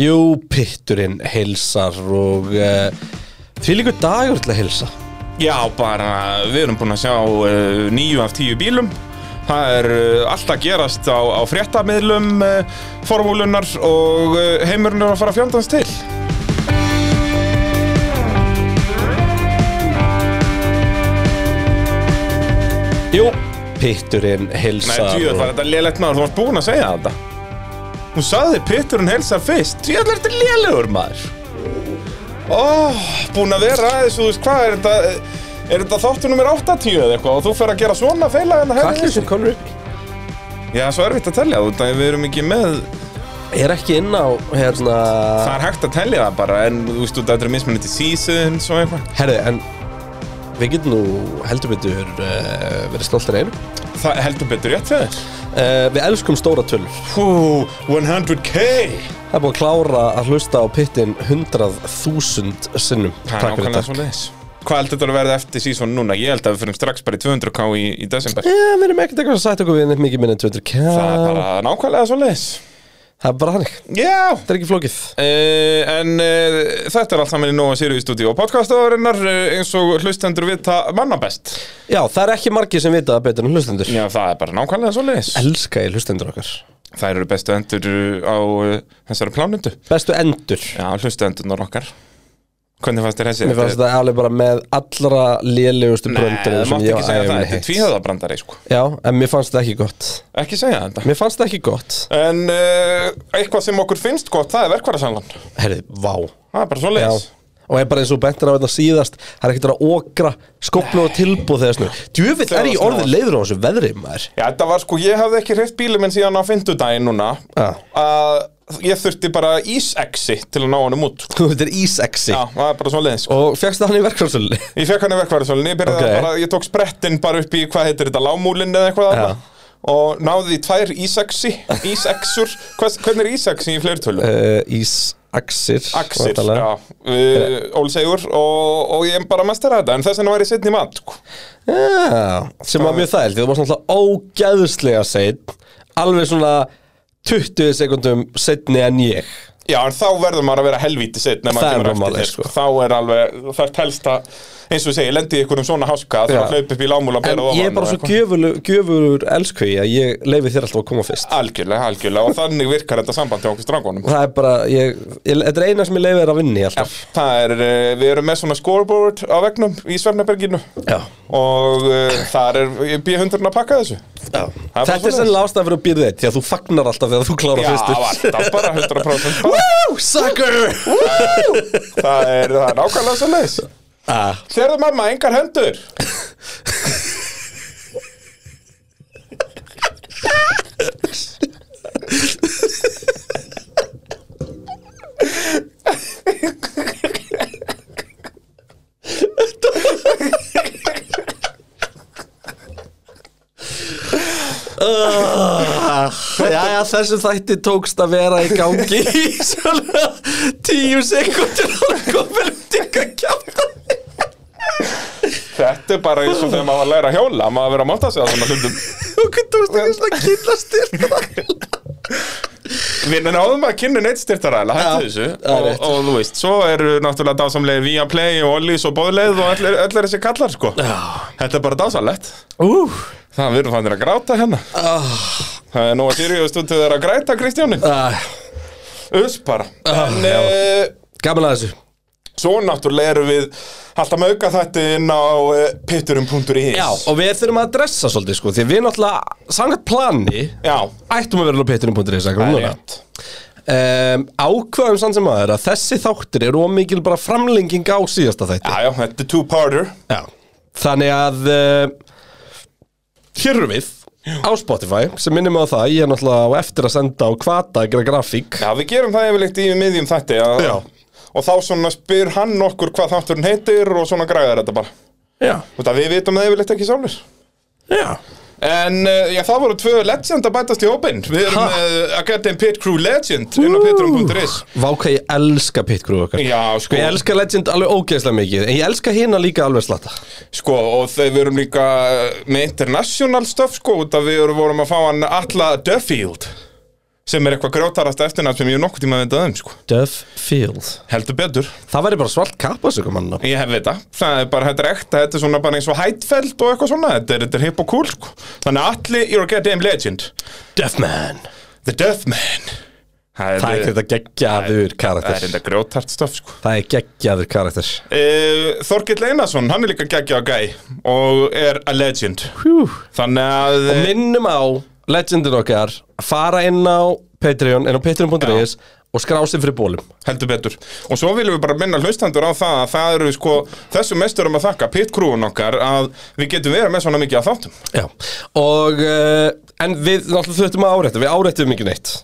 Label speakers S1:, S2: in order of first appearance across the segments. S1: Jú, pitturinn heilsar og uh, því líka dagur til að heilsa
S2: Já, bara við erum búin að sjá uh, nýju af tíu bílum Það er uh, allt að gerast á, á fréttamiðlum uh, formúlunar og uh, heimurinn er að fara að fjandans til
S1: Jú, pitturinn
S2: Nei,
S1: heilsar
S2: djöðl var þetta lélegt maður, þú varst búin að segja þetta Þú sagði Pitturinn heilsar fyrst Djöðl er þetta lélegur maður Ó, búin að vera aðeins, þú veist hvað er þetta eh, Er þetta þáttu nummer 80 eða eitthvað og þú fer að gera svona hérna feila en það
S1: Hvað er sem konur upp í?
S2: Já, svo erfitt að telja, þú veist að við erum ekki með
S1: Er ekki inn á, hérna
S2: Það er hægt að tellja það bara, en þú veist, þetta er mismunandi seasons og eitthvað.
S1: Herri, en við getum nú heldur betur uh, verið stoltar einu
S2: Það heldur betur rétt fyrir þér.
S1: uh, Við elskum stóra tölur
S2: Hú, 100k!
S1: Það er búin að klára að hlusta á pittin 100.000 sinnum
S2: Það er
S1: Takk fyrir
S2: ákvæmlega
S1: þetta
S2: svo leiðis. Hvað heldur þetta að verða eftir season núna? Ég held að við fyrir strax bara í 200k í, í desember.
S1: Já, við erum ekkert eitthvað að sæta okkur við neitt mikið minni en 200k
S2: Það er bara nákvæmlega svo leiðis.
S1: Það er bara þannig,
S2: Já!
S1: þetta er ekki flókið
S2: Uh, en uh, þetta er allt saman í Nóa Sirius Studio og podcastaðurinnar uh, eins og hlustendur vita mannabest.
S1: Já, það er ekki margir sem vita það betur en hlustendur
S2: Já, það er bara nákvæmlega svo leiðis.
S1: Elska ég hlustendur okkar
S2: Þær eru bestu endur uh, á uh, þessari plánundu.
S1: Bestu endur
S2: Já, hlustendunar okkar Hvernig fannst þér þessi?
S1: Mér fannst þetta alveg bara með allra lélegustu bröndurum
S2: Nei,
S1: sem
S2: mátt
S1: ég á
S2: Eh, ekki segja það,
S1: æfinni
S2: þetta er
S1: heitt
S2: tvíhöðabrandari sko
S1: Já, en mér fannst þetta ekki gott
S2: Ekki segja þetta
S1: Mér fannst þetta ekki gott
S2: En uh, eitthvað sem okkur finnst gott, það er verkvarasanlan Það
S1: Herrið, vá
S2: er bara svo leiðis
S1: Já. Og er bara eins og bentir á þetta síðast Það er ekkert að okra skoplu og tilbúð þegar snur Djöfitt er ég orðið leiður á þessu veðri maður
S2: Já, þetta var sko, ég hafði ekki hreift bílum en síðan á fimmtudaginn núna
S1: Já.
S2: að ég þurfti bara ísexi til að ná honum út sko.
S1: Þetta er ísexi
S2: Já, það er bara svo leiðis sko.
S1: Og fegst það hann í verkvæmsölunni
S2: Ég fekk hann í verkvarasanlan, ég byrjaði
S1: Ok.
S2: bara, ég tók sprettinn bara upp í, hvað heitir þetta, lámúlinn eða eitthvað
S1: Já.
S2: þarna. Og náði í tvær ísexi, ísexur Hvers- Hvernig er ísexi í fleirtölu?
S1: uh, Ísaxir
S2: Axir,
S1: væntanlega.
S2: Eh, já, uh, Ólsegur og, og ég bara mestara þetta en þess vegna var ég setni mat sko.
S1: já Sem var mjög þægild Það var svona ógæðslega seitt Alveg svona 20 sekundum setni en ég
S2: Já, en þá verður maður að vera helvíti sitt
S1: Það er bara málið, sko.
S2: Þá er alveg, það er helst að eins og ég segi, lendi ykkur um svona háska að
S1: Já.
S2: það hlaup upp í lámúla og
S1: En
S2: bera ofan
S1: ég er bara
S2: og
S1: svo
S2: eitthvað.
S1: gjöfulur, gjöfulur elskvi að ég leifi þér alltaf að koma fyrst
S2: Algjörlega, algjörlega og þannig virkar þetta samband hjá okkur strangunum
S1: Það er bara, ég, ég, þetta er eina sem ég leifi þér að vinni alltaf
S2: Það er, uh, við erum með svona scoreboard á vegnum í Svernaberginu
S1: Já,
S2: og uh, þar er B100 að pakka þessu
S1: Já.
S2: bara
S1: Þetta er
S2: svoleiðis.
S1: sennilega ástæðan fyrir að býrði þitt Því að þú fagnar alltaf þegar þú klárar
S2: Já,
S1: fyrstur
S2: alltaf bara 100% bara.
S1: Woo, sucker
S2: það, er, það er nákvæmlega svo leis
S1: ah.
S2: Sérðu mamma, engar hendur
S1: Jæja, þessum þætti tókst að vera í gangi í svona tíu sekundur og komin um dykka kjáta
S2: Þetta er bara eins og þegar maður var að læra að hjóla maður verið að monta sig að svona hlutum
S1: og hvernig tókst ekki svona að kynna styrna
S2: Við náðum að kynna neitt styrtaræðilega
S1: Já,
S2: hættu þessu
S1: það er
S2: og,
S1: rétt.
S2: og þú veist, svo eru náttúrulega dásamlega Viaplay og Ollís og Bóðleið og öll er þessi kallar sko
S1: Já.
S2: Þetta er bara dásalegt
S1: Ú,
S2: Það verður fannir að gráta hérna Það er nú að Sirius stundu þeirra að græta Kristjáni
S1: ah,
S2: Us bara En
S1: já.
S2: uh,
S1: Gaman að þessu
S2: svo náttúrulega erum við alltaf með auka þetta inn á uh, pitturum.is
S1: Já, og við þurfum að dressa svolítið sko Því við náttúrulega, sangat plani
S2: Já,
S1: Ættum að vera á pétunum.is
S2: það er rétt
S1: um, ákvaðum sann sem aðeins að þessi þáttir eru ómikil bara framlenging á síðasta þætti
S2: Já, já, þetta er two-parter
S1: Já. þannig að uh, hér eru við á Spotify sem minnum á það ég er náttúrulega á eftir að senda á kvata að gera grafík
S2: Já, við gerum það yfirleitt í miðjum þætti að,
S1: Já.
S2: Og þá svona spyr hann okkur hvað þátturinn heitir og svona græðar þetta bara
S1: já,
S2: Þú veit að við vitum það yfirleitt ekki sálir
S1: já
S2: En eh, já, það voru tvö legend að bætast í hópinn Við erum
S1: Ha?
S2: uh, Academy Pit Crew Legend inn á pitrum.is
S1: Váka ég elska pitgrú okkar
S2: Já, sko,
S1: Ég elska Legend alveg ógeðslega mikið En ég elska hina líka alveg slatta
S2: sko, og þau við erum líka eh, með international stuff, sko, út að við erum- vorum að fá hann Alla Duffield sem er eitthvað grótarast eftirnafn sem ég hef nokkuð tíma að venda um sko.
S1: Duffield
S2: heldur betur,
S1: Það væri bara svart kappa sig um hann
S2: ég hef veit það það er bara, þetta er ekta, þetta er svona bara eins og hætfeld og eitthvað svona, þetta er, þetta er hip og cool sko. þannig að allir, you're a goddamn legend
S1: Duffman
S2: the death man það
S1: Það er
S2: er
S1: þetta geggjaður
S2: það er
S1: karakter
S2: þetta grótart stöf sko.
S1: Það er geggjaður karakter
S2: Uh, Þorkill Einarsson, hann er líka geggja og gæ og er a legend
S1: Hjú.
S2: Þannig að eh,
S1: Og minnum á legendin okkar að fara inn á Patreon, inn á patreon.is og skrá sig fyrir bólum
S2: heldur betur Og svo viljum við bara minna hlustandur á það að það eru sko þessu mesturum að þakka pitkrúun okkar að við getum verið með svona mikið að þáttum
S1: Já, og uh, en við náttúrulega þurftum að árætta, við árættum ekki neitt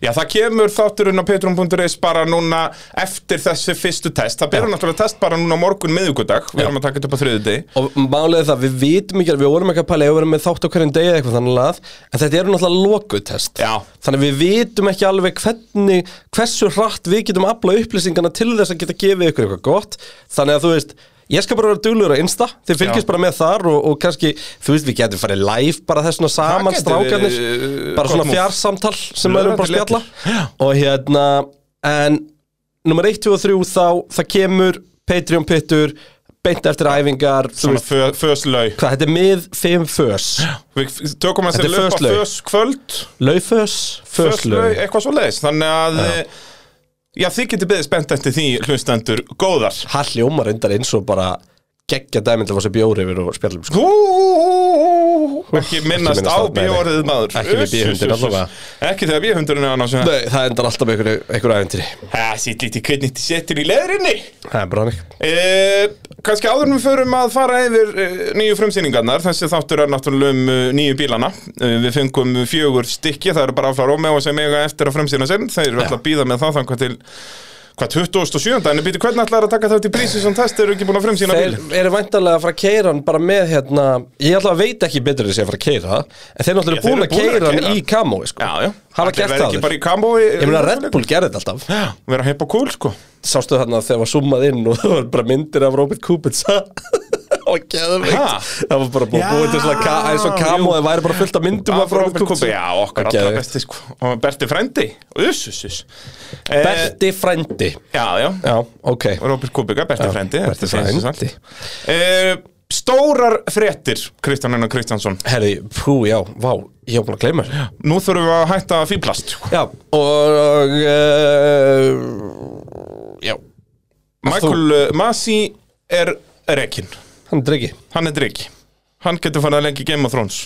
S2: Já, það kemur þátturinn á pitkrúun.is bara núna eftir þessi fyrstu test Það byrjar náttúrulega test bara núna á morgun miðvikudag Við
S1: Já.
S2: erum að taka þetta upp á þriðið deg
S1: og málið er það, við vitum ekki, alveg, við vorum ekki að pæla ég vorum með þátt á hverjum degi eða eitthvað þannig að en þetta eru náttúrulega lokutest
S2: Já.
S1: þannig að við vitum ekki alveg hvernig hversu hratt við getum afla upplýsingarna til þess að geta gefið ykkur eitthvað gott þannig að þú veist Ég skal bara vera duglur á Insta, þið fylgjast
S2: Já.
S1: bara með þar og, og kannski, þú veist, við getum farið live bara þessuna saman
S2: gæti
S1: strákarnir
S2: verið, uh,
S1: bara svona
S2: gott move.
S1: fjársamtal sem við
S2: Lögreglu
S1: erum bara að spjalla
S2: leikur.
S1: og hérna, en nummer 1, 2 og 3 þá, það kemur Patreon pittur, beint eftir æfingar, þú
S2: Svona fö, föslau
S1: Hvað, þetta er mið fimm fös
S2: Við f- tökum að
S1: Þetta
S2: sér
S1: er
S2: löp á
S1: föslaug.
S2: föskvöld
S1: Laufös,
S2: Föslau,
S1: föslög
S2: eitthvað svo leiðis Þannig að já. já, þið getið beðið spennt eftir því hlustendur góðar
S1: Það hljómar reyndar eins og bara geggja dæmynd að fá sér bjóri yfir og spjallum sko.
S2: Hú, Ekki minnast
S1: minnast
S2: á
S1: á- nei, nei.
S2: bjórið maður
S1: Ekki við
S2: Uss,
S1: bíóhundinn
S2: uss, uss,
S1: allavega.
S2: uss. Ekki þegar bíóhundurinn er annars
S1: Nei, það endar alltaf með einhverju, einhverju æventýri
S2: Það sýtt lítið hvernig þið settir í leðrinni
S1: Það er bara hannig
S2: e, Kanski áður en við förum að fara yfir e, nýju frumsýningarnar Þessi þáttur er náttúrulega um e, nýju bílana e, Við fengum fjögur stykki Það eru bara Alfa Romeo sem eiga eftir að frumsýna sinn Þeir eru alltaf að býða með það þangar til Hvað, 27. En býtu, hvernig ætlar að taka þetta í prísi sem test eru ekki búin að frumsýna bíl?
S1: Þeir eru væntanlega að fara að keira hann bara með hérna Ég ætla að veit ekki betur þess að fara að keira það En þeir náttúrulega
S2: Já, þeir
S1: búin
S2: eru
S1: að keira hann í kamói sko.
S2: Já, já
S1: Hafa
S2: Ætli
S1: gert
S2: verði
S1: það
S2: ekki
S1: áður.
S2: bara í kambói
S1: Ég meina Red Bull gerði þetta alltaf
S2: Já, vera hipp og cool, sko
S1: Sástu þarna þegar var summað inn og það var bara myndir af Robert Kubica Og
S2: Ha?
S1: geðveikt Það var bara búið búið til svona ka- eins og kamói Það væri bara fullt af myndum af Robert Kubica
S2: Já, okkar
S1: Og
S2: allra
S1: geðveikt.
S2: besti, sko Og Berti frændi Uss, uss, uss Eh,
S1: Berti frændi
S2: Já, já
S1: Já, ok
S2: Robert Kubica, Berti frændi
S1: Berti
S2: þetta er eins og
S1: frændi.
S2: sagt. Eh, Stórar fréttir, Kristján Einar Kristjánsson
S1: Herri, pú, já, vá, ég hef búin að gleyma þessu.
S2: Nú þurfum við að hætta að fýblast sko.
S1: Já, og uh, Já,
S2: Michael eh, Masi er rekin
S1: hann er ekki
S2: Hann er drikki Hann getur farið að lengi Game of Thrones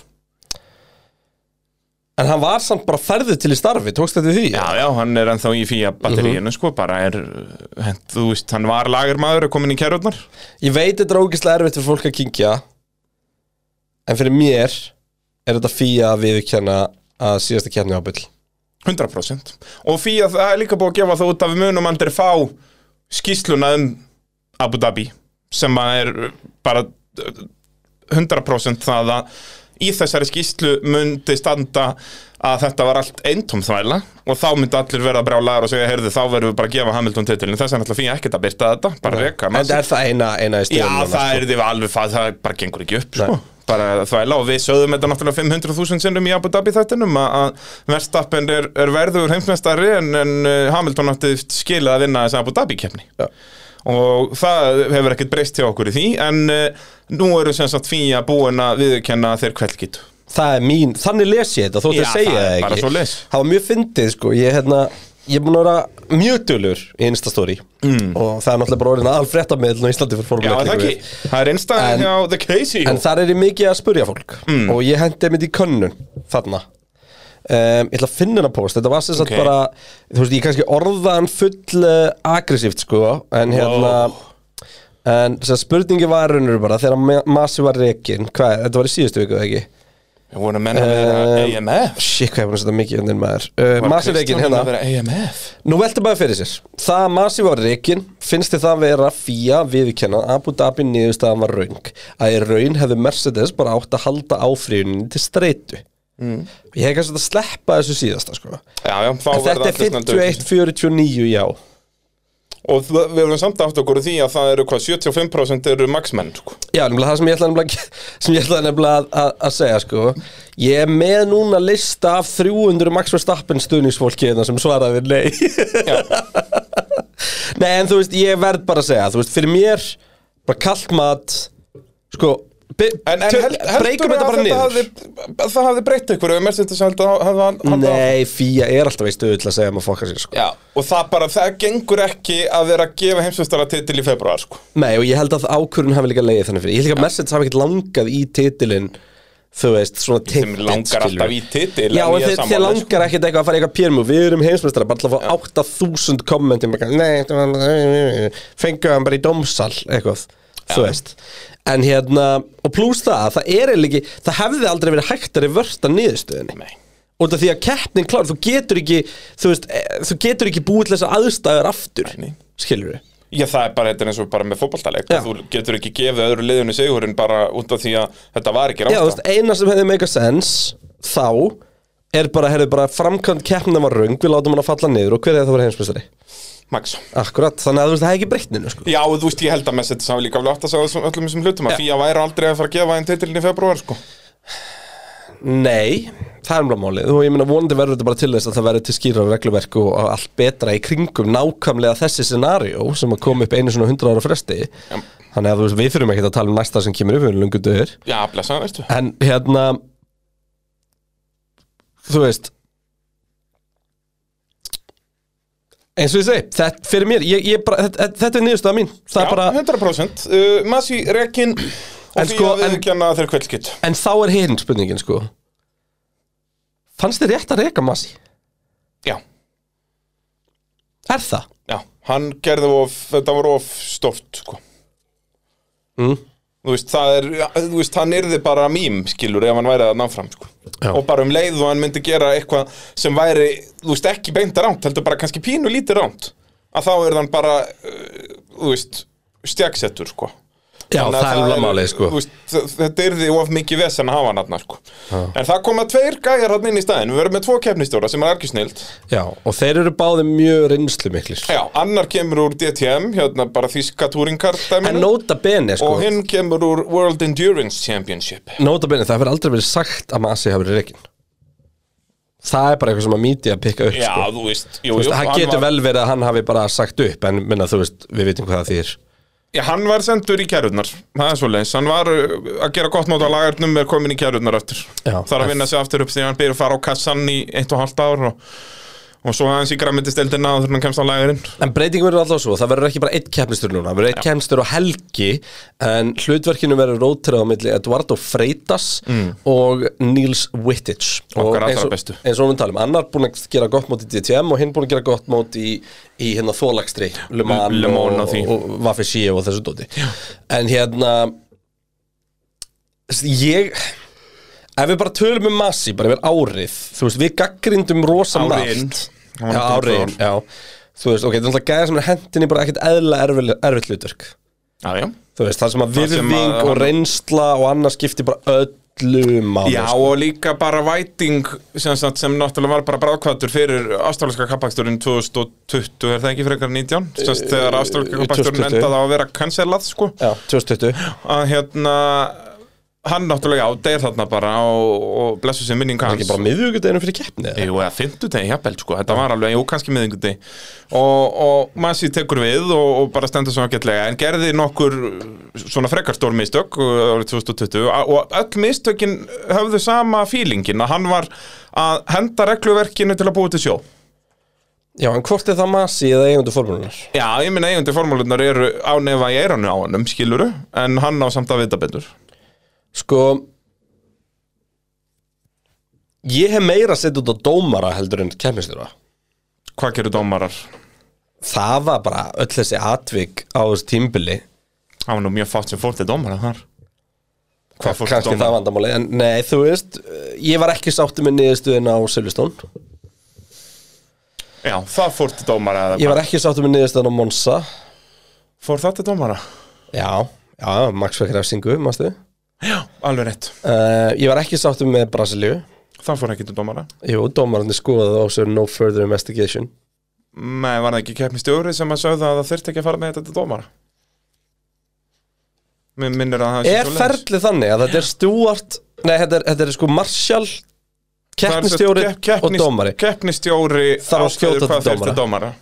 S1: En hann var samt bara ferðu til í starfi, tókst þetta því?
S2: Já, já, hann er ennþá í fíja batteríinu sko, bara er, eh, hent, þú veist, hann var lagermaður og komin í kærurnar
S1: Ég veit þetta er ógeðslega erfitt fyrir fólk að kynkja En fyrir mér er þetta fíja að viðurkenna að síðasta keppni ábyll
S2: 100% og fíja það er líka búið að gefa það út að við munum aldrei fá skýsluna um Abu Dhabi sem að er bara uh, 100% það að í þessari skýslu myndi standa að þetta var allt eintóm þvæla og þá myndi allir verða brjálagar og segja, heyrðu, þá verðum við bara að gefa Hamilton titilin þess að náttúrulega fíja ekkert að byrta þetta bara reka
S1: En það er það eina, eina í
S2: Já,
S1: stíðan
S2: það er því alveg fæð, það bara gengur ekki upp, sko bara þvæla og við sögðum þetta náttúrulega 500.000 sinnum í Abu Dhabi þættinum að- að Verstappen er, er verður heimsmeistari en, en uh, Hamilton átti skilið að vinna þess Abu Dhabi kefni
S1: Já.
S2: og það hefur ekkert breyst hjá okkur í því en uh, nú eru sem sagt fíja búin að viðurkenna að þeir kveldgitu
S1: Það er mín, þannig les ég þetta, þótt
S2: Já,
S1: að segja
S2: það er
S1: það
S2: bara
S1: ekki
S2: svoleiðis.
S1: Það var mjög fyndið sko, ég hérna Ég er búin að vera mjög dölur í Instastory mm. Og það er náttúrulega bara orðin aðal fréttamiðl á Íslandi fyrir
S2: Já,
S1: formuleik
S2: það ekki, það er
S1: En-
S2: einstæðan hjá The Casey
S1: En þar er ég mikið að spurja fólk
S2: Mm.
S1: Og ég hendi einmitt í könnun þarna um, Ég ætla að finna hana post Þetta var sem sagt
S2: Ok.
S1: bara Þú veist, ég kannski orða hann full uh, aggressíft sko En hérna En sem sagt, spurningi var raunur bara Þegar Ma- Masi var rekin Hvað, þetta var í síðustu viku, eða ekki?
S2: Við vorum að menna að vera
S1: Eh,
S2: AMF
S1: Shit, hvað er búin að setja mikið undir maður uh, Masi rekin,
S2: Kristján
S1: hérna
S2: að vera AMF
S1: Nú veltum maður fyrir sér Það að Masi var reikin Finnst þið það vera fía viðkenna Abu Dhabi niðurstaðan var raung Að í raun hefði Mercedes bara átt að halda áfríuninni til streitu Ég hef kannski þetta að sleppa þessu síðasta sko.
S2: Já, já, þá
S1: En
S2: verða
S1: þetta er
S2: allir snöldugir.
S1: 51-49 já
S2: og það- við erum samt átt okkur á því að það eru hvað 75% eru maxmenn sko.
S1: Já, nefnilega það sem ég ætlaði nefnilega, að ge- sem ég ætlaði nefnilega að, að, að segja sko Ég er með núna lista af 300 Max Verstappen stuðningsfólki hérna sem svaraði nei Nei, en þú veist, ég verð bara að segja, þú veist, fyrir mér, bara kallt mat, sko, be-
S2: en, en
S1: tök-
S2: held, heldur
S1: breykum þetta bara niður
S2: hafði, það hafði breytt ykkur ef Mercedes held að hafði haldið áfram?
S1: Nei, fíja er alltaf í stuðu til að segja að maður fokka sér sko
S2: Já, og það bara, það gengur ekki að vera að gefa heimsvistara titil í februar sko.
S1: Nei, og ég held að ákvörun hafi líka leiðið þannig fyrir Ég held líka að Mercedes hafi ekkert langað í titilinn, þú veist, svona
S2: sem
S1: tinktinn,
S2: langar
S1: skilurðu.
S2: alltaf í titil
S1: Já,
S2: en
S1: en
S2: ég
S1: þeir,
S2: er
S1: þeir
S2: sammála, sko.
S1: langar ekkert eitthvað að fara í eitthvað pjörmú Við erum heimsmeistrar, bara til að fá 8000 kommentin bara, Nei, þetta var- fengu hann bara í domsal eitthvað, þú veist En hérna, og pluss það, það er eiginlega ekki, það hefði aldrei verið hægt að reverta niðurstöðinni
S2: Nei.
S1: Út af því að keppnin klár, þú getur ekki, þú veist, eh, þú getur ekki búið til þess að aðstæður aftur
S2: Nei, nei.
S1: Skilur við?
S2: Já, það er bara, þetta er eins og bara með fótballtaleik
S1: Já.
S2: Þú getur ekki gefið öðru liðinu sigurinn bara út af því að þetta var ekki
S1: Já, þú veist,
S2: rásta
S1: eina sem hefði meika sens þá er bara, herðu bara framkvæmt keppnin var röng, við látum hann að falla niður og hver er það að vera heimsmeistari?
S2: Max
S1: Akkurat, þannig að þú veist, það er ekki breytninu sko.
S2: Já, og þú veist, ég held að Messi hafi líka alveg átt að segja þessum öllum þessum hlutum að
S1: Já.
S2: Fía væri aldrei að fara að gefa þeim titilin í februar sko.
S1: Nei, það er umlað málið og ég meina vonandi verður þetta bara til þess að það verður til skýrar regluverk og og allt betra í kringum nákvæmlega þessi scenario sem að koma upp einu svona 100 ára fresti
S2: Já.
S1: þannig að þú veist, við þurfum ekkert að tala um næsta sem kemur upp við erum lungu döður
S2: Já, blessa, veistu
S1: en hérna þú veist eins og ég segi þetta, fyrir mér, ég, ég bara, þetta, þetta er niðurstaða mín það
S2: Já,
S1: er bara,
S2: 100% uh, Massi, Rekin og
S1: En
S2: Fía
S1: sko,
S2: sko,
S1: en-
S2: viðurkenna en... þeir kveldskitt
S1: en þá er hinn spurningin sko fannst þið rétt að reka massi?
S2: Já,
S1: Er það?
S2: já, hann gerði of, þetta var of stórt sko.
S1: Mm.
S2: Þú veist, það er, ja, þú veist, hann yrði bara mím, skilur, ef hann væri að ná fram, sko.
S1: Já.
S2: Og bara um leið og hann myndi gera eitthvað sem væri, þú veist, ekki beint rámt, heldur bara kannski pínu lítið rámt. Að þá er hann bara, uh, þú veist, stjagsettur, sko.
S1: Já,
S2: Þannig að
S1: það er alveg málið, sko.
S2: þú Veist, þ- þetta yrði of mikið vesen að hafa hann hann, sko. En það koma tveir gæjar hann inn í staðin. Við verðum með tvo keppnistjóra sem er algjörsnild.
S1: Já, og þeir eru báði mjög reynslu miklir
S2: Já, annar kemur úr DTM, hérna bara þíska
S1: En
S2: túringkardæminu.
S1: nota bene, sko
S2: Og hinn kemur úr World Endurance Championship.
S1: Nota bene, það hefur aldrei verið sagt að Masi hafi verið reikin Það er bara eitthvað sem að míti að pikka upp,
S2: Já,
S1: sko
S2: þú veist, jú,
S1: Þú veist,
S2: jú,
S1: Það
S2: hann
S1: getur
S2: var-
S1: vel verið að hann hafi bara sagt upp En minna, þú veist, við vitum hvað það þýr
S2: Já, hann var sendur í kærurnar, það er svoleiðis Hann var uh, að gera gott mót á lagarnum er komin í kærurnar aftur
S1: Já.
S2: Þar að vinna sig aftur upp þegar hann byrja að fara á kassan í eitt og halvt ár og, og svo aðeins í græmyndisdeldina áður en hann kemst á lagarinn
S1: En breytingum verður alltaf svo, það verður ekki bara eitt keppnistur núna, það verður eitt keppnistur á helgi en hlutverkinu verður rótirað á milli Eduardo Freitas og Niels Wittich
S2: Mm. Okkar allra
S1: eins og,
S2: bestu.
S1: eins og við talum, annar búinn að gera gott mót í DTM og hinn búinn að gera gott mót í, í hérna þólagstri Le Mans
S2: Le Mans og
S1: og,
S2: því.
S1: og, og Vaffi Shie og þessu dóti en hérna ég ef við bara tölum um massi, bara yfir árið þú veist, við gaggrindum rosa
S2: Árin.
S1: margt
S2: Hann var
S1: já,
S2: náttúrulega
S1: áriðin,
S2: tvö
S1: já þú veist, ok, það er alltaf gæða sem er hendinni bara ekkert eðla erfitt hlutverk
S2: Já, já
S1: þú veist, það sem að
S2: Það sem
S1: virðing
S2: að-
S1: og reynsla og annars skiptir bara öllu máli
S2: Já,
S1: sko.
S2: og líka bara væting sem, sagt, sem náttúrulega var bara bráðkvættur fyrir ástráliska kappaksturinn 2020, er það ekki frekar 19?
S1: Eh,
S2: Sest, þegar ástráliska kappaksturinn
S1: 2020.
S2: endaði á að vera cancelað, sko
S1: já 2020
S2: að hérna hann náttúrulega á deyr þarna bara og, og blessu sem minning hans
S1: ekki bara miðvíkudeginu fyrir keppni eða?
S2: Jú, eða fimmtudegi, jafnvel, sko, þetta var alveg, jú, kannski miðingudegi og, og Masi tekur við og, og bara stendur svona getlega en gerði nokkur uh, svona frekarstór mistök uh, árið 2020 og- og öll mistökin höfðu sama fílingin að hann var að henda regluverkinu til að búa til sjó
S1: já, en hvort er það masi eða eigundu formúlunar
S2: Já, ég minna eigundi formúlunar eru ánefa í eiranu á hannum, skiluru en hann á samt að vita betur
S1: sko ég hef meira sett út á dómara heldur en keppnistjóra
S2: Hvað gerir dómarar?
S1: það var bara öll þessi atvik á þessu tímbili
S2: Það var nú mjög fátt sem fór til dómara þar Hvað fór til
S1: kannski það
S2: dómara?
S1: vandamáli en nei, þú veist, eh, ég var ekki sáttu með niðurstöðin á Silvestón
S2: Já, það fór til dómara eða
S1: ég var ekki sáttu með niðurstöðin á Monsa
S2: Fór það til dómara?
S1: já, já, Max fekk refsingu, mástu
S2: Já, alveg rétt
S1: uh, ég var ekki sáttu með Brasilíu
S2: Það fór ekki til dómara
S1: jú, dómararnir skoðaði á sér no further investigation
S2: Nei, var það ekki keppnistjóri sem að sögðu að það þurfti ekki að fara með þetta til dómara Mér minnir að það sé
S1: Er
S2: svoleiðis.
S1: ferlið þannig að þetta er Stuart Nei, þetta er, þetta er sko Marshall
S2: Það er sem sagt
S1: Keppnistjóri
S2: kepp-
S1: og
S2: keppnis-
S1: dómari
S2: Keppnistjóri
S1: Þarf að skjóta
S2: ákveður hvað
S1: til
S2: fer til dómara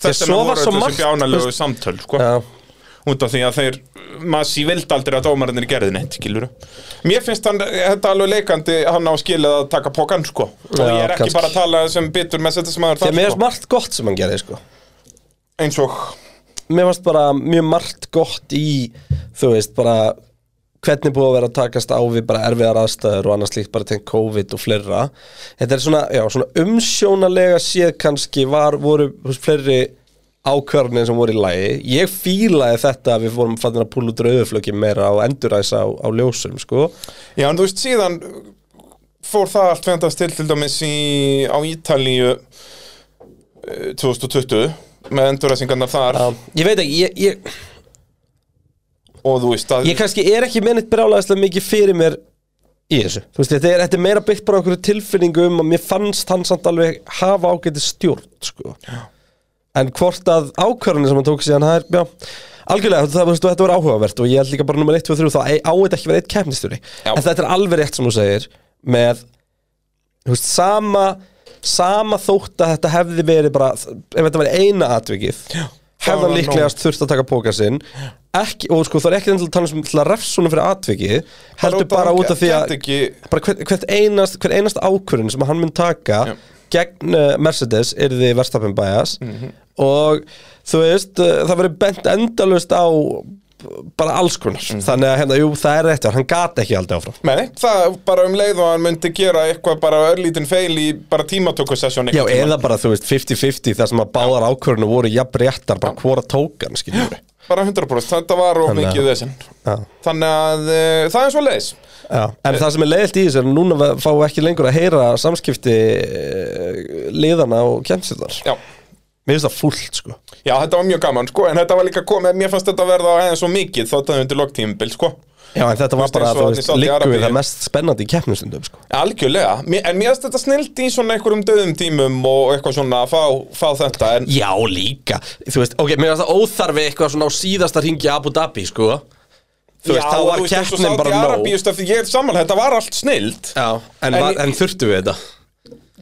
S2: Þess
S1: svo
S2: vegna
S1: var
S2: voru
S1: svo
S2: þetta
S1: margt-
S2: sem bjánalegu samtöl sko.
S1: Já,
S2: út af því að þeir massi vildi aldrei að dómarinnir gerði neitt skilur. mér finnst hann, þetta alveg leikandi hann á skilið að taka pokan sko. og
S1: Já,
S2: ég er ekki
S1: kannski.
S2: bara að tala sem bitur með þetta sem aður
S1: því að mér
S2: þar
S1: varst
S2: sko.
S1: margt gott sem hann gerði sko
S2: eins og
S1: Mér varst bara mjög margt gott í Þú veist, bara hvernig búið að vera að takast á við bara erfiðar aðstæður og annars líkt bara tengt COVID og fleira Þetta er svona, já, svona umsjónalega séð kannski var, voru þú veist, fleiri ákvörðin sem voru í lagi Ég fílaði þetta að við fórum fannir að púla út rauðuflöki meira og enduræsa á, á ljósum, sko
S2: já, en þú veist síðan fór það allt vendast til til dæmis í, á Ítalíu eh, 2020 með enduræsingarnar þar
S1: um, Ég veit ekki, ég, ég,
S2: og þú veist að
S1: ég kannski er ekki mennit brjálæðislega mikið fyrir mér í þessu Þú veist, þetta er, þetta er meira byggt bara á einhverju tilfinningu um að mér fannst hann samt alveg hafa ágæti stjórn sko. en hvort að ákvörðinu sem hann tók síðan það er, já, algjörlega það, það, þetta var áhugavert og ég held líka bara nummer 1, 2, 3 þá ei- á þetta ekki verið eitt kemnistjóri
S2: Já.
S1: en þetta er alveg rétt sem þú segir með, þú veist, sama sama þótt að þetta hefði verið bara, ef þetta verið eina atvikið já
S2: Það
S1: hefðan
S2: var
S1: líklegast þurft að taka póka sinn ekki, og sko það er ekki enn til að tala um til að refsunum fyrir atvikið heldur bara út af því að
S2: ekki,
S1: bara hvert, hvert einast, hver einast ákvörðin sem hann mun taka
S2: Já.
S1: gegn uh, Mercedes er því verstafin bæjas og þú veist uh, það verður bent endalust á bara alls konar þannig að hérna, jú, það er rétt hjá honum, hann gat ekki aldrei áfram
S2: Nei, það bara um leið og hann myndi gera eitthvað bara örlítinn feil í bara tímatökusessjón
S1: Já, eða bara, þú veist, 50-50 þar sem að báðar ákvörðinu voru jafn réttar bara hvora tókan, skiljum við
S2: Bara 100%, þetta var of
S1: Þannig að-
S2: mikið þessin
S1: Já.
S2: Þannig að e, það er svo leiðis
S1: Já, en það sem er leiðilt í þessu er að núna við fáum við ekki lengur að heyra samskipti eh, liðana og kemstuðar.
S2: já.
S1: Mér finnst það fúlt, sko.
S2: já, þetta var mjög gaman, sko En þetta var líka komið, mér fannst þetta verða aðeins svo mikið Þá þetta undir loktímbil, sko
S1: Já, en þetta var
S2: Þú veist,
S1: bara,
S2: eins og
S1: þú
S2: þarna í
S1: veist,
S2: Saudi
S1: líku
S2: Arabíu.
S1: við það mest spennandi í keppnustundum, sko.
S2: Algjörlega, Mér- en mér finnst þetta snilt í svona einhverjum döðum tímum og eitthvað svona að fá, fá þetta en
S1: Já, líka. Þú veist, ok, mér finnst það óþarfi eitthvað svona á síðasta ringi Abu Dhabi, sko. Þú veist, þá var keppnin bara nóg.
S2: Arabíu, stöf, ég er samanlega, þetta var allt snilt
S1: Já, en,
S2: En-
S1: en, en þurftu við þetta?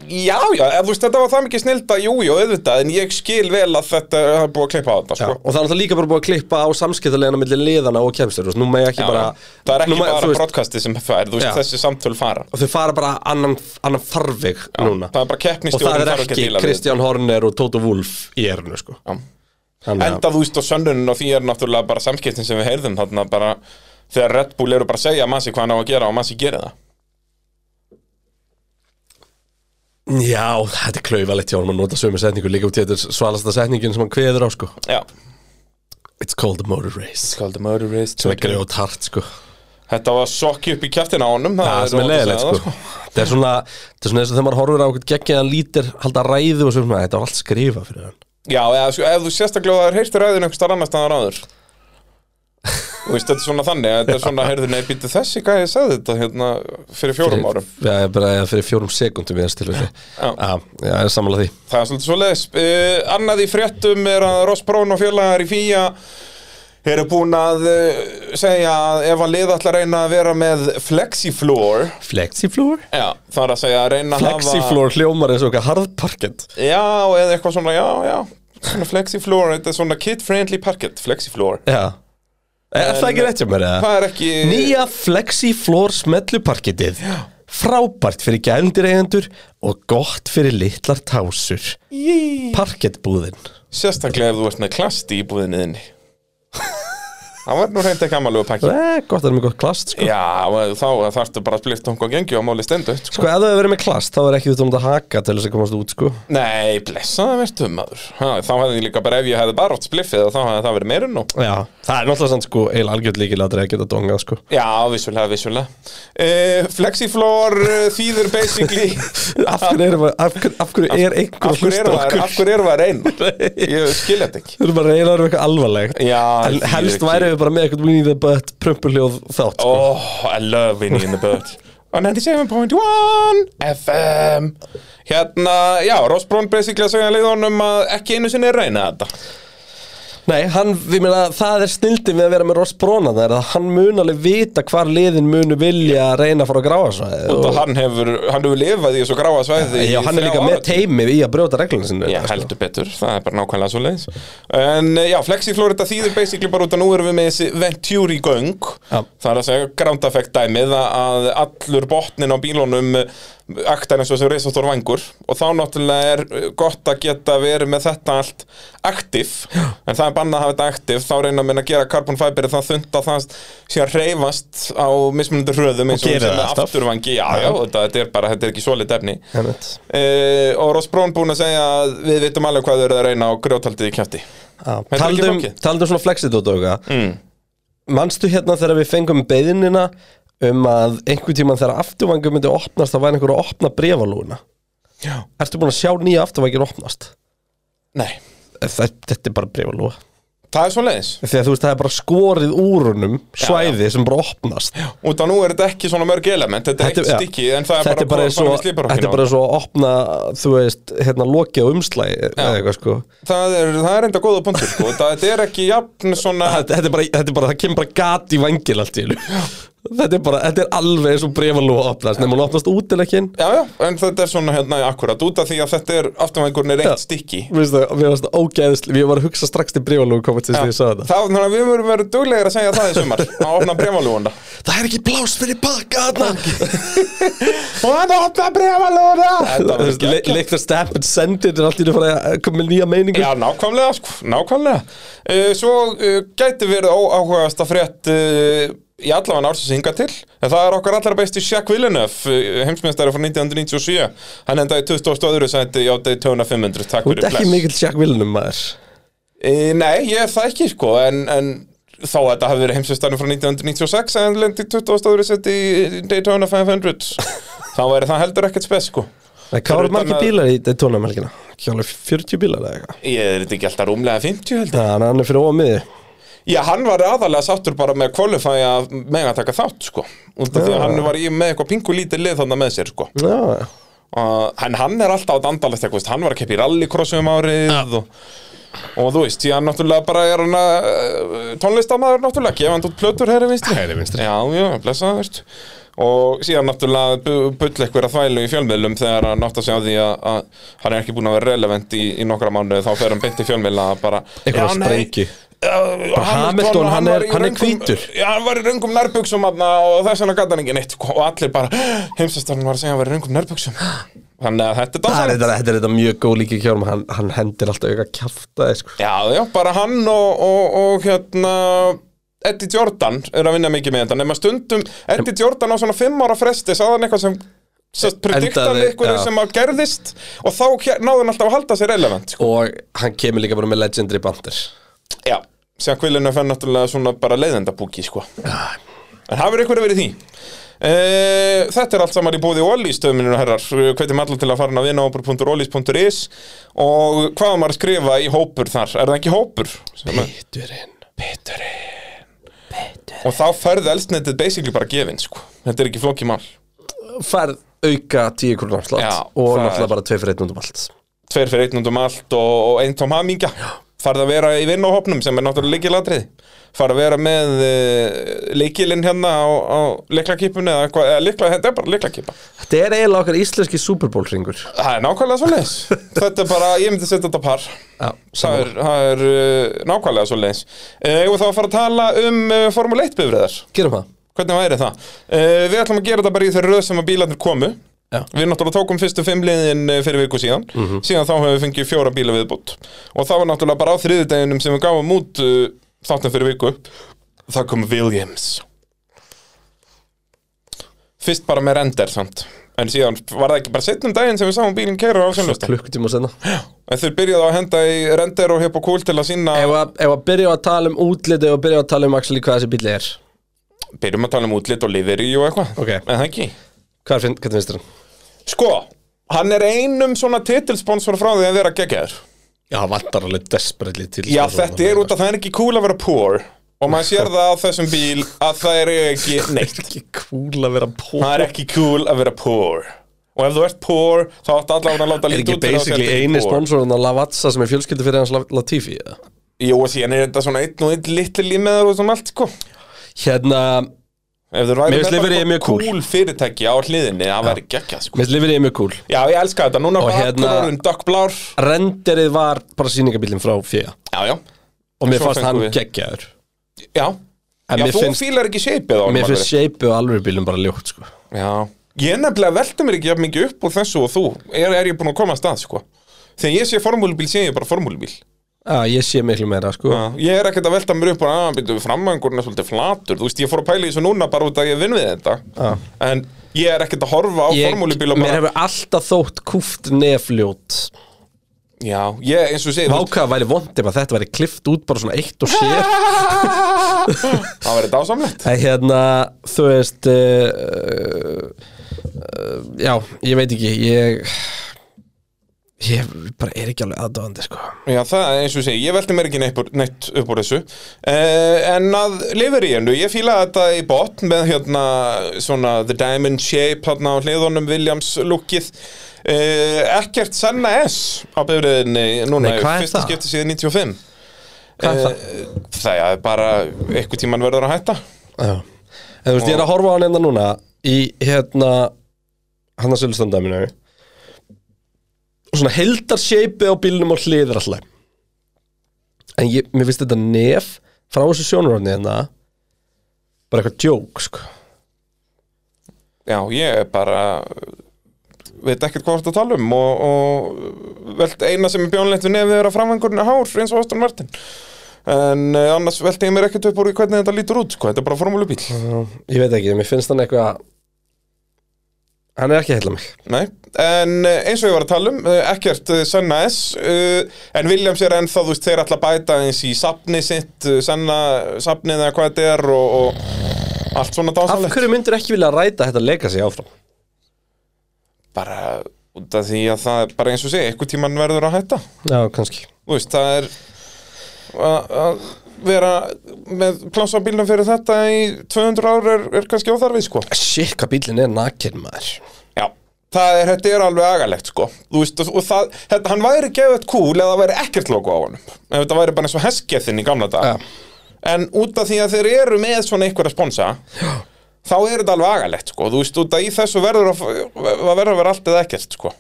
S2: Já, já, en þú veist, þetta var það mikið snilda, jú, jú, auðvitað, en ég skil vel að þetta er búið að klippa á þetta,
S1: Já,
S2: sko.
S1: og það er náttúrulega líka bara búið að klippa á samskiptalegina millir liðana og kemstur, þú veist, nú með ekki
S2: Já,
S1: bara...
S2: það er
S1: nú
S2: ekki
S1: mega-
S2: bara
S1: þú veist,
S2: broadcastið sem fær, þú veist,
S1: Já.
S2: þessi samtöl fara.
S1: og þau fara bara annan, annan farvig núna
S2: það er bara
S1: og
S2: keppnisstjórinn
S1: það er
S2: þarf ekki að
S1: ekki
S2: díla við.
S1: Kristján Horner og Tóta Wolf í erinu sko
S2: Já.
S1: Þannig
S2: Enda, þú veist, og sönnunin og því er náttúrulega bara samskiptin sem við heyrðum þarna bara, þegar Red Bull eru bara að segja Masi hvað hann á að gera og Masi gerir það.
S1: að- já, þetta er klaufalegt hjá hann að nota sömu setningu líka út í þetta er svalasta setningin sem hann kveður á sko
S2: Já.
S1: It's called a motor race
S2: Called the murder race.
S1: sem er grjót hart sko
S2: Þetta var sokki upp í kjæftin á honum.
S1: það sem er
S2: óhætt að
S1: leiðilegt
S2: segja það,
S1: sko það er svona, það er svona eins og þegar maður horfir á okkur geggiðan lítir halda ræðu og svona, þetta var allt skrifa fyrir hann
S2: Já, eða sko, ef þú sérstaklega það er heyrstu ræðin einhvers þar annars staðar áður Þú veist, þetta er svona þannig að Þetta er svona, heyrðu, nei, býttu þessi hvað ég sagði þetta hérna fyrir fjórum
S1: Fyrir-
S2: árum
S1: já, ég bara, fyrir fjórum sekundum í þessu tilfelli
S2: Já.
S1: já, já, ég er sammála því
S2: Það er svolítið svo leiðis uh, Annað í fréttum er að Ross Brown og félagar í Fía eru búin að uh, segja að ef að liða ætla að reyna að vera með flexifloor
S1: Flexifloor?
S2: Já, það er að segja að reyna að hafa
S1: Flexifloor hljómar eins og okkar harðparkett
S2: Já, eða eitthvað svona, já, já Svona flexifloor, þetta er svona kid-friendly parkett Flexifloor
S1: Já Er það ekki rétt hjá mér eða?
S2: Það er ekki
S1: Nýja Flexiflor smelluparkitið Frábært fyrir gældireigendur og gott fyrir litlar tásur
S2: Jí.
S1: Parkettbúðin
S2: Sérstaklega ef þú ert með klasti í búðinni þinni Það var nú reynd ekki amalegu pakki
S1: eh, Gott að það er með gott klast sko
S2: Já, og þá þarftu bara að splitt um hvað gengi og máli stendu sko.
S1: Sko, ef það hefur verið með klast, þá er ekki þú tónd að haka til þess að komast út, sko.
S2: Nei, blessaði verðtum maður ha, Þá hefði ég líka bara ef ég hefði bara átt spliffið þá hefði það verið meira en nú
S1: Já, það er náttúrulega sann, sko, eiginlega algjörð líkilega að geta dongað, sko.
S2: Já, vissulega, vissulega uh, Flexiflor uh, þýður basically
S1: Af hverju erum við, af hverju, af hverju er einhver
S2: Af
S1: að
S2: hverju
S1: hlusta á
S2: eru það-
S1: okkur?
S2: af hverju erum við að reyna? Ég skil þetta ekki
S1: Þú erum bara að reyna að vera eitthvað alvarlegt.
S2: Já,
S1: En
S2: ég
S1: helst
S2: ekki-
S1: væri við bara með eitthvað we need a butt prumpuhljóð þátt, sko.
S2: Oh, I love Winnie in the Butt á 97.1 FM Hérna, já, Ross Brown basically að segja leiðunum að ekki einu sinni reyna þetta
S1: Nei, hann, við meina, það er snildin við að vera með Ross Brona Það er að hann mun alveg vita hvar liðin munu vilja reyna að fara að gráa svo
S2: og hann hefur, hann hefur lifað í þessu gráa svæði í
S1: Já, hann er
S2: þrjá
S1: líka með
S2: áratugi.
S1: teimið í að brjóta reglunum sinni
S2: Já, heldur betur, það er bara nákvæmlega svo leiðis En eh, já, Flexi Florida þýðir basically bara út að nú erum við með þessi Venturi göng
S1: Já.
S2: Það er að segja ground effect dæmið að- að allur botnin á bílunum eh, aktar eins og þessu reisastór vangur og þá náttúrulega er eh, gott að geta verið með þetta allt aktiv en það er bannað að hafa þetta aktiv þá reyna menn að gera carbon fiber það þund að það sé að reyfast á mismunandi hröðum eins og
S1: gerir það
S2: sem með
S1: alltaf.
S2: afturvangi Já, já, þetta, þetta er bara, þetta er ekki svolít efni
S1: Heldur
S2: Uh, og Ross Brown búin að segja að við vitum alveg hvað þau eru að reyna á grjótaldið í kjæfti
S1: Já,
S2: er ekki
S1: Taldum,
S2: flókið.
S1: taldum svona flexit út og mm. Manstu hérna þegar við fengum beðinina um að einhvern tímann þegar afturvangum myndi opnast þá væri einhver að opna brefalúna
S2: Já.
S1: Ertu búin að sjá nýja afturvangir opnast?
S2: Nei,
S1: Þetta, þetta er bara brefalúa
S2: það er svo leiðis
S1: Því að þú veist það er bara skorið úrunum svæði sem bara opnast já,
S2: Út af nú er þetta ekki svona mörg element Þetta er eitt
S1: já.
S2: stykki en það er
S1: þetta
S2: bara,
S1: er bara,
S2: bara
S1: svo,
S2: með
S1: þetta er
S2: slíparokkinu
S1: bara svo að opna þú veist, hérna lokið á umslæði eða eitthvað sko
S2: það, er, það er enda góða punktur sko. Þetta þetta er ekki jafn svona
S1: Ah, Þetta þetta er bara, þetta er bara, það kemur bara gat í vangil allt í einu Þetta er bara, þetta er alveg eins og brefalúa opnast Nefnum hún opnast út en ekki inn
S2: Já, já, en þetta er svona hérna akkurat Út af því að þetta er afturvængurinn er eitt stykki
S1: Mér finnst það, mér finnst það ógeðsli Ég var að hugsa strax til brefalúa komið til því ég sagði
S2: Það, þannig að við verðum verið duglegir að segja það í sumar að opna brefalúanda
S1: þetta Það er ekki pláss fyrir baka þarna
S2: og hann opna brefalúanda Þetta var ekki
S1: Leikt að step and send it er allt í einu farið að koma með nýja meiningu
S2: Já, nákvæmlega, sko, nákvæmlega uh, Svo uh, gæti verið óáhugast að frétt uh, í allavega ársins hinga til en það er okkar allra besti Jack Villeneuve uh, heimsmeistari frá 1997 hann endaði 22. sæti á Daytona 500 Takk
S1: Þú ert
S2: fyrir
S1: ekki mikill Jack Villenum maður
S2: Uh, nei, ég er það ekki, sko en, en þá að þetta hafi verið heimsmeistari frá 1996 en hann lendi 22. sæti í Daytona 500 þá væri það heldur ekkert spes, sko
S1: Nei, Hvað
S2: utan
S1: eru margir
S2: að-
S1: bílar í Daytona melkina? Ekki alveg 40 bílar eða eitthvað
S2: Ég er þetta ekki alltaf rúmlega 50, held ég.
S1: Já, en hann er fyrir ómiði
S2: Já, hann var aðalega sáttur bara með að qualify að mega taka þátt, sko Út af því að hann var í með eitthvað pingu lítið lið þannig með sér, sko
S1: Já, já
S2: uh, En hann er alltaf að dandalast eitthvað, veist, hann var að keppa í rallycrossu um árið og, og þú veist, því hann náttúrulega bara er hann að uh, tónlistamaður náttúrulega, gefandi út plötur herri vinstri
S1: Hægri vinstri.
S2: Já, já, blessa það, veist Og síðan náttúrulega bu- bull eitthvað að þvælu í fjölmiðlum þegar hann nátt að segja því að, að hann er ekki búin að vera relevant í, í nokkra mánuði þá fer hann beint í fjölmiðla að bara
S1: Eitthvað
S2: Já, nei,
S1: sprengju.
S2: Uh,
S1: Hamilton, hann er-
S2: var í
S1: hann er
S2: röngum-
S1: hvítur.
S2: Já, hann var í röngum nærbuxum aðna og þess vegna gata hann ekki neitt sko, og allir bara, heimsastarinn var að segja hann var í röngum nærbuxum Þannig að þetta er
S1: Það er
S2: dansarinn
S1: þetta, þetta er þetta mjög góð líki kjörm hann, hann hendir alltaf auka kjafta sko.
S2: Já, já, bara hann og, og, og hérna Eddie Jordan er að vinna mikið með þetta nema stundum, Eddie Jordan á svona fimm ára fresti sagði hann eitthvað sem sest, prediktaði
S1: Endaði,
S2: eitthvað
S1: já.
S2: sem að gerðist og þá hér- náði hann alltaf að halda sér relevant sko.
S1: Og hann kemur líka bara með legendary bandir
S2: Já, sem kvillinu fenn náttúrulega svona bara leiðendabúki sko. En hafur ykkur verið því? E, þetta er allt saman í bóði Ólís stöðminir og herrar, hvetjum allar til að fara inn á vinahópur.ólís.is og hvað á maður að skrifa í hópur þar? Er það ekki hópur? Sem er-
S1: Bitturinn
S2: Beturinn Og þá færði eldsnetið basically bara gefinn sko. Þetta er ekki flókið mál
S1: Færð auka 10 krónar afslátt
S2: Já,
S1: Og
S2: það
S1: náttúrulega
S2: er-
S1: bara 2 fyrir 1 undum allt
S2: Tveir fyrir einn undum allt og, og einn tóm hamingja Farði að vera í vinnáhopnum sem er náttúrulega leikilatrið Farði að vera með uh, leikilinn hérna á, á leiklakipunni eða, eitthvað- eða leikla, þetta er bara leiklakipa
S1: Þetta er eiginlega okkar íslenski Super Bowl ringur
S2: Það er nákvæmlega svo leis Þetta er bara, ég myndi setja þetta par
S1: Já,
S2: Það er, það er uh, nákvæmlega svo leis uh, Og þá að fara að tala um uh, Formule 1 bifræðar
S1: Gerum það
S2: Hvernig væri það? Uh, við ætlum að gera þetta bara í þeirra röð sem að bílarnir komu
S1: Já. Mhm.
S2: Við náttúrulega tókum fyrstu fimm liðin eh, fyrir viku síðan Síðan þá hefur við fengið fjóra bíla viðbútt Og það var náttúrulega bara á þriðudeginum sem við gáum út uh, þáttum fyrir viku Það kom Williams Fyrst bara með render samt En síðan var það ekki bara setnum daginn sem við sáum bílinn keira á sjálflusta
S1: Klukkutíma senna
S2: En þeir byrjaðu að henda í render og hepp og kúl til að sína
S1: Ef að ef að byrja að tala um útliti og byrja að tala um Axel hvað þessi bíli er
S2: Byrjum að tala um útlit og liðri og eitthvað
S1: Ok.
S2: En það ekki
S1: Hvað finn, hvernig finnst þér hann?
S2: Sko, hann er einum svona titilsponsor frá því að vera geggjaður
S1: Já, vantar alveg desperately til
S2: Já, þetta er út að það er ekki cool að vera poor Og maður sér það á þessum bíl að það er ekki neitt
S1: Ekki cool að vera pól
S2: Það er ekki cool að vera poor Og ef þú ert poor, þá áttu allavega að láta
S1: Er
S2: lítið
S1: ekki
S2: út fyrir að þú
S1: basically
S2: sért
S1: eini
S2: poor.
S1: sponsorinn að Lavazza sem er fjölskyldu fyrir hans La- Latifi eða?
S2: Jú, og síðan er þetta svona einn og einn litli límiðar og sem allt, sko
S1: Hérna,
S2: Ef þú
S1: Mér
S2: væri
S1: finnst Liverpool mjög cool.
S2: cool fyrirtæki á hliðinni, það væri geggjað, sko
S1: minnst lifir ég mjög cool
S2: Já, ég elska þetta, núna
S1: Og
S2: bara
S1: hérna-
S2: hérna... orðin dökkblár Já,
S1: Renderið var bara sýningabílinn frá Fía
S2: já,
S1: Og mér
S2: Svo
S1: fannst hann
S2: fengum við-
S1: geggjaður
S2: já
S1: En
S2: Já,
S1: mér
S2: þú
S1: finnst-
S2: fílar ekki shapeið á honum,
S1: Mér finnst
S2: Andri.
S1: shape og alveg bílum bara ljótt sko
S2: Já Ég nefnilega velta mér ekki jafn mikið upp úr þessu og þú Er, er ég búin að koma að stað, sko Þegar ég sé formúlubíl, sé ég bara formúlubíl
S1: Já, ég sé miklu meira sko
S2: Já, Ég er ekkert að velta mér upp og að byrja framangurinn er svolítið flatur Þú veist, ég fór að pæla í þessu núna bara út að ég vinn við þetta En ég er ekkert að horfa á
S1: Ég,
S2: formúlubíl og
S1: mér
S2: bara
S1: hefur alltaf þótt kúft nefljót
S2: Já, ég eins og segir þú-
S1: Vákaða væri vond ef að þetta væri klift út bara svona eitt og sér
S2: Það verið dásamlegt
S1: En hérna, þú veist uh, uh, Já, ég veit ekki Ég Ég bara er ekki alveg aðdóðandi sko
S2: Já, það er eins og segir, ég velti mér ekki neitt, neitt upp úr þessu uh, En að lifir í hennu, ég fíla þetta í botn með hérna svona The Diamond Shape hérna á hliðunum Williams lukkið uh, Ekkert senna S á bifriðinni núna
S1: Nei, hvað er
S2: Fyrsta
S1: það?
S2: skipti síðan 95
S1: Hvað er það?
S2: Það er bara eitthvað tíman verður að hætta
S1: Já. En þú veist, ég er að horfa á hann enda núna í hérna hann að sölustandaminu og svona heldar sheipi á bílnum og hliðir alltaf en ég, mér finnst þetta nef frá þessu sjónurofni hérna bara eitthvað djók sko.
S2: Já, ég er bara veit ekkert hvað þetta tala um og, og velt eina sem er bjónlegt við nefið er að framvangurinn er hár eins og Aston Martin en eh, annars velti ég mér ekkert upp úr í hvernig þetta lítur út sko, þetta er bara formúlubíl
S1: ég veit ekki, mér finnst hann eitthvað hann er ekki að heilla mig
S2: Nei, en eh, eins og ég var að tala um eh, ekkert eh, Senna S eh, en Williams er ennþá, þú veist, þeir ætla að bæta eins í safni sitt, eh, Senna safnið eða hvað þetta er og, og allt svona
S1: af
S2: dásalegt
S1: hverju myndir ekki vilja ræta þetta leika sig áfram
S2: bara út af því að það er bara eins og segja, eitthvað tíman verður að hætta
S1: já, kannski
S2: þú veist, það er að- að vera með plása á bílnum fyrir þetta í 200 ár er, er kannski óþarfið sko
S1: shit, hvað bílinn er nakin maður
S2: já, það er, þetta er alveg agalegt sko þú veist, og, og það, þetta, hann væri gefið cool eða það væri ekkert logo á honum ef þetta væri bara eins og heskethinn í gamla dag
S1: Já.
S2: en út af því að þeir eru með svona einhverja sponsa já. þá er þetta alveg agalegt sko þú veist, út af í þessu verður að, að verður að vera allt eða ekkert sko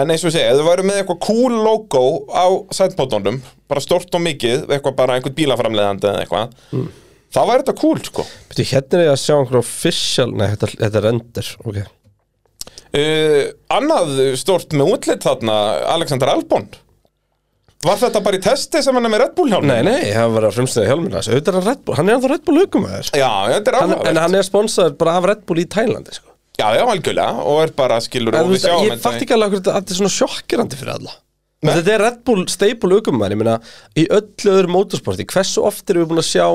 S2: En eins og ég segi, ef þú væri með eitthvað cool logo á sætpótunum, bara stórt og mikið, eitthvað bara einhvern bílaframleiðandi eða eitthvað, þá væri þetta cool, sko.
S1: Byrju, hérna er ég að sjá einhver official nei, þetta, þetta er render, ok
S2: Uh, annað stórt með útlit þarna, Alexander Albon. Var þetta bara í testi sem hann er með Red Bull hjálmur?
S1: Nei, nei, það var að frumstæða hjálmina Þessi, auðvitað er hann Red Bull, hann er ennþá Red Bull sko. aukumæður
S2: Já, þetta er
S1: En
S2: áhugavert.
S1: hann er sponsaður bara af Red Bull í Tælandi sko.
S2: Já, já, algjörlega, og er bara skilur
S1: En
S2: og
S1: þú
S2: við
S1: veist,
S2: sjáum
S1: ég
S2: þetta
S1: fatt
S2: í-
S1: ekki alveg hvernig þetta er svona sjokkirandi fyrir alla
S2: Nei.
S1: Þetta er Red Bull staple aukumæður Ég meina, í öllu öðru motorsporti Hversu oft erum við búin að sjá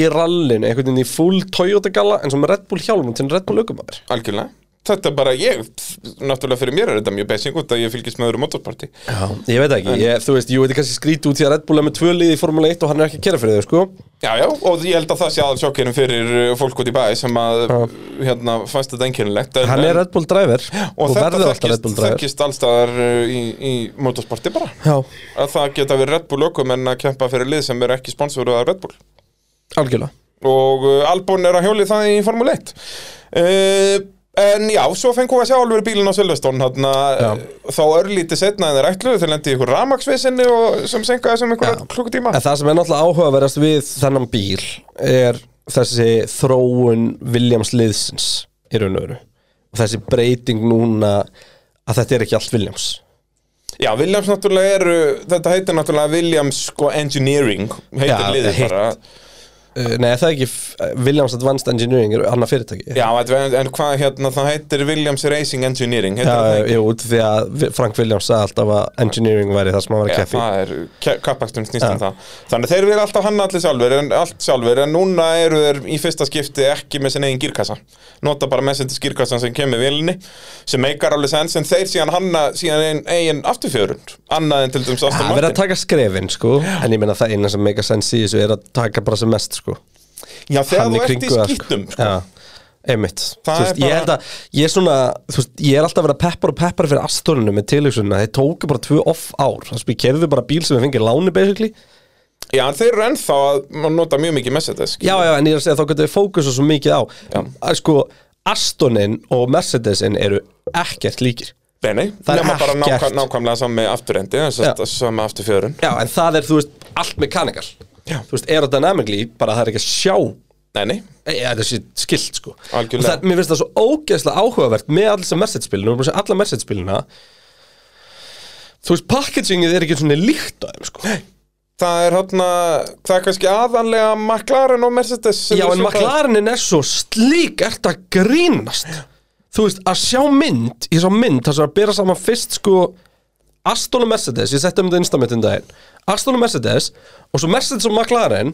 S1: í rallinu Einhvern veginn í full Toyota gala En svo með Red Bull hjálmum til Red Bull aukumæður
S2: Algjörlega. Þetta er bara ég, pff, náttúrulega fyrir mér er þetta mjög basic út að ég fylgist með öðru motorparti.
S1: Já, ég veit ekki, ég, þú veist, jú, þetta er kannski skrítið út Því að Red Bull er með tvö lið í Formule 1 og hann er ekki að kera fyrir þau, sko
S2: Já, já, og ég held að það sé aðal sjokkinum fyrir uh, fólk út í bæ sem að, hérna, fannst þetta einkennilegt. En,
S1: Hann er
S2: en-
S1: Red Bull driver
S2: og
S1: og
S2: þetta
S1: verður alltaf Red
S2: þekkist,
S1: Bull driver
S2: þekkist allstaðar uh, í, í motorsporti bara.
S1: Já,
S2: Að það geta verið Red Bull okkur en að kempa fyrir lið sem er ekki sponsoruð af Red Bull.
S1: algjörlega
S2: Og uh, Albon er að hjóli það í Formule 1. Uh, en já, svo fengum við að sjá alveg bílinn á Silveston, þarna, uh, þá örlítið setna en þeir ætluðu, þeir lendi í ykkur ramaksvisinni og sem senkaði sem ykkur klukkutíma.
S1: En það sem er náttúrulega áhugaverðast við þennan bíl er þessi þróun Williams liðsins í raun og veru og þessi breyting núna að þetta er ekki allt Williams
S2: Já, Williams náttúrulega eru, þetta heitir náttúrulega Williams sko engineering, heitir
S1: Já,
S2: liðið
S1: hitt.
S2: bara
S1: uh, nei, er það er ekki f- Williams Advanced Engineering, er annað fyrirtæki
S2: Já, en, en hvað hérna, það heitir Williams Racing Engineering heitir það
S1: Já, eh,
S2: ekki?
S1: jú, út því að Vi- Frank Williams sagði alltaf að engineering væri það sem hann var að
S2: Já,
S1: keppi
S2: það er, ke- kappaksturinn snýst um
S1: Já.
S2: það Þannig að þeir eru alltaf hann allir sjálfur en, allt sjálfur, en núna eru þeir í fyrsta skipti ekki með sinni eigin gírkassa Nota bara messendis gírkassan sem kemur vilinni sem meikar alveg sens, en þeir síðan hanna síðan eigin, eigin afturfjörund annað en til dæmis Aston
S1: Það verið að
S2: Martin
S1: taka skrefin, sko En ég meina það eina sem meika sens í þessu er að taka bara sem mest, sko
S2: Já, þegar
S1: Hann
S2: þú
S1: í
S2: ert í
S1: kringu það,
S2: skýttum sko.
S1: Já, einmitt
S2: Það
S1: Þú veist,
S2: er bara-
S1: Ég held að, ég er svona Þú veist, ég er alltaf að vera peppar og peppar fyrir astorinu með tilhugsunum að þeir tóku bara tvö off ár Þannig að ég kefðu bara bíl sem við fengið láni, basically
S2: Já, en þeir eru ennþá að nota mjög mikið messendis
S1: Já, já, en ég er að segja þá getur við fókusað svo mikið á að, Sko, Astonin og Mercedesin eru ekkert líkir
S2: Nei, nei,
S1: Það er
S2: nema bara nákvæm,
S1: ekkert.
S2: nákvæmlega saman með afturendi
S1: Já.
S2: saman með afturfjörun
S1: Já, en það er, þú veist, allt mekanikal
S2: Já.
S1: Þú veist, aerodynamically, bara það er ekki að sjá
S2: Nei, nei,
S1: Nei, Eh, ja, þetta sé skilt, sko
S2: Algjörlega.
S1: Og það, mér finnst það svo ógeðslega áhugavert með allir sem Mercedes-spilinu, og bara sér alla Mercedes-spilina Þú veist, packagingið er ekki svona líkt á þeim, sko Nei,
S2: það er hérna það er kannski aðanlega McLaren og Mercedes sem
S1: Já,
S2: eru
S1: en
S2: svipaðir.
S1: McLarenin er svo slík ert að grínast Þú veist, að sjá mynd Ég sá mynd, það sem var að bera saman fyrst sko Aston og Mercedes, ég setti um þetta instamitt um daginn Aston og Mercedes Og svo Mercedes og McLaren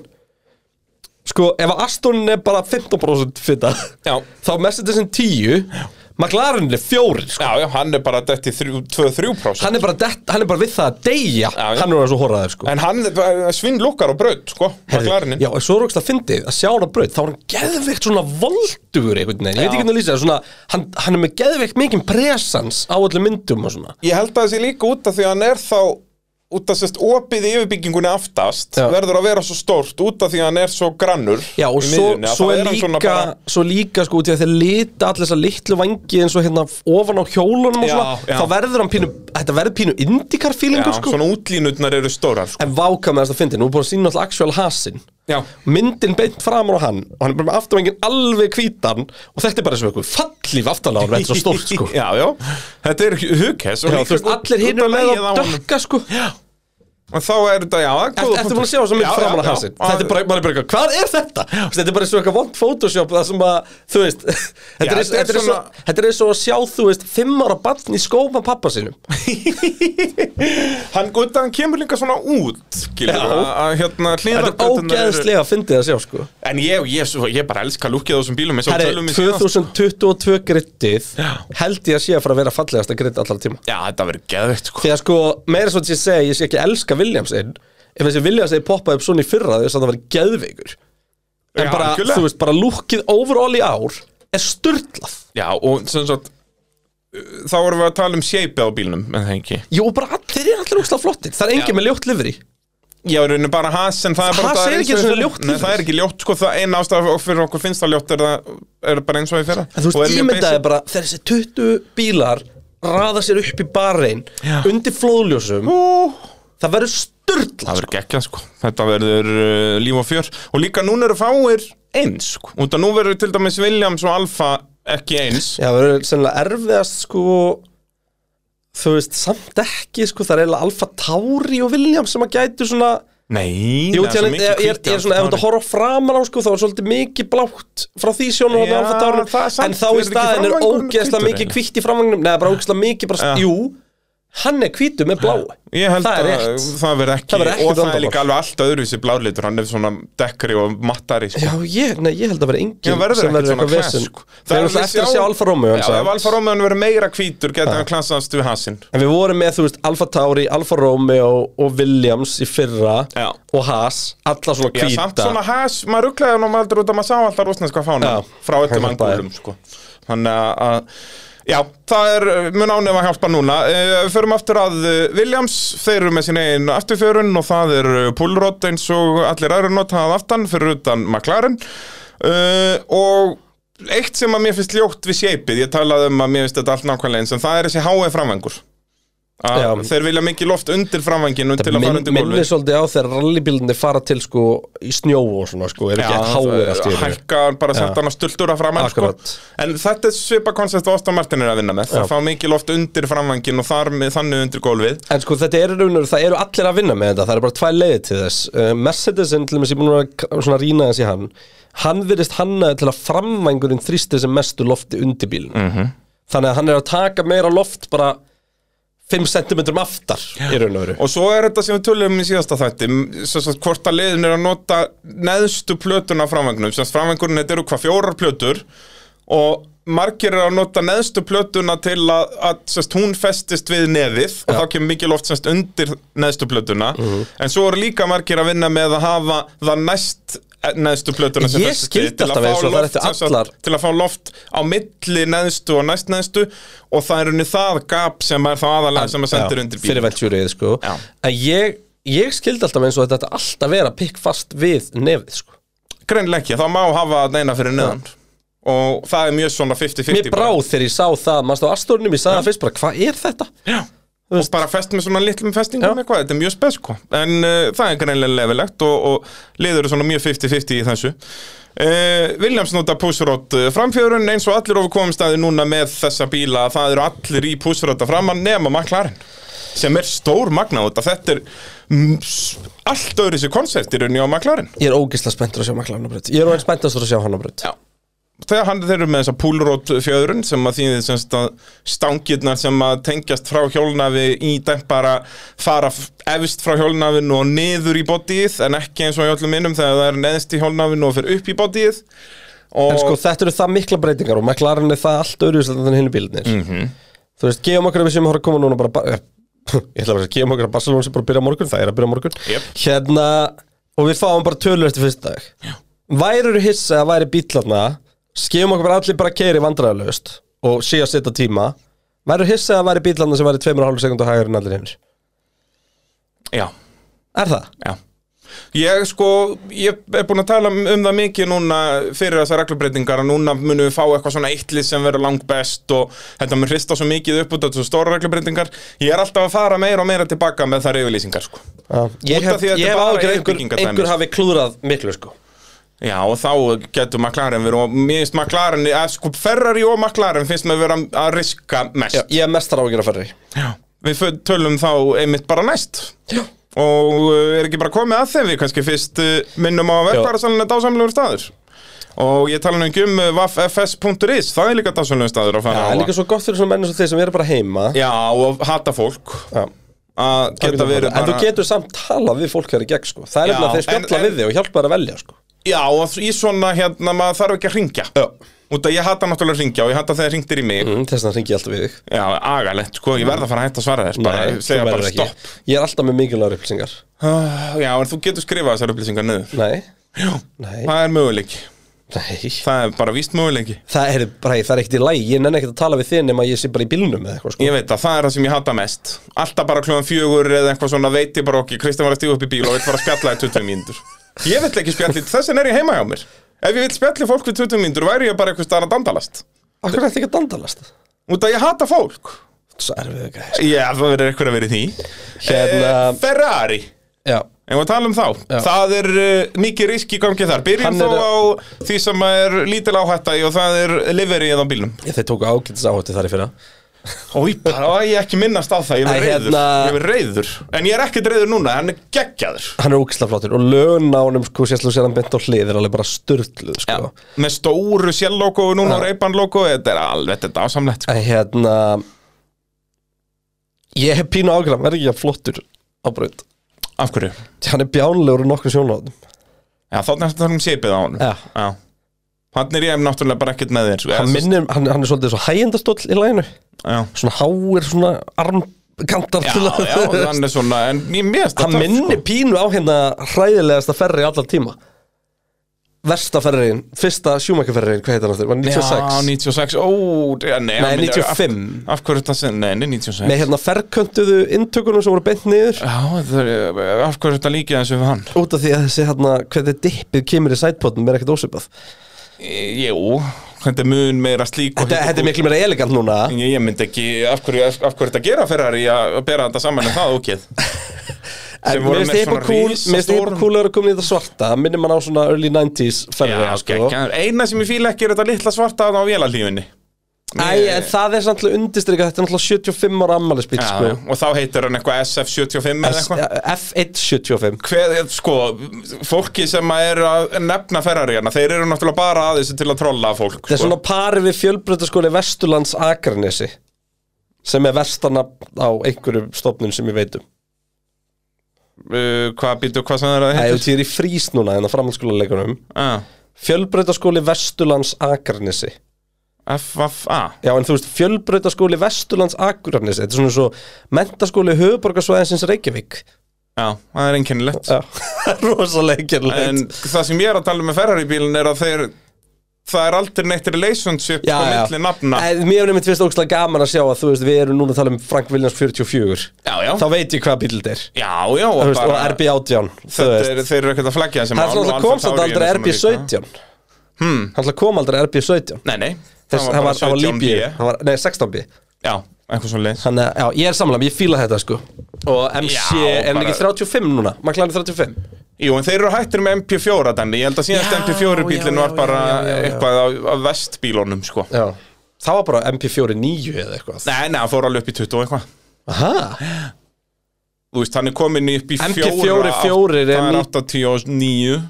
S1: Sko, ef að Aston er bara 15% fitta
S2: Já.
S1: Þá er Mercedesin 10 McLaren er 4 sko.
S2: Já, já, hann er bara dætt í 2-3%
S1: hann, er bara dett, hann er bara við það að deyja
S2: Já, já.
S1: Hann er að svo horraður sko
S2: En hann svinnlukkar á braut, sko McLarenin
S1: Já, en svo rókst að fyndið að sjá hann á braut þá er hann geðveikt svona voldugur einhvern veginn, ég veit ekki hvernig að lýsa það, svona, hann, hann er með geðveikt mikinn presans á öllum myndum og svona
S2: Ég held að það sé líka út af því að hann er þá út af sérst opið í yfirbygginguna aftast
S1: Já.
S2: verður að vera svo stórt út af því að hann er svo grannur
S1: Já, og
S2: í
S1: svo,
S2: miðjunni, að
S1: svo
S2: þá
S1: er
S2: hann
S1: líka
S2: svona bara-
S1: svo líka sko út í að þeir lita allir þessar litlu vangi eins og hérna ofan á hjólunum og
S2: Já,
S1: svona,
S2: já.
S1: þá verður hann pínu þetta verður pínu indikar
S2: Já,
S1: feelingur sko
S2: svona útlínutnar eru stórar, sko
S1: en váka með þess að fyndið, nú er búin að sína alltaf actual hasin
S2: Já,
S1: myndin beint fram á hann og hann er bara með afturvengin alveg hvítan og þetta er bara eins og eitthvað fallíf aftan á hann þetta er svo stórt sko
S2: Já, já, þetta er hugkess
S1: Já, þú veist, allir hinn eru með á dökka sko Ertu
S2: En þá er þetta, já,
S1: ertu búin að sjá þess að mynd framan að hansinn? Þetta er bara, maður er bara, eitthvað, hvað er þetta? Þú veist, Þetta er bara eins og eitthvað vond Photoshop það sem að, þú veist Þetta er eins-
S2: þetta
S1: þetta er eins
S2: er
S1: og-
S2: svona-
S1: þetta er eins og að sjá, þú veist, fimm ára barn í skóma pappa sínum
S2: Hann gutta, hann kemur líka svona út skilur,
S1: Já.
S2: að, að hérna
S1: Þetta er
S2: hliðargöturnar eru-
S1: ógeðslega að fyndið að sjá sko
S2: En ég, ég, svo, ég bara elska lúkið á þessum bílum eins og
S1: Herri,
S2: tölum við síðast.
S1: 2022 grittið
S2: Já.
S1: held ég að sé að fara að vera fallegasta gritt allar tíma
S2: Já, þetta verður geðveikt sko
S1: Því að sko, meira svo að ég segi, ég sé ekki elska Williams einn Ef þessi Williams einn poppaði upp svona í fyrra þess að það var geðveikur En
S2: Já,
S1: bara,
S2: algjörlega.
S1: þú veist, bara lúkið overall í ár er sturdlað
S2: Já, og sem sagt Þá vorum við að tala um shape á bílnum En það ekki
S1: Jú, og bara all- þeir eru allir úkslega flottir Það er engin með ljótt lifri
S2: Já, er bara has en það er bara
S1: Haas
S2: það
S1: er
S2: eins
S1: ekki
S2: og í
S1: svona
S2: fyrra.
S1: ljótt
S2: Nei,
S1: til
S2: það
S1: þess.
S2: er ekki ljótt sko Það eina ástæða fyrir okkur finnst það ljótt Er, það, er bara eins og í fyrra
S1: En þú
S2: Og er
S1: veist,
S2: mjög
S1: ímyndaði
S2: basic.
S1: bara þegar þessi 20 bílar raða sér upp í barrein
S2: Já.
S1: undir flóðljósum
S2: Ú,
S1: Það verður sturdlað
S2: Það verður gekkja sko Þetta verður uh, líf og fjör Og líka núna eru fáir eins sko Út að nú verður til dæmis Williams og Alfa ekki eins
S1: Já, það verður sennilega erfiðast sko Þú veist, samt ekki sko, það er eiginlega Alfa Tauri og Williams sem að gætu svona
S2: Nei,
S1: Jú,
S2: það
S1: tjálega,
S2: mikið
S1: ég, ég,
S2: hvíti
S1: ég er svona, ef
S2: allt
S1: þú
S2: árið.
S1: horfa framan á sko, þá er svolítið mikið blátt frá því sjónum
S2: Já,
S1: alfa dárunum,
S2: það er samt,
S1: en þá
S2: er
S1: í
S2: ekki
S1: staðin er
S2: framvængurinn
S1: ógeðslega
S2: hvítur
S1: mikið
S2: eiginlega?
S1: hvitt í framvagnum, neða bara ógeðslega mikið bara, jú, hann er hvítu með bláu
S2: Ég held
S1: það er
S2: að
S1: rétt
S2: það verður ekki,
S1: Það verður ekkert
S2: og það er
S1: vandamál.
S2: líka alveg alltaf öðruvísi blálitur, hann er svona dekkri og mattari sko.
S1: Já, ég, nei, ég held að vera
S2: Já,
S1: engin
S2: verður
S1: sem
S2: ekkert
S1: verður
S2: svona
S1: eitthvað
S2: klass
S1: vesinn
S2: sko.
S1: Það er alltaf
S2: alveg
S1: eftir að sjá Alfa Romeo en
S2: Já,
S1: samt.
S2: ef Alfa Romeo verður meira hvítur getur hann klassast við hansinn
S1: En við vorum með, þú veist, Alfa Tauri, Alfa Romeo og Williams í fyrra
S2: Já.
S1: og Haas, alla svona
S2: Já,
S1: hvíta
S2: samt svona has, maður rugglaði hann og maður heldur út að maður sá alltaf rúsneska fána
S1: Já,
S2: frá öllum
S1: hann hjálpaði.
S2: angulum sko. Þannig að- að Já, það er uh, mun ánum að hjálpa núna uh, Förum aftur að uh, Williams Þeir eru með sín einn afturfjörun og það er uh, Púlrott eins og allir aðra notað aftan fyrir utan McLaren uh, og eitt sem að mér finnst ljótt við sépið, ég talaði um að mér finnst þetta allt nákvæmlega eins en það er þessi háa framvengur E að
S1: Já.
S2: þeir vilja mikið loft undir framvænginu til að fara
S1: Minn,
S2: undir
S1: minnir
S2: gólfi
S1: svolítið á þegar rallybílunni fara til sko í snjó og svona sko er ekki
S2: Já,
S1: að háir allt í einu.
S2: hækka bara sett hann að stultur að framann sko.
S1: Akkurat.
S2: en þetta er svipa koncept og Aston Martin er að vinna með,
S1: Já.
S2: það fá mikið loft undir framvængin og þar með þannig undir gólfið
S1: En sko þetta er raunur, það eru allir að vinna með þetta, það eru bara tvær leiðir til þess. Uh, Mercedesin, til dæmis, ég búin að k- svona rýna þessi hann, hann virðist hannaði til að framvængurinn þrýsti sem mestu lofti undir bílinn.
S2: Mhm.
S1: -hmm. Þannig að hann er að taka meira loft bara 5 cm aftar í raun og veru.
S2: og svo er þetta sem við tölum um í síðasta þætti m- sem sagt, hvort að liðin er að nota neðstu plötuna af framvængnum sem sagt, framvængurinn þetta eru hvað fjórar plötur og margir er að nota neðstu plötuna til að, að sem sagt, hún festist við nefið og þá kemur mikið loft sem sagt, undir neðstu plötuna
S1: Mhm.
S2: en svo eru líka margir að vinna með að hafa það næst eh, neðstu plötuna sem
S1: Ég
S2: festist við
S1: skildi
S2: til að
S1: alltaf
S2: fá
S1: eins og það
S2: loft,
S1: ættu
S2: sem sagt,
S1: allar-
S2: til að fá loft á milli neðstu og næst neðstu og það er unni það gap sem er þá aðalega sem að sendir
S1: Já,
S2: undir
S1: Fyrir
S2: bíl
S1: ventjúrið, sko.
S2: Já.
S1: En ég, ég skildi alltaf eins og þetta ætti alltaf að vera pikk fast við nefið, sko.
S2: Greinlega ekki, þá má hafa þarna eina fyrir neðan Og það er mjög svona 50-50
S1: Mér bráð þegar ég sá það, mannst á Astornum, ég sagði það fyrst bara, hvað er þetta?
S2: Já Og bara fest með svona litlum
S1: Já.
S2: festingum eitthvað, þetta er mjög spes sko En uh, það er greinlega lefilegt og, og liður eru svona mjög 50-50 í þessu uh, Williams nota púsrótt framfjörun eins og allir ofur komum staði núna með þessa bíla Það eru allir í púsrótta framann nema maklarinn Sem er stór magnað þetta, þetta er mm, s- allt öðru sér konsertirunni á maklarinn
S1: Ég er ógislega spenntur að sjá makla hann á brödd. Ég er ógislega spenntastur að sjá hann á brödd.
S2: Já Þegar hann þeir eru með þessa púlrót fjöðrun sem að þýðir semst að stangirnar sem að tengjast frá hjólnafi í dempara fara f- efst frá hjólnafinu og niður í bodyið en ekki eins og í öllum innum þegar það er neðst í hjólnafinu og fyrir upp í bodyið og
S1: En sko þetta eru það mikla breytingar og McLaren er það allt öðruvíslega en þannig hinn bílinir
S2: Mhm.
S1: Þú veist, gefum okkur að við séum að horfa að koma núna bara ba- eh, Ég ætla að vera að gefum okkur að Barcelona sem bara byrja á morgun, það er að byrja á morgun
S2: Jep.
S1: Hérna, og við fáum bara tölur eftir fyrsta dag Já. Væru hissa að væri bílarna, skefum okkur bara allir bara keiri vandræðalaust og sé að setja tíma Væru hissa að væri bílarna sem væri 2,5 sekundu hægur en allir hinnir
S2: Já,
S1: Er það?
S2: já Ég sko, ég er búin að tala um um það mikið núna fyrir þessar reglubreitingar að núna munum við fá eitthvað svona eittlið sem verður langbest og þetta mun hrista svo mikið upp út af þessu stóra reglubreitingar Ég er alltaf að fara meira og meira tilbaka með þar yfirlýsingar sko
S1: Já. Ég
S2: Út af
S1: hef,
S2: því að
S1: ég hef
S2: þetta er bara
S1: ágjör einhver,
S2: uppbyggingadæmi,
S1: einhver
S2: sko.
S1: hafi klúðrað miklu sko
S2: Já, og þá getur McLaren verið og mér finnst McLaren, að sko Ferrari og McLaren finnst mér vera að riska
S1: Já,
S2: mest.
S1: Ég hef mestar ágjör að ferri
S2: Já. Við föl- tölum þá einmitt bara næst.
S1: Já
S2: Og uh, er ekki bara komið að þeim við kannski fyrst uh, minnum á að verðbæra salinna dásamlegur staður. Og ég tala nú ekki um uh, vaffs.is, það er líka dásamlegur staður að fara
S1: Það
S2: á.
S1: er líka svo gott fyrir svona menn eins og þeir sem eru bara heima
S2: Já, og hata fólk
S1: Já.
S2: að geta verið
S1: En þú getur samt talað við fólk hér í gegn sko. Það er
S2: Já,
S1: nefnilega að þeir
S2: en-
S1: spjalla
S2: en-
S1: við þig og hjálpa þér að velja sko.
S2: Já, og í svona hérna, maður þarf ekki að ringja. Já. Út að ég hata náttúrulega að ringja og ég hata þegar ringtir í mig.
S1: mm, Þess vegna hringi ég alltaf við þig
S2: Já, agalegt, sko, ég verð að fara að hætta að svara þér bara,
S1: þú
S2: segja
S1: verður
S2: bara
S1: ekki.
S2: stopp
S1: Ég er alltaf með mikilvægur upplýsingar
S2: Ah, Já, en þú getur skrifað þessar upplýsingar niður
S1: Nei,
S2: Já,
S1: nei,
S2: það er möguleiki
S1: nei
S2: Það er bara víst möguleiki
S1: Það er, bara, það er ekkert í lægi, ég nenni ekkert að tala við þig nema ég sé bara í bílnum eða eitthvað sko.
S2: Ég veit að það er það sem ég hata mest Alltaf bara kljóðan fjögur eða eitthvað svona veiti bara okki Kristján var að stíga upp í bíl og vill bara spjalla í 20 mínútur Ég vill ekki spjalla í, þess vegna er ég heima hjá mér Ef ég vill spjalla í fólk við 20 mínútur væri ég bara eitthvað staðan að dandalast
S1: Akkur er þetta ekki að dandalast
S2: Út að ég hata fólk
S1: Svo erum við ekki
S2: Já, það verður eitthvað að vera í því
S1: Hérna-
S2: Eh, Ferrari
S1: Já,
S2: En við talum þá,
S1: Já.
S2: það er uh, mikið riski í gangi þar Byrjum
S1: Hann er-
S2: þó á því sem er lítil áhætta í og það er liverið á bílnum
S1: ég, þeir tóku ágætis áhætti þar í fyrra
S2: Ói, bara á ég ekki minnast á það, ég
S1: Æ,
S2: verð reyður
S1: hérna-
S2: Ég verð reyður, en ég er ekkert reyður núna, hann er geggjaður
S1: Hann er ógislega flottur og lögn á honum sko, sérslega sér hann bent á hlið er alveg bara styrtluð sko.
S2: Með stóru sjálflogo núna og reybanlogo, þetta er alveg, þetta er ásamlegt sko.
S1: En hérna Ég hef pínu ágræm, hann er ekki að flottur á braut
S2: Af hverju?
S1: Hann er bjánlegur úr nokkur sjónlóðum
S2: Já, þá er þetta um sépið á honum
S1: Já.
S2: Hann er ég náttúrulega bara ekkert með þér sko.
S1: hann, minnir, hann, hann er svolítið svo hægjendastóll í læginu
S2: Já,
S1: Svona háir, svona armkantar
S2: já,
S1: til að-
S2: já, hann er sko. svona, en mér mér
S1: Hann minnir pínu á hérna hræðilegasta ferri allar tíma Versta ferriðin, fyrsta sjúmækjaferriðin, hvað heit hann aftur, var 96
S2: Já, 96, ó, já,
S1: Nei,
S2: nei, hann er-
S1: 95.
S2: Af, af hverju þetta sem, nei, nei, 96
S1: Með hérna ferköntuðu inntökunum sem voru bent niður
S2: Já, það er, af hverju þetta líkið þessu við hann?
S1: Út af því að þessi hérna, hvernig dippið kemur í sætpotnum er ekkert ósipað
S2: E, Jú, þetta er mun meira slík
S1: Þetta,
S2: og hitt og
S1: þetta er miklu meira elegant núna
S2: Ég, ég myndi ekki, af hverju, af, af hverju þetta gera Ferrari að að bera þetta saman en það ókið
S1: En
S2: Sem voru
S1: mér finnst eitthvað
S2: með
S1: cool
S2: svona risastóran-
S1: Mér finnst eitthvað cool að vera komin í þetta svarta Minnir mann á svona early 90s ferri
S2: Já,
S1: sko.
S2: sko. Eina sem ég fíla ekki er þetta litla svarta þarna á vélalífinni
S1: Æ, en það er samtilega undistrika Þetta er náttúrulega 75 ára ammælisbíl
S2: Já,
S1: sko.
S2: og þá heitir hann eitthvað SF75 eða eitthvað
S1: F175
S2: Hver, sko, fólki sem að er að nefna Ferrari hérna, þeir eru náttúrulega bara að þessu til að trolla fólk
S1: Það er
S2: sko.
S1: svona pari við fjölbrötaskóli Vesturlands Akranesi sem er verstana á einhverju stofnun sem ég veit um
S2: uh, Hvað býtu, hvað sem það er að
S1: Það
S2: heitir?
S1: er því er í frís núna en á framhaldsskólaleikunum
S2: Ah,
S1: Fjölbrötaskóli Vesturlands Akranesi
S2: FFA
S1: Já, en þú veist, fjölbrötaskóli Vesturlands Akranesi Þetta er svona svo mentaskóli höfuborgarsvæðinsins Reykjavík
S2: Já, það er einkennilegt
S1: Já, rosalega
S2: En
S1: gerlegt
S2: það sem ég er að tala um með Ferrari bílinn er að þeir það er aldrei neitt relationship
S1: Já,
S2: á
S1: já.
S2: milli nafna
S1: En mér er nefnt fyrst ógstlega gaman að sjá að þú veist, við erum núna að tala um Frank Williams 44
S2: Já, já,
S1: Þá veit ég hvað bíl þetta er
S2: já, já og
S1: Þú veist, og
S2: bara-
S1: RB18 þú
S2: þetta
S1: veist.
S2: er, þeir eru ekkert að flaggja þessi
S1: Hann
S2: mál og
S1: alltaf kom
S2: Alfa
S1: samt
S2: Tauri
S1: aldrei
S2: er svona líka.
S1: RB17 hmm. Hann alltaf kom aldrei RB17
S2: Nei, nei,
S1: Þess, Hann var, hann var
S2: bara 17
S1: Líbíu,
S2: B.
S1: hann var, nei 16B
S2: Já, eitthvað svo leið
S1: Þannig að, já, ég er samlega, ég fíla þetta sko Og MC,
S2: Já,
S1: er hann ekki
S2: bara-
S1: 35 núna? McLaren 35
S2: Jú, en þeir eru hættir með MP4 þannig, ég held að síðast
S1: Já,
S2: MP4 bílinn
S1: já,
S2: var
S1: já,
S2: bara
S1: já, já, já.
S2: eitthvað af, af vestbílunum sko
S1: Já Það var bara MP4 9 eða eitthvað
S2: Nei, nei, hann fór alveg upp í 20 og eitthvað
S1: Aha,
S2: Þú veist, hann er komin upp í
S1: MP4
S2: fjóra, átt-
S1: fjórir er
S2: Það er
S1: ný-
S2: 89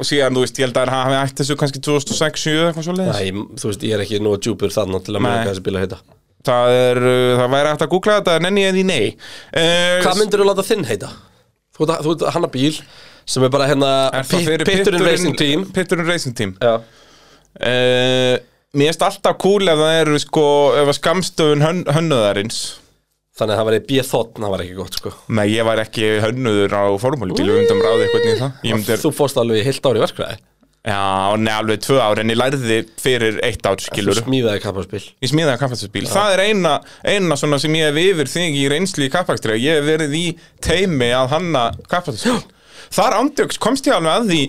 S2: Og síðan, þú veist, ég held að hann hafi ætti þessu kannski 2006, 7 eitthvað svo leiðis
S1: Æ, þú veist, ég er ekki nú að djúpur þarna til að
S2: Nei.
S1: mjög hvað þessi bíl að heita
S2: Það er, uh, það væri hægt að googla þetta en enn ég því nei uh,
S1: Hvað myndir þú láta þinn heita? Þú ert- þú ert hann að bíl sem er bara hérna
S2: Er það fyrir
S1: Pitturinn Racing Team
S2: Pitturinn Racing Team
S1: Já
S2: uh, Mér finnst alltaf cool ef það eru sko ef að skamstöfun hön, hönnuðarins
S1: Þannig að það var í B-þotn, það var ekki gott sko
S2: Nei, ég var ekki hönnuður á formúlubílu undum ráði eitthvað nýð það Ég myndi,
S1: Þú fórst alveg í heilt ári í verkræði
S2: Já, nei, alveg tvö ár en ég lærði fyrir eitt ár
S1: Þú
S2: skilur
S1: smíðaði kapparspil
S2: Ég smíðaði kappakstursbíl Það er eina, eina svona sem ég hef yfir þig í reynsli í kappakstri Ég hef verið í teimi að hanna kappakstursbíl Þar ándjöks komst ég alveg að því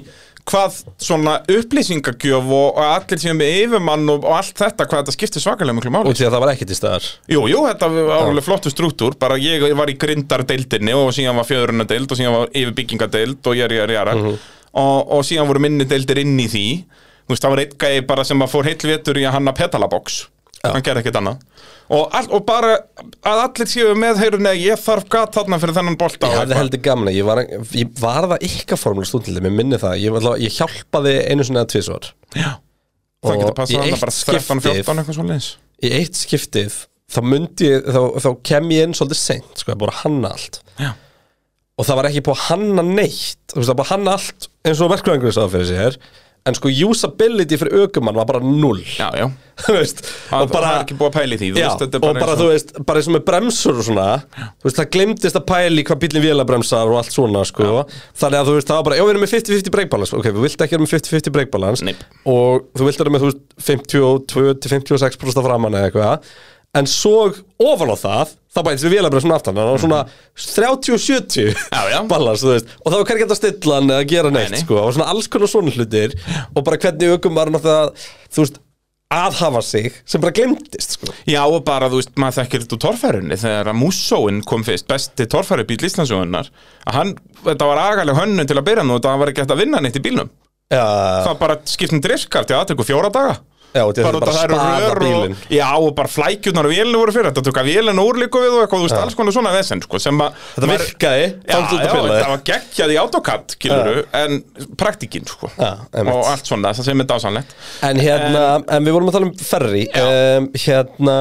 S2: hvað svona upplýsingagjöf og, og allir sem er með yfirmann og, og allt þetta hvað þetta skiptir svakalega miklu máli
S1: Og því að það var ekkert í staðar
S2: Jú, jú, þetta var alveg flottu strúttúr bara ég var í grindardeildinni og síðan var fjöðrunardeild og síðan var yfirbyggingadeild og jari, jari, jara
S1: Mhm.
S2: og, og síðan voru minni deildir inn í því þú veist, það var einn gæði bara sem að fór heill vetur í að hanna petalabox hann gerði ekkert annað og, all, og bara að allir séu með heyrun eða ég þarf gat þarna fyrir þennan bolta
S1: Ég
S2: og
S1: hafði
S2: eitthvað.
S1: heldur gamla, ég var, ég var það ykkar formulega stúndilega, mér minni það Ég, var allavega- ég hjálpaði einu sinni að tvisvar
S2: Já. það
S1: Og
S2: getur passað
S1: í
S2: hann
S1: eitt
S2: bara 13,
S1: skiptið-
S2: 14 eitthvað svo leins
S1: Í eitt skiptið, þá myndi ég, þá, þá kem ég inn svolítið seint Sko, það er búin að hanna allt
S2: Já.
S1: Og það var ekki búin að hanna neitt Þú veist, það var búin að hanna allt eins og verkvæðingur sáða fyrir sér En sko, usability fyrir ökumann var bara null
S2: já, já,
S1: Þú veist,
S2: að,
S1: og bara
S2: það er ekki búið að pæli því þú
S1: Já,
S2: veist, þetta er
S1: og bara
S2: eins
S1: þú veist, bara eins og með bremsur og svona Þú veist, það glemdist að pæla í hvað bílinn vélabremsar og allt svona, sko Þannig að þú veist, það var bara, já, við erum með 50-50 breakbalance Ok, við vilt ekki erum með 50-50 breakbalance
S2: Nei.
S1: Og þú vilt erum með, þú veist, 52-56% framan eða eitthvað En svo ofan á það, það bætist við vélabremsun aftan Þannig að svona 30-70
S2: Já, já.
S1: balans, þú veist Og það var hvernig að stilla hann eða gera neitt,
S2: Nei, nei.
S1: sko Og svona alls konar svona hlutir Og bara hvernig ökum var náttúrulega, þú veist aðhafa sig sem bara glemdist sko.
S2: Já og bara þú veist, maður þekkir þetta úr torfærunni þegar að Mussóin kom fyrst, besti torfærubíl Íslandsjóðunar að hann, þetta var agaleg hönnun til að byrja nú og það var ekki hægt að vinna neitt í bílnum
S1: Já,
S2: það bara um skiptum driskart, já það tekur fjóra daga
S1: Já, og Ah. þetta er
S2: bara út
S1: bara
S2: að það
S1: spaða
S2: eru rör
S1: bílinn
S2: og, já og bara flækjurnar og vélinu voru fyrir þetta tók að vélinu úr líka við og eitthvað, þú veist, alls konar svona vesen sko, sem að
S1: Ah. Þetta
S2: maður-
S1: virkaði,
S2: Já,
S1: þangað
S2: já,
S1: þetta
S2: það
S1: pillaði
S2: var geggjað í autokatt, kiluru, en praktikinn, sko,
S1: Já, Ah. einmitt.
S2: og allt svona, það sem er dásanlegt.
S1: En hérna, en við vorum að tala um ferri um, Hérna,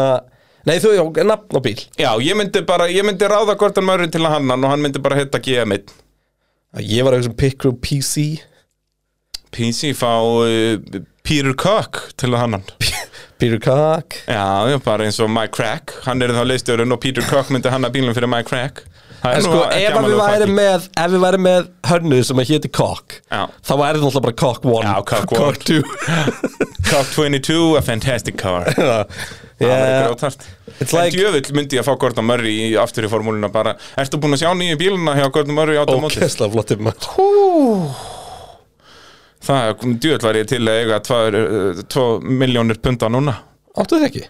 S1: nei þú, já, nafn á bíl
S2: Já, ég myndi bara, ég myndi ráða Gordon Murray til að hannan og hann myndi bara hitta GM1.
S1: Ég var eitthvað sem Pick Crew PC
S2: PC fá
S1: eh,
S2: uh, Peter Cook til að hann
S1: Peter Cock
S2: Já, já, bara eins og Mike Crack Hann er þá leistjórun og Peter Cook myndi hanna bílum fyrir Mike Crack Það
S1: En
S2: nú
S1: sko, ef að
S2: ekki
S1: við
S2: amalegu
S1: væri
S2: pakki.
S1: með Ef við væri með hönnu sem að héti Cock
S2: Já.
S1: Þá væri þetta alltaf bara Cock 1
S2: Já, Cock
S1: Cock 2
S2: Cook 22, a fantastic car Það var
S1: Já,
S2: grjótart
S1: It's
S2: En
S1: like-
S2: djöfull myndi ég að fá Gordon Murray í- aftur í formúluna bara Ertu búin að sjá nýju bíluna hjá Gordon Murray í
S1: ókesslega flottir maður
S2: Hú Það er komið djöðl var ég til að eiga 2 miljónir punda núna
S1: Áttu þið ekki?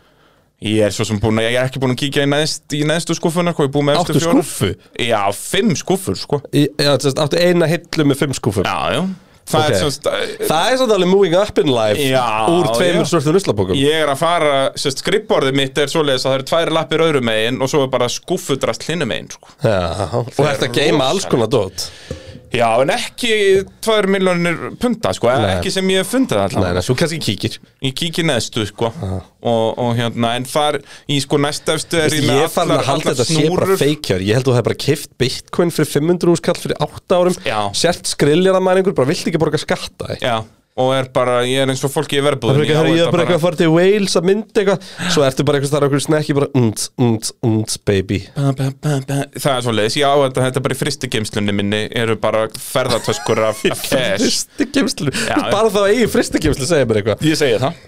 S2: Ég er svo sem búin að, ég er ekki búin að kíkja í, neðst, í neðstu skúfuna, hvað ég er búin með efstu
S1: Áttu skúffu?
S2: Já, fimm skúfur, sko
S1: Í- Já, sem sagt, áttu eina hillu með fimm skúffum
S2: Já, já Það
S1: Ok.
S2: er eh, svona,
S1: Það er svolítið alveg moving up in life
S2: Já,
S1: Úr tveimur
S2: já.
S1: svörtum ruslapókum
S2: Ég er að fara, sérst, skrippborðið mitt er svoleiðis að það eru tvær lappir öðru megin og svo er bara skúffudrast hlinum megin, sko.
S1: Já, og
S2: Það er
S1: þetta geima
S2: rosalegt.
S1: alls konar dót
S2: Já, en ekki tvær miljonir punta, sko,
S1: Nei.
S2: ekki sem ég hef fundið
S1: Nei,
S2: allavega.
S1: nei, svo kannski kíkir
S2: Ég kíkir neðstu, sko, og, og hérna, en þar í sko næstafstu er
S1: Ég er farin að halda þetta sé bara feikjör Ég held að þú hefur bara kift bitcoin fyrir 500 úrskall fyrir 8 árum
S2: Já.
S1: Sért skriljaramæningur, bara vilt ekki borga skatta eh?
S2: Já, og er bara, ég er eins og fólki í
S1: Það
S2: verðbúðin.
S1: fyrir ekki að höra ég er bara eitthvað að fara til Wales að mynda eitthvað Svo ertu bara eitthvað starf okkur snekki bara Und, und, und, baby
S2: Ba, ba, ba, ba. Það er svoleiðis, já, þetta, þetta bara í fristigeimslunni minni eru bara ferðartöskur af, af cash
S1: Fristikemslu
S2: Já, já.
S1: Bara þá eigi fristikemslu segja mér eitthvað
S2: Ég segi það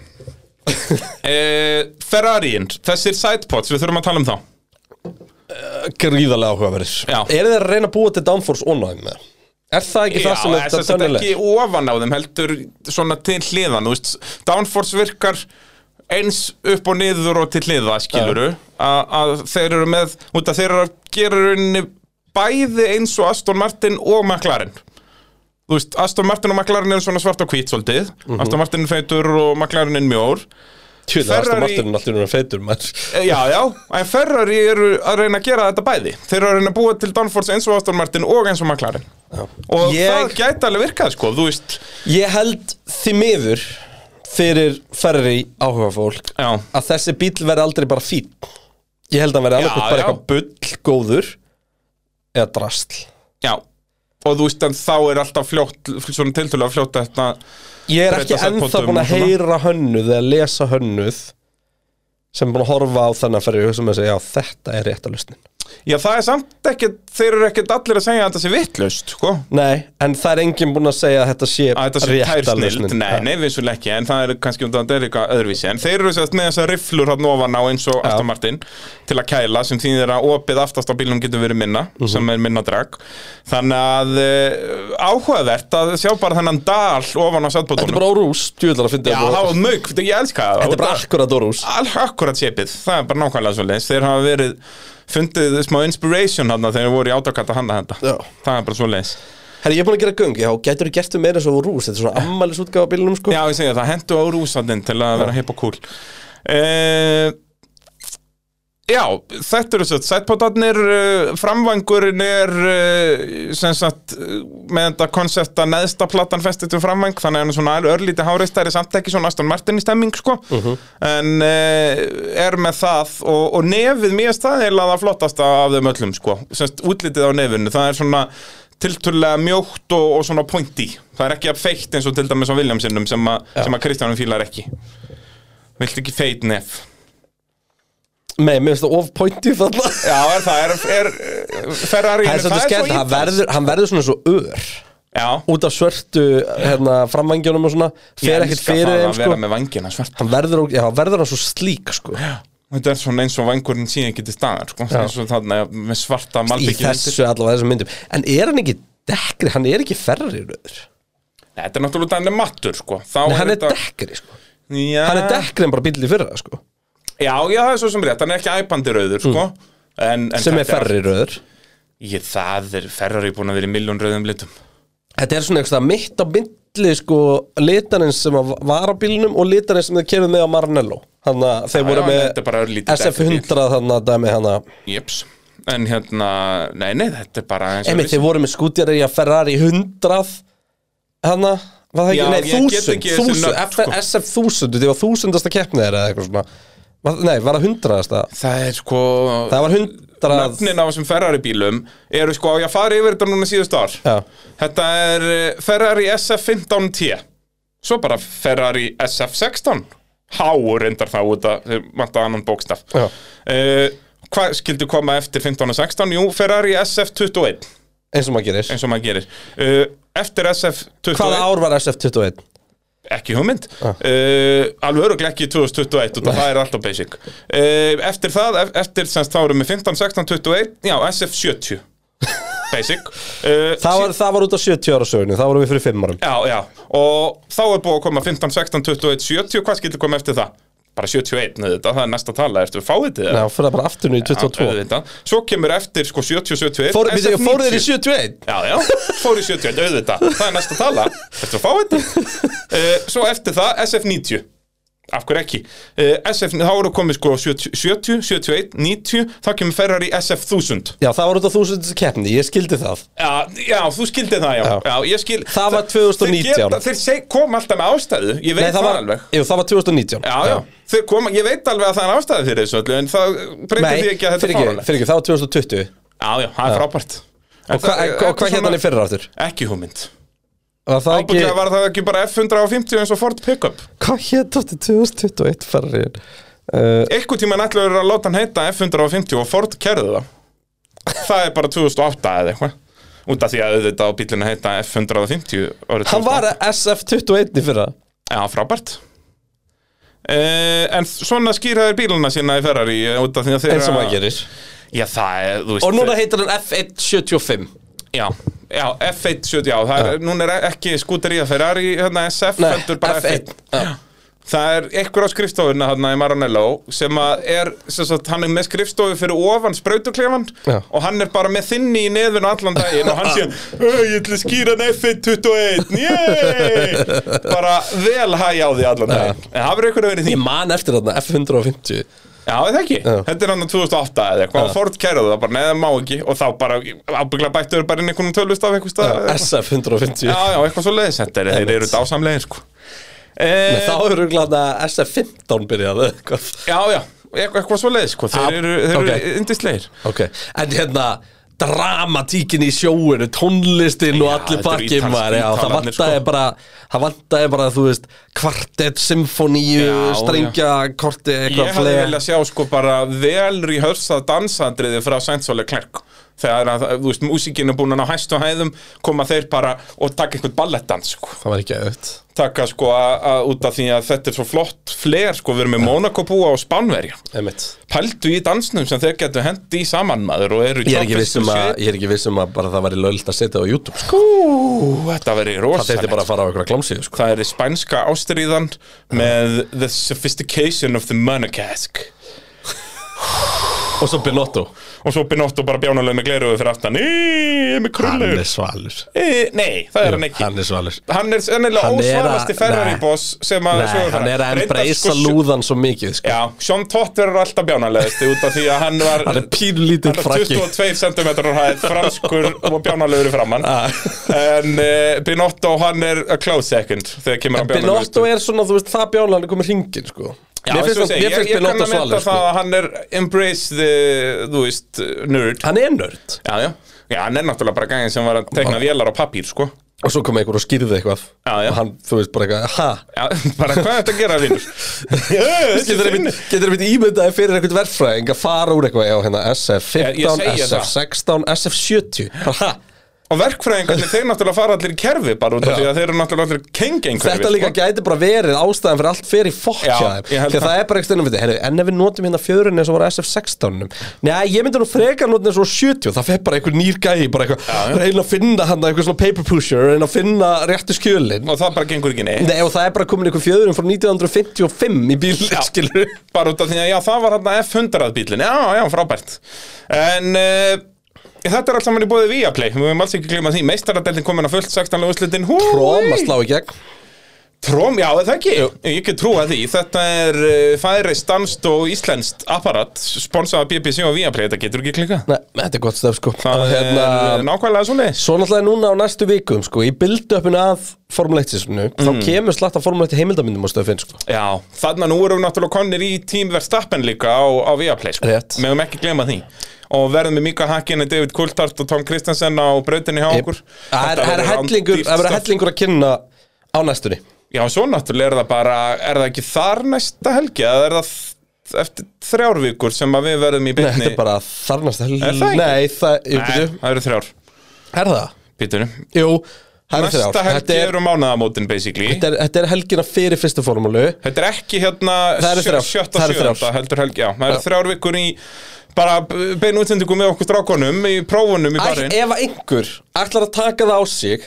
S2: uh, Ferrariinn, þessir sidepods, við þurfum að tala um þá
S1: Gríðarlega áhugaverðis
S2: Já.
S1: Er það að reyna að búa til downforce onæmi með? Er það ekki það sem
S2: Já,
S1: er
S2: þess
S1: þetta
S2: að þetta
S1: tönnilegt?
S2: ekki ofan á þeim heldur svona til hliðan, þú veist Downforce virkar eins upp og niður og til hliða, skiluru að þeir eru með, út að þeir eru að gera í rauninni bæði eins og Aston Martin og McLaren þú veist, Aston Martin og McLaren eru svona svart og hvít svolítið, Aston Martin er feitur og McLaren er mjór
S1: Tjóðið, það er
S2: Ferrari-
S1: alltaf marturinn alltaf um feitur maður.
S2: Eh, Já, já, en Ferrari eru að reyna að gera þetta bæði Þeir eru að reyna að búa til Danforce eins og Aston Martin og eins og McLaren Og
S1: Ég-
S2: það gæti alveg virkað, sko, þú veist
S1: Ég held því miður fyrir ferri áhugafólk
S2: Já,
S1: að þessi bíl verði aldrei bara fín Ég held að hann verði alveg bara
S2: já.
S1: eitthvað bull góður eða drastl
S2: já Og þú veist, en þá er alltaf fljótt, svona tiltölu að fljóta þetta
S1: Ég er ekki
S2: Breyta
S1: ennþá
S2: setpointum
S1: búin
S2: og
S1: að
S2: svona.
S1: heyra hönnuð eða lesa hönnuð sem er búin að horfa á þennan ferri og hugsa með sig, já þetta er rétt að lusnin
S2: Já, það er samt ekkert, þeir eru ekkert allir að segja að þetta sé vittlust, sko
S1: Nei, en það er enginn búin að segja að þetta sé,
S2: Að þetta sé
S1: rétta
S2: tærsnild,
S1: lausnin.
S2: nei, nei, vissulega ekki En það er kannski um þetta er eitthvað öðruvísi En þeir eru sérst með þessar rifflur hann ofan á eins og Aston Martin Til að kæla, sem þýðir að opið aftast á bílnum getur verið minna
S1: Mhm.
S2: Sem er minna drag Þannig að uh, áhugavert að sjá bara þennan dal ofan á
S1: Þetta er
S2: sætbótunum
S1: bara á rús, djúðlar að fyndi
S2: Já, það var mög, ég elska það
S1: Þetta er bara akkurat á rús
S2: Alveg akkurat sépið, það er bara nákvæmlega svo leins Þeir hafa verið, fundið smá inspiration hann Þegar þeir voru í átakata handa þetta
S1: Já.
S2: Það er bara svo leins
S1: Herri, ég er búin að gera göng, já, gætur þú gert við meira eins og á rús Þetta er svona ammælis útgáfa bílunum, sko
S2: Já, ég segja það, hendu á rúsandinn til að vera hip og cool uh, Já, þetta eru svo Sætpotarnir, uh, framvangurinn er uh, sem sagt uh, með þetta konsept að neðsta platan festið til framvang, þannig að hann er svona örlítið háreistæri samt ekki svona Aston Martin í stemming sko, en uh, er með það og, og nefið mér staðilega það flottasta af þeim öllum sko, semst útlitið á nefinu, það er svona tilturlega mjótt og, og svona pointy það er ekki að feitt eins og til dæmis á Williamsinnum sem, a, sem að Kristjánum fílar ekki vilt ekki feitt nef
S1: Nei, mér finnst það of pointy þarna
S2: já, er það, er, er Ferrari
S1: Það er svolítið skemmt, hann verður, hann verður svona svo ör
S2: já,
S1: Út af svörtu, hérna, framvangjónum og svona Fer ekkert fyrir
S2: það
S1: þeim,
S2: að
S1: sko
S2: vera með vangina svart
S1: Hann verður, ó- já, hann verður hann svo slík, sko
S2: þetta er svona eins og vangurinn síðan ekki til staðar sko. eins og þarna með svarta
S1: Í
S2: malbyggjum
S1: þessu allavega þessum myndum En er hann ekki dekkri, hann er ekki ferri röður
S2: þetta er náttúrulega hann er mattur sko. Þá
S1: Nei, hann er
S2: þetta-
S1: dekkri, sko
S2: já,
S1: Hann er dekkri en bara bílið fyrra, sko
S2: já, já, það er svo sem rétt, hann er ekki æpandi rauður sko. en, en
S1: Sem er
S2: þetta
S1: ferri röður
S2: ég, það er Ferrari búin að vera í miljón rauðum litum
S1: Þetta er svona eitthvað mitt á myndli sko litarins sem að var á bílnum og litarins sem þau kerðu með á Maranello Þannig að þeir
S2: Já,
S1: voru
S2: já, þetta er bara
S1: með
S2: örlítið
S1: SF100 þannig að dæmi hana
S2: Jeps En hérna, nei, nei, þetta er bara eins og
S1: Emi,
S2: við-
S1: þeir voru með skútjar í að Ferrari 100 hana, var það ekki,
S2: Já,
S1: nei,
S2: ég get
S1: þúsund,
S2: ekki þessi
S1: þúsund,
S2: nöfn, sko.
S1: SF 1000 þetta var þúsundasta keppnið þeirra eða eitthvað svona Var- Nei, var það hundraðasta?
S2: Það er sko
S1: Það var hundrað
S2: Nöfnin á þessum Ferrari bílum eru sko, ég fari yfir þetta núna síðust ár
S1: Já.
S2: Þetta er eh, Ferrari SF15T Svo bara Ferrari SF16 Háur reyndar það út að þeir vantaði annan bókstaf
S1: Já.
S2: Eh, Hvað skildi koma eftir 15 og 16? Jú, Ferrari SF21
S1: eins og maður gerir
S2: eins og maður gerir Eh, Eftir SF21
S1: Hvaða ár var SF 21?
S2: ekki hugmynd uh,
S1: Ah.
S2: alveg öruglega ekki 2021 og það er alltaf basic uh, eftir það, ef- eftir semst þá erum við 15, 16, 21 já, SF 70 basic uh,
S1: það var, það var út á 70 ára sögunu, það vorum við fyrir 5 árum
S2: Já, já, og þá er búið að koma 15, 16, 21, 70, hvað skilur koma eftir það? Bara 71, auðvitað, það er næsta tala, ertu fáið til
S1: Já,
S2: það?
S1: fyrir það bara aftur nú í 22
S2: auðvitað. Svo kemur eftir sko 70, 71
S1: Fór, býttu,
S2: SF90.
S1: fóru þeir í 71?
S2: Já, já, fór í 71, auðvitað, það er næsta tala, ertu fáið til uh, Svo eftir það, SF90 Af hverju ekki? Uh, SF, þá eru komið sko 70, 70, 71, 90, þá kemur Ferrari SF1000
S1: Já, það var út á 1000 keppni, ég skildi það
S2: Já, já, þú skildir það, já,
S1: Já.
S2: já. ég skil,
S1: Það var 2019.
S2: Þeir, geta- þeir seg, kom alltaf með ástæðu, ég veit
S1: Nei, það var,
S2: alveg
S1: jú, það var 2019
S2: Já, já, þeir koma, ég veit alveg að það er ástæði fyrir þessu öllu En það breytir
S1: Nei,
S2: því ekki að þetta
S1: fyrir
S2: er
S1: ekki,
S2: fáranlega
S1: fyrir ekki, það var 2020
S2: Já, já, það er frábært
S1: Og hva- en- og hvað hérna hann í fyrra aftur?
S2: Ekki hugmynd
S1: Var það ekki,
S2: Ábúinlega var það ekki bara F150 eins og Ford Pickup
S1: hvað hérna aftur 2021 ferrið? Uh,
S2: Eitthvað tíma nættilega er að láta hann heita F150 og Ford kerði það Það er bara 2008 eða eitthvað Út af því að auðvitað á bílina heita F150 árið
S1: hann
S2: 2008.
S1: var SF21 í fyrra
S2: Já, frábært Uh, en svona skýraðir bíluna sína í Ferrari eh, út af því að þeirra
S1: eins og maður gerir
S2: Já, það er, þú veist
S1: Og núna heitir hann F175
S2: Já, já F170, já, það er, núna er ekki skúteríða Ferrari, hérna SF
S1: Nei,
S2: heldur bara F1,
S1: F1, já.
S2: Það er einhver á skrifstofuna hérna í Maranello sem að er, sem sagt, hann er með skrifstofu fyrir ofan sprautuklefan
S1: Já.
S2: og hann er bara með þinni í neðun allan daginn og hann sé, "Ö, ég ætla að skýra hann F121, yey bara vel hæg á því allan daginn en það verður einhver að vera í því
S1: Ég man eftir þarna F150
S2: Já, er það ekki, þetta er hann á 2008 eða eitthvað, og Ford kæraði það bara, neða má ekki og þá bara, ábyggla bættu þau bara inn einhvern tölvist af einhver stað eða eitthvað.
S1: SF150
S2: Já, já, eitthvað svo leiðis, þetta er, þeir eru dásamlegin sko e,
S1: Þá eru glæðna SF15 byrjaði eitthvað
S2: Já, já, eitthvað, eitthvað svo leiðis sko,
S1: Ah,
S2: þeir eru, þeir
S1: ok.
S2: eru yndislegir
S1: Ok, en hérna dramatíkin í sjóinu, tónlistin og allir
S2: þetta eru
S1: bakið
S2: ítals-
S1: maður, já, það
S2: ítalarnir,
S1: vantaði
S2: sko.
S1: bara það vantaði bara, þú veist kvartett, symfoníu,
S2: Já,
S1: strengja korti, eitthvað
S2: Ég hefði
S1: fleira.
S2: viljað sjá sko bara velri hörsað dansandriði frá Sæntsóli Klerk þegar að, þú veist, músíkin er búin að ná hæstu hæðum koma þeir bara og taka einhvern ballettdans sko
S1: Það var ekki auðvitað
S2: taka sko að- að- út af því að þetta er svo flott fler sko, við erum með Monaco búa og Spánverja
S1: Einmitt.
S2: pældu í dansnum sem þeir getur hendi í saman maður og eru
S1: Ég er ekki viss um að, ég er ekki viss um að bara það væri lögilegt að setja á YouTube, sko.
S2: Ú, þetta
S1: Það
S2: verið
S1: þurfti
S2: rosalegt
S1: bara að fara á einhverja glámsíðu, sko.
S2: það er spænska ástriðan með the sophistication of the monocask
S1: Og svo Benotto.
S2: og svo Binotto bara bjánuleg með gleruðu fyrir aftan Í, ég er með krullur
S1: svalur.
S2: Í, nei, það er hann ekki
S1: Hann er svalur.
S2: hann er sennilega
S1: Hann er að-
S2: ósvalasti Ferrari
S1: nei.
S2: boss sem að
S1: Nei,
S2: sögur
S1: hann
S2: Ferrari.
S1: er að
S2: Reyndar,
S1: embracea
S2: sko,
S1: lúðan svo mikið, sko.
S2: Já, Sean Todd verður alltaf bjánalegist út af því að hann var
S1: Hann er pínlítið
S2: hann var
S1: frakki.
S2: 22 cm hæð, franskur og bjánalegur í framann
S1: Ah.
S2: en uh, Binotto hann er a close second þegar kemur hann
S1: Benotto er svona, þú veist, það bjála hann er komið hringin, sko.
S2: Já,
S1: mér finnst,
S2: eins og
S1: hann-
S2: ég segi,
S1: mér finnst
S2: ég, ég kann
S1: Benotto
S2: að mynda
S1: svalur, sko.
S2: það að hann er embrace the, þú veist, nerd
S1: Hann er nörd.
S2: Já, já, já, hann er náttúrulega bara gæðin sem var að tegna vélar á pappír, sko
S1: Og svo kom einhver og skýrði eitthvað.
S2: Já, já.
S1: Og hann, þú veist, bara eitthvað, ha?
S2: Já, bara hvað er þetta að gera, vinnur?
S1: Getur einmitt, getur einmitt ímyndaði fyrir einhvern verðfræðing að fara úr eitthvað, já, hérna,
S2: Ég-
S1: SF15,
S2: ég segi það.
S1: SF16, SF70. Bara, ha?
S2: Og verkfræðingarnir, þeir náttúrulega fara allir í kerfi bara út
S1: Já.
S2: af því að þeir eru náttúrulega allir kengengur
S1: Þetta líka gæti bara verið ástæðan fyrir allt fyrir
S2: sko? Já,
S1: fokkja þeim
S2: ég held
S1: Þegar
S2: það.
S1: það er bara ekki stundum við þetta En ef við notum hérna fjörunni eins og voru SF16 Nei, ég myndi nú frekar notum eins og 70 Það fer bara einhver nýr gæi bara
S2: Já, já.
S1: eitthvað Reyna að finna hann eitthvað svona paper pusher Reyna að finna réttu skjölin
S2: Og það bara gengur ekki neitt
S1: Nei, og það er bara komin einhver fjöðurinn frá 1955 í bíl, skilur
S2: Bara út af því að, já, það var hérna F100 bílinn Já, já, frábært En uh, þetta er allt saman í bóði Viaplay Við höfum alls ekki glima því Meistaradeldin komin að fullt 16. úrslitin Húi!
S1: Róma slá í gegn
S2: Tróm, já, er það ekki Ég get trúa því Þetta er uh, færist, danst og íslenskt apparat Sponsað af BBC og Viaplay Þetta getur ekki klika
S1: Nei, þetta er gott stöf, sko
S2: Það
S1: Og
S2: er uh, nákvæmlega svo leis
S1: Svo náttúrulega núna á næstu vikum, sko, í bilduöppinu að Formule 1 sísonu,
S2: Mm.
S1: þá kemur slatt af Formule 1 heimildamindum á stöfinn, sko.
S2: Já, þannig að nú erum við náttúrulega konir í Team Verstappen líka á, á Viaplay sko.
S1: Rétt.
S2: Við höfum ekki glema því Og verðum með Mika Hakkinen, David Kultart og Tom Kristensen á brautinni hjá
S1: Jep.
S2: okkur
S1: Það er,
S2: Þetta
S1: það er
S2: verður
S1: hellingur,
S2: rándýrt
S1: það verður
S2: stöf.
S1: hellingur að kynna á næstunni
S2: Já, svo náttúrulega er það bara, er það ekki þar næsta helgi eða er það þ- eftir þrjár vikur sem að við verðum í
S1: Nei, þetta
S2: byrni
S1: er bara þarnast hel...
S2: Er það ekki?
S1: Nei, það, jú,
S2: Nei,
S1: byrju,
S2: það eru þrjár
S1: er það?
S2: Býtunum,
S1: Jú, Það eru
S2: Næsta
S1: þrjár.
S2: helgi
S1: Þetta er-
S2: eru mánaðamótin basically
S1: Þetta er, þetta er helgina fyrir fyrstu formúlu
S2: Þetta er ekki hérna
S1: Það eru
S2: sjö-
S1: þrjár.
S2: sjötta,
S1: Það eru
S2: sjötta
S1: þrjár.
S2: heldur helgi, já, það eru
S1: Já.
S2: þrjár vikur í bara beinu útsendingu með okkur strákonum í prófunum í
S1: Æ,
S2: barinn
S1: Ef að einhver ætlar að taka það á sig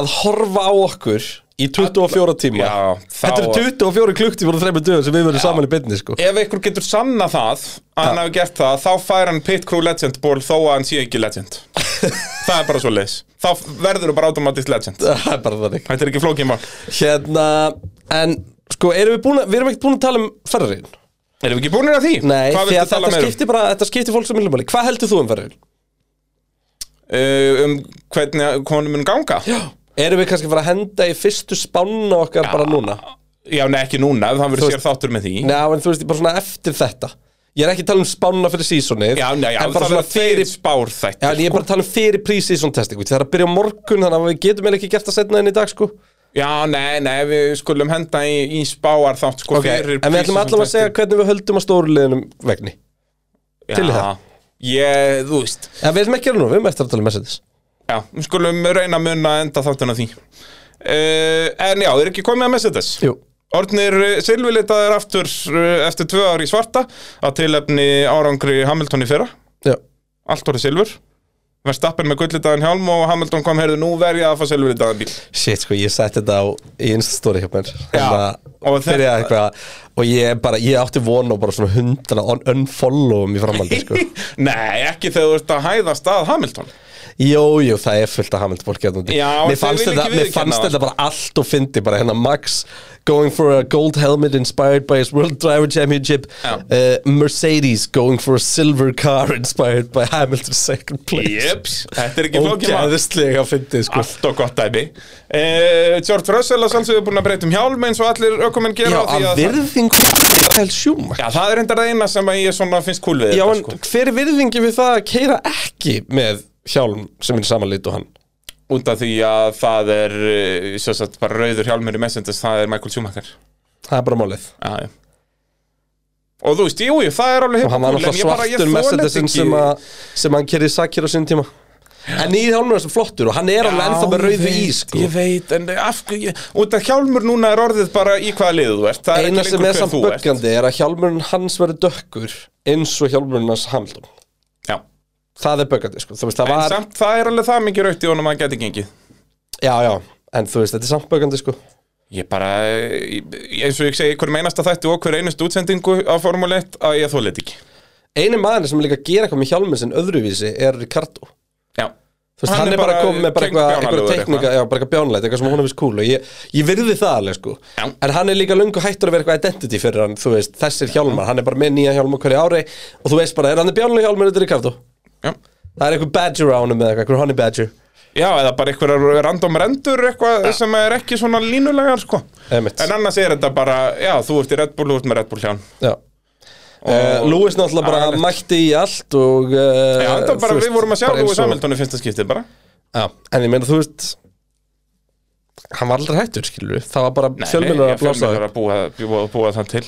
S1: að horfa á okkur í 24 tíma
S2: Já, þá-
S1: Þetta eru 24 klukktíma og þreymur dögum sem við verðum saman í beinni sko.
S2: Ef einhver getur sanna það að hann
S1: Já.
S2: hafi gert það, þá fær hann Pit Crew Legend ból þó að hann sé ekki Legend Það er bara svo leis Þá verður þú bara automatist Legend
S1: Það er bara þannig
S2: Þetta er ekki flókið mál
S1: Hérna, en sko, erum við búin að, við erum ekkert búin að tala um ferðarinn
S2: Erum við ekki búinir að því?
S1: Nei,
S2: Hvað
S1: því
S2: viltu
S1: að
S2: tala
S1: þetta
S2: meira um?
S1: skiptir bara, þetta skiptir fólk sem millumáli Hvað heldur þú um ferðarinn?
S2: Uh, Um hvernig konum mun ganga? Já,
S1: Erum við kannski að fara að henda í fyrstu spánu okkar bara núna?
S2: nei, ekki núna, það verður
S1: Þú
S2: sér þáttur með því
S1: Já, en þú veist, bara svona eftir þetta Ég er ekki að tala um spánuna fyrir sísonið
S2: Já, nei, já,
S1: En bara
S2: það
S1: svona
S2: verður
S1: fyrir
S2: fyrir spár þætt
S1: Já, en ég er bara að tala um fyrir pre-season testing Það er að byrja á morgun, þannig að við getum eiginlega ekki gert að setna inn í dag sko.
S2: Já, nei, nei, við skulum henda í, í spáar þátt sko
S1: okay.
S2: fyrir
S1: En við ætlum allavega að segja hvernig við höldum að stóru liðinum vegni til í það.
S2: Ég, þú veist
S1: En við ætlum ekki að gera nú, við erum eftir að tala um messages
S2: Já, við skulum reyna að munna enda þáttun á því uh, En já, er ekki komið að messages
S1: Jú
S2: Ornir silvilitaðir aftur uh, eftir tvö ár í svarta að tilefni árangri Hamilton í fyrra
S1: Já,
S2: Allt voru silfur Verstappen með gullitaðan hjálm og Hamilton kom heyrðu nú verja að fá silvilitaðan bíl
S1: shit sko, ég setti þetta á í instastóri hjá mér
S2: Já,
S1: og
S2: og
S1: þegar
S2: þetta-
S1: eitthvað Og ég bara, ég átti von á bara svona hundra un unfollowum í framhaldi sko
S2: Nei, ekki þegar þú ert að hæða stað Hamilton
S1: Jú, jú, það er fullt af Hamilton fólki hérna úti.
S2: Já,
S1: Mér
S2: en þau
S1: fannst
S2: vilja
S1: þetta,
S2: ekki
S1: mér
S2: viðurkenna
S1: fannst
S2: það.
S1: þetta bara allt og fyndi bara hérna Max going for a gold helmet inspired by his World Driver Championship
S2: Já.
S1: uh, Mercedes going for a silver car inspired by Hamilton's second place
S2: Jeps, þetta er ekki
S1: Og
S2: flókið maður
S1: gæðislega fyndi sko
S2: Allt og gott dæmi uh, George Russell að sjálfsögðu búin að breyta um hjálm eins og allir ökumenn
S1: Já,
S2: gera því
S1: að
S2: það-
S1: virðing Kyle Schumacher
S2: Já, það er reyndar það eina sem að ég svona finnst cool við
S1: Já,
S2: þetta, sko.
S1: en hver er virðingi við það að keira ekki með hjálm sem er samanlít og hann
S2: Út af því að það er eh, sem sagt, bara rauður hjálmur í Messenders það er Michael Schumacher
S1: Það er bara málið
S2: já, já. Og þú veist, jú, jú, það er alveg
S1: og hann var
S2: hippúl, en ég
S1: náttúrulega
S2: bara- ég
S1: svartur
S2: þoli
S1: Mercedesin
S2: þetta
S1: sem,
S2: ekki.
S1: að- sem hann kerði sakir á sinn tíma en nýð hjálmur er svo flottur og hann er alveg ennþá með
S2: Já, ég
S1: rauðu í
S2: veit,
S1: sko.
S2: Ég veit, en af hverju ég- Út af hjálmur núna er orðið bara í hvaða liðu þú ert Það er
S1: eina
S2: ekki
S1: sem
S2: lengur
S1: er
S2: hver
S1: samt
S2: þú ert
S1: böggandi er að hjálmurinn hans verður dökkur eins og hjálmurinn hans Hamilton
S2: Já,
S1: það er böggandi sko. Þú veist, það
S2: en
S1: var,
S2: samt það er alveg það mikið raukt í honum að hann geti gengið
S1: já, já, en þú veist þetta er samt böggandi sko.
S2: Ég bara, ég- eins og ég segi, hver meinasta þætti og hver einustu útsendingu á Formule 1 að ég þóla þetta ekki
S1: eini maður sem er líka að gera eitthvað með hjálmurinn sinn öðruvísi er Ricardo
S2: Já,
S1: Þú veist, hann, er bara komið með bara eitthvað, eitthvað teknika, já, bara eitthvað bjánleit, eitthvað sem hún hefist cool og ég, ég virði það alveg, sko
S2: Já.
S1: en hann er líka löngu hættur að vera eitthvað identity fyrir hann, þú veist, þessir hjálmar, hann er bara með nýja hjálmar hverju ári og þú veist bara, er hann er bjánlega hjálmar, þetta er Ricardo
S2: Já.
S1: það er eitthvað badger á hann með eitthvað, eitthvað honey badger
S2: Já, eða bara einhverjar random rendur eitthvað sem er ekki svona línulegar sko.
S1: Einmitt.
S2: En annars er þetta bara, já, þú ert í Red Bull, þú ert með Red Bull hján
S1: já Uh, Lewis náttúrulega bara
S2: Alveg.
S1: mætti í allt og uh,
S2: Já, þetta bara, við vorum að sjá Lúi Samhildónu fyrsta skiptið bara
S1: Já, en ég meina þú veist hann var aldrei hættur skilur við það var bara
S2: Nei,
S1: fjölmennur
S2: nei,
S1: að blása
S2: fjölmiðlar að búa, búa, búa þann til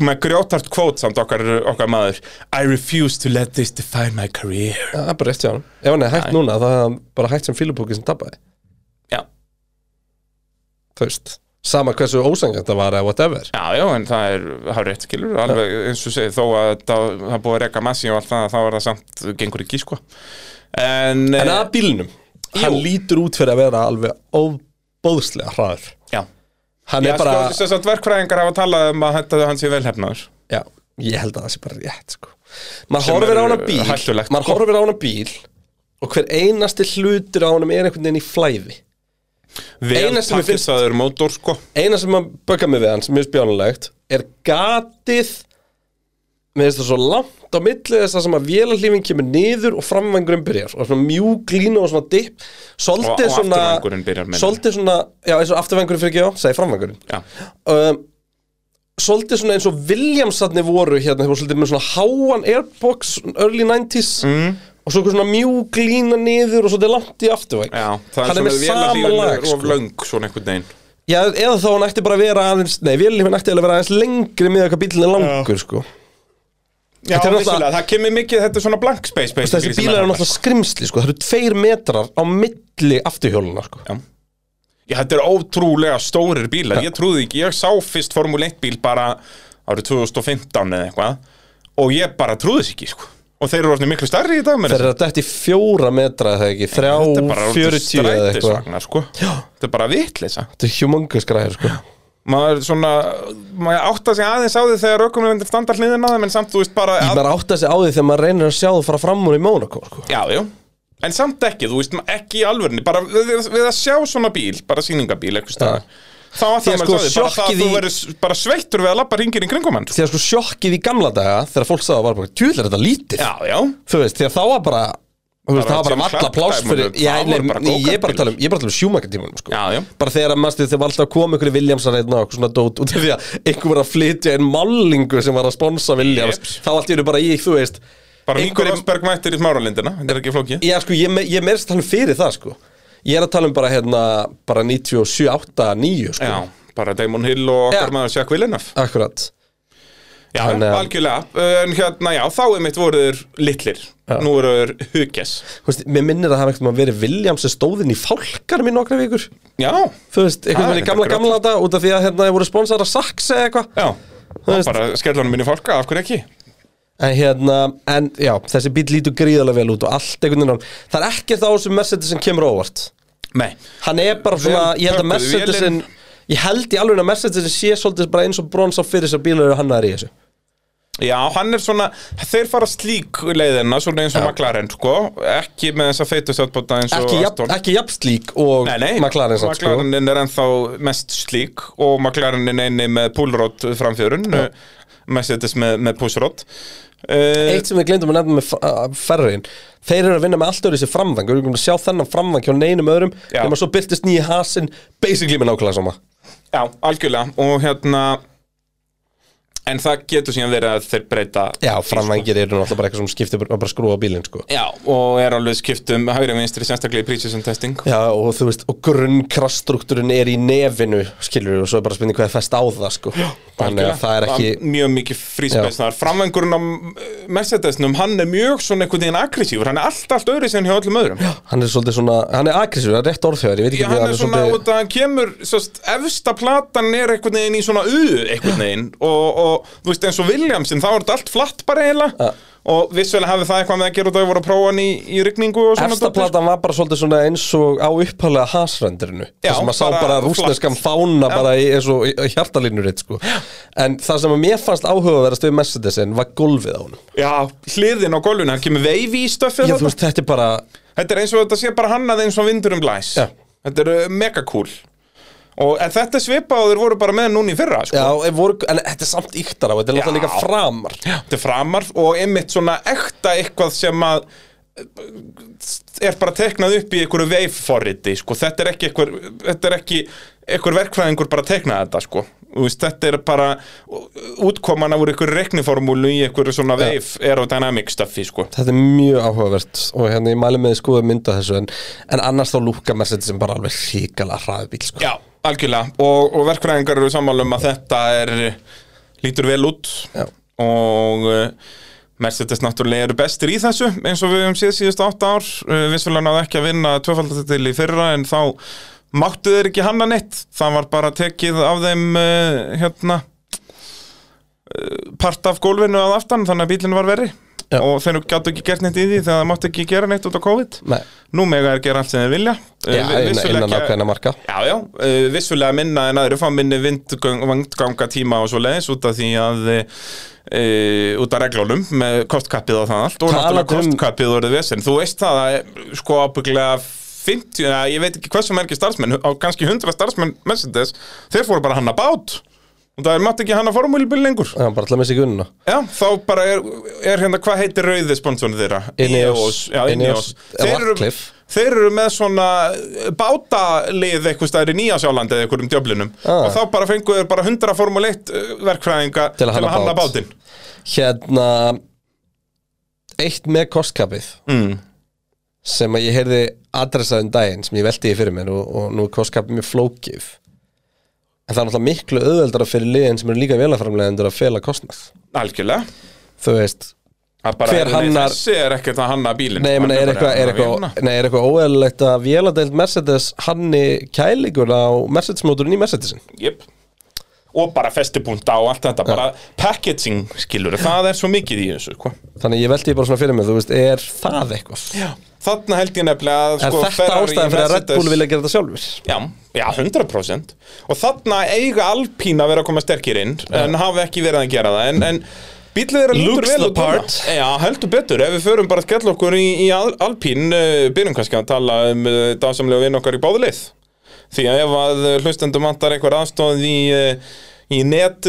S2: Með grjótart kvót samt okkar, okkar maður I refuse to let this define my career
S1: Já, það er bara rétt hjá hann Ef hann er hægt
S2: Nei.
S1: núna þá er hann bara hægt sem fílupúki sem tapaði
S2: Já,
S1: Þú veist Sama hversu ósangjant það var eða whatever
S2: já, já, en það er, það er rétt skilur Alveg eins og segið, þó að það, það er búið að reka massi og allt það Þá er það samt, gengur ekki sko En,
S1: En
S2: eh,
S1: að bílnum Hann lítur út fyrir að vera alveg óbóðslega hraður
S2: já
S1: Hann
S2: Já,
S1: er bara
S2: sko, þess að verkfræðingar hafa talað um að þetta hann sé velhefnaður
S1: Já, ég held að það sé bara rétt sko Maður
S2: Sem
S1: horfir á
S2: er,
S1: hana
S2: uh,
S1: bíl
S2: hættulegt,
S1: Maður
S2: sko.
S1: horfir á hana bíl Og hver einasti hlutur á honum er einhvern veginn í flæði
S2: Vel
S1: Eina sem mér finnst-
S2: pakkistaður mótor, sko
S1: Eina sem að bögga mig við hans, mjög spjánulegt Er gatið Mér finnst það svo langt á milli þess að sem að vélalífin kemur niður og framvængurinn byrjar og svona mjúk lína og svona dipp
S2: Og-
S1: svolítið
S2: og
S1: svona
S2: afturvængurinn byrjar, meinar.
S1: svolítið svona, já eins og afturvængurinn fyrir ekki á segi framvængurinn
S2: Já,
S1: um, svolítið svona eins og Williamsarni voru hérna, þeir voru svolítið með svona háan airbox early 90s mm. og svo eitthvað svona mjúk lína niður og svolítið langt í afturvæng
S2: já, það
S1: Hann
S2: er
S1: er með
S2: svona vel að
S1: sama lag,
S2: lífa of
S1: sko.
S2: löng svona einhvern veginn
S1: Já, eða þá hann ætti bara að vera aðeins Nei, vélífin ætti eiginlega að vera aðeins lengri með eitthvað bílinn er langur, sko
S2: Já,
S1: Þetta er náttúrulega-
S2: vissulega, það kemur mikið, þetta er svona blank space
S1: Þú veist, þessi
S2: basically, sem
S1: bílar
S2: er
S1: eru náttúrulega skrimsli sko. það eru tveir metrar á milli afturhjóluna sko.
S2: Já. Já, þetta er ótrúlega stórir bílar, ég trúði ekki, ég sá fyrst Formule 1 bíl bara árið 2015 eða eitthvað og ég bara trúði þess ekki, sko. Og þeir eru orðin miklu starri í dag með
S1: þeir eru að dætt í fjóra metra eða ekki þrjá,
S2: Þetta er bara orðið
S1: fjörutíu eða eitthvað
S2: strætisvagnar, sko. Þetta er bara vitleisa.
S1: þetta er humongous græðir sko.
S2: Maður svona, maður átta sig aðeins á því þegar aukumlega standa hliðin á þeim, en samt, þú veist, bara...
S1: maður átta sig á því þegar maður reynir að sjá þú fara fram úr í Mónakó sko.
S2: Já, já En samt ekki, þú veist, ekki í alvörni Bara við, við að sjá svona bíl, bara sýningabíl eitthvað staðar Þá að
S1: Því
S2: það
S1: að
S2: með
S1: sko,
S2: sko, því, bara það
S1: sjokkið
S2: að þú
S1: í-
S2: verður s- bara sveittur við að labba ringir í kringum hann sko.
S1: því að sko sjokkið í gamla daga þegar fólk sagði að var bara, tjúl er þetta lítið
S2: Já, já,
S1: þú veist, því að þá var bara þú veist,
S2: Bara
S1: það var bara
S2: Jim
S1: valla
S2: Clark
S1: pláss
S2: dæmunum,
S1: fyrir
S2: það
S1: já, nei,
S2: voru bara
S1: nei, ég er bara
S2: go-kart
S1: að tala um, ég er bara að tala um sjúmakartímanum sko.
S2: já, já
S1: bara þegar mannstu þegar var alltaf að koma ykkur í Williams að reyna og svona dót út af því að einhver var að flytja einn málingu sem var að sponsa Williams
S2: Jeps.
S1: þá allt í eru bara ég, þú veist
S2: Bara
S1: einhver-
S2: Nikkur Rosberg mættir í smáralindina, þetta er ekki flókið
S1: Já, sko, ég, me- ég meðst tala um fyrir það, sko Ég er að tala um bara, hérna, bara 97, 8, 9, sko
S2: Já, bara Damon Hill og
S1: Já.
S2: okkar maður Jack Villeneuve
S1: Akkurat
S2: Já,
S1: Hann, eh,
S2: algjörlega, en hérna, já, þá er mitt voruður litlir Nú eru þeir hugess
S1: Þú veist, Mér minnir að það hafa eitthvað verið Williams sem stóðin í fálkar minn nokkra vikur
S2: Já,
S1: Þú veist,
S2: Ah,
S1: einhvern veginn í
S2: þetta
S1: gamla,
S2: er
S1: gamla þetta út af því að hérna, ég voru sponsor að Saks eða eitthvað
S2: já,
S1: Þú veist-
S2: bara skellanum minni fólka, af hverju ekki?
S1: En hérna, en já, þessi bíl lítur gríðarlega vel út og allt einhvern veginn á- Það er ekkert á þessum Mercedes sem kemur á óvart
S2: Nei,
S1: Hann er bara svona,
S2: Vel
S1: ég held að
S2: pökkuð
S1: Mercedesin Ég held í alveg að Mercedesin sé svolítið bara eins og brons á fyrir þess að bílar eru hannaðar í þessu
S2: Já, hann er svona, þeir fara slík leiðina, svona eins og McLaren, sko ekki með þess að feitu þjóttbóta eins og
S1: ekki, jafn,
S2: Aston.
S1: ekki jafn slík og
S2: Nei, nei,
S1: McLaren samt sko
S2: McLarenin er ennþá mest slík og McLaren er einni með púlrótt framfjörun Mercedes með, með púsrótt uh,
S1: Eitt sem við glemdum að nefna með ferriðin Þeir eru að vinna með allt öðru þessi framvang Við erum að sjá þennan framvang hjá neinum öðrum
S2: Já.
S1: Þegar maður svo byrtist nýja hasinn Basically með nákvæmlega sama
S2: Já, algjörlega og hérna en það getur síðan verið að þeir breyta
S1: Já, framvangir eru náttúrulega bara eitthvað sem skiptir bara, bara skrúa bílinn sko
S2: Já, og er alveg skiptum hægri vinstri, sérstaklega í pre-season testing
S1: Já, og þú veist, og grunnkrassstruktúrin er í nefinu, skilur og svo er bara spynning hvað er fest á það, sko Þannig að það er ekki,
S2: mjög mikið fríspes þar framvengurinn á eh, Mercedesnum hann er mjög svona einhvern veginn aggressífur hann er allt, allt öðru sem hjá öllum öðrum já,
S1: hann er svolítið svona, hann er aggressífur, það er rétt orðhjóður, ég veit ekki
S2: hann er svona út að hann kemur sest, efsta platan er einhvern veginn í svona u einhvern veginn og, og þú veist eins og Williamsin þá er þetta allt flatt bara eiginlega og vissulega hafði það eitthvað með að gera út að við voru að prófa hann í, í rigningu og svona
S1: Efsta
S2: dóttir.
S1: platan var bara svolítið svona eins og á upphæðlega hasrendurinu
S2: Já,
S1: þar sem maður sá
S2: bara
S1: bara rúsneskan fána bara í, eins og í- í hjartalínuritt sko. en það sem að mér fannst áhugaverðast við Mercedesin var gólfið á honum
S2: já, hliðin á golfinu, hann kemur veifi í stöfið
S1: Ég,
S2: þarna.
S1: þú veist, þetta er bara
S2: Þetta er eins og þetta sé bara hannað eins og vindur um glæs
S1: Já.
S2: Þetta er uh, mega cool og, En þetta er svipa og þeir voru bara með núna í fyrra sko.
S1: já, en, voru, en þetta er samt yktar á, þetta er
S2: Já.
S1: náttúrulega líka framar
S2: Þetta er framar og einmitt svona ekta eitthvað sem að uh, er bara teknað upp í einhverju veifforriti sko. þetta er ekki einhver, þetta er ekki einhver verkfræðingur bara teknað þetta sko. Þú veist, þetta er bara eh, útkoman af einhverju reikniformúlu í einhverju svona veif aerodynamic staffi sko.
S1: Þetta er mjög áhugavert og hérna ég mæli með skoða mynda þessu en, en annars þá lúka Mercedesin bara alveg hrikalega hraðbíl sko.
S2: Já, algjörlega og, og verkfræðingar eru sammála um að þetta er lítur vel út
S1: Já.
S2: og uh, Mercedes náttúrulega eru bestir í þessu eins og við höfum séð síðust átt ár uh, vissulega náðu ekki að vinna tvöfaldatil í fyrra en þá máttu þeir ekki hanna neitt það var bara tekið af þeim uh, hérna uh, part af gólfinu að aftan þannig að bílinn var verri
S1: Já.
S2: og þeir gáttu ekki gert neitt í því þegar það máttu ekki gera neitt út á COVID
S1: Nei,
S2: nú mega er gera allt sem þeir vilja
S1: já,
S2: Uh, vi-
S1: innan,
S2: vissulega
S1: innan
S2: ekki-
S1: ákveðina marka
S2: Já, já, uh, vissulega minna en aðri fá minni vindganga tíma og svo leiðis út af því að uh, út af reglunum með kostkappið og það allt og
S1: Talandi
S2: náttúrulega
S1: um-
S2: kostkappið orðið vesinn þú veist það að eh, sko ábygglega 50, eða ég veit ekki hversu mergi starfsmenn á kannski 100 starfsmenn Mercedes þeir fóru bara hanna bát og það er mátt ekki hanna formúlibil lengur
S1: Já, bara alltaf með sig unna
S2: Já, þá bara er, er hérna, hvað heitir rauði sponsorinn þeirra?
S1: Ineos,
S2: Já, Ineos. Þeir eru,
S1: Radcliffe.
S2: þeir eru með svona eh, bátalið eitthvað staðar í Nýjásjálandi eða eitthvað um djöflinum
S1: Ah.
S2: og þá bara fengu þeir bara 100 Formule 1 eh, verkfræðinga
S1: Til að hanna
S2: hanna
S1: bát.
S2: bátinn.
S1: hérna eitt með kostkapið
S2: Mm.
S1: sem að ég heyrði adressaðum daginn sem ég velti í fyrir mér og, og nú er kostkapið mjög flókif en það er náttúrulega miklu auðveldara fyrir liðin sem eru líka velaframlegendur að fela kostnað
S2: Algjörlega.
S1: þú veist
S2: Að bara,
S1: Hver
S2: nei,
S1: hannar-
S2: Þessi er ekkert að hanna bílinn
S1: Nei, ég meina,
S2: Hann
S1: er
S2: bara
S1: eitthvað
S2: að
S1: er
S2: hanna
S1: eitthvað,
S2: vélina.
S1: nei, er eitthvað óeðlilegt að véladeild Mercedes hanni kælingun á Mercedes-móturinn í Mercedesin
S2: Jep Og bara festipunta og allt þetta Bara packaging skilur Það er svo mikið í þessu sko. hva?
S1: Þannig ég velti bara svona fyrir mig, þú veist, er það eitthvað?
S2: Þarna held ég nefnilega að
S1: Er
S2: sko,
S1: þetta
S2: Ferrari,
S1: ástæðan fyrir að Red
S2: Mercedes-
S1: Bull vilja gera þetta sjálfur?
S2: Já, já, 100% Og þarna eiga Alpín að vera að koma sterkir inn En hafa ekki verið að gera það En, en bílið þeirra lítur
S1: Looks
S2: vel
S1: the
S2: út núna.
S1: part.
S2: Já, heldur betur Ef við förum bara að skella okkur í, í Al- Alpín uh, Byrjum kannski að tala um uh, dásamlega vinn okkar í báðlið Því að ef að uh, hlustendum vantar einhver aðstóð í... Uh, í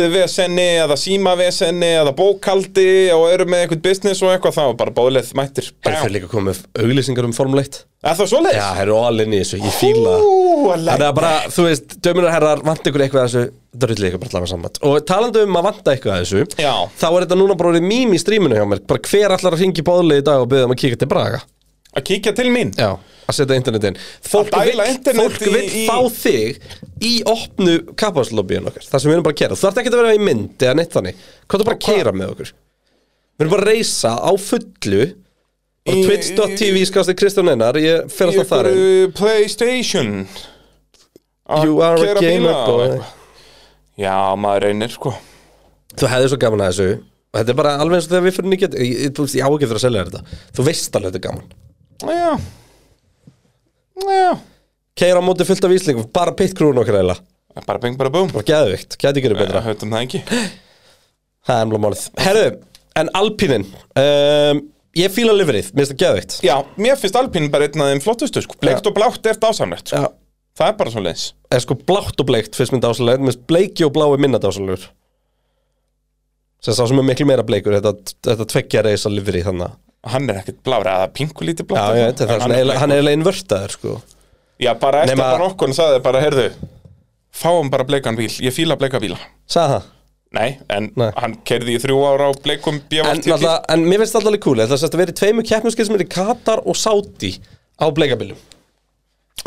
S2: netvesenni eða símavesenni eða bókaldi og eru með eitthvað business og eitthvað þá er bara báðleið mættir
S1: Er þau
S2: Bam.
S1: líka komið auglýsingar um Formule 1?
S2: Er það
S1: Já,
S2: svoleiðis?
S1: það eru allinni í þessu, ég fíla það.
S2: Ú, I like
S1: Þannig að bara, þú veist, dömunar herrar vant ykkur eitthvað að þessu Drulli ykkur bara allavega saman Og talandi um að vanta eitthvað að þessu
S2: Já.
S1: Þá er þetta núna bara orðið mím í stríminu hjá mér Bara hver allar að ringi bóðlega í dag og beða um að kíka til Braga
S2: Að kíkja til mín
S1: Já Að setja internetin Fólk
S2: dæla
S1: vill,
S2: internet
S1: fólk
S2: í-
S1: vill
S2: í-
S1: fá þig í opnu kappháslobbyin okkar Það sem við erum bara að kera Þú þarft ekki að vera í mynd eða neitt þannig Hvað þú bara að kera með okkur Við erum bara að reysa á fullu Bara
S2: Í-
S1: twitch.tv skasti Kristján Einar Ég fer alltaf þar inn
S2: einhverju eh, PlayStation Að
S1: You are a
S2: keyra
S1: gamer
S2: bíla og
S1: boy
S2: eitthvað. Já, maður reynir sko
S1: Þú hefði svo gaman að þessu og þetta er bara alveg eins og þegar við fyrir nýgjönd ég, ég, þú veist, ég á ekki fyrir að selja þér þetta þú veist alveg þetta er gaman
S2: Já Já
S1: Keira á móti fullt af íslingum, bara pitkrúin okkar eiginlega
S2: Bara bing bara búm
S1: bara geðvikt, gæti ekki verið betra
S2: Höfðum það ekki
S1: það er mjög málið Herðu, en Alpinin um, ég fíla liverið, minnst það geðvikt
S2: Já, mér finnst Alpín bara einn af þeim flottustu sko Bleikt og blátt er dásamlegt sko
S1: Já.
S2: Það er bara svo leiðis
S1: er sko blátt og bleikt fyrst mynd ásalegur minnst bleiki og blái minna ásalegur sem sá sem er miklu meira bleikur þetta, þetta tveggja reisa liverið þannig
S2: Hann er ekkert blár eða pinkulítið
S1: Já,
S2: blátt sko.
S1: ég veit, það er
S2: En
S1: svona
S2: hann
S1: eiginlega- hann er eiginlega invörtaður sko.
S2: Já, bara eftir
S1: Nema-
S2: bara okkur sagði bara, heyrðu Fáum bara bleikan bíl, ég fíla bleika bíla
S1: Sagði það?
S2: Nei, en
S1: Nei.
S2: hann kerði í þrjú ára á bleikum
S1: en,
S2: BVT
S1: náttúrulega- en mér finnst alltaf alveg cool Það sérst að vera í tveimur keppnuskeið sem er í Katar og Saudi á bleikabiljum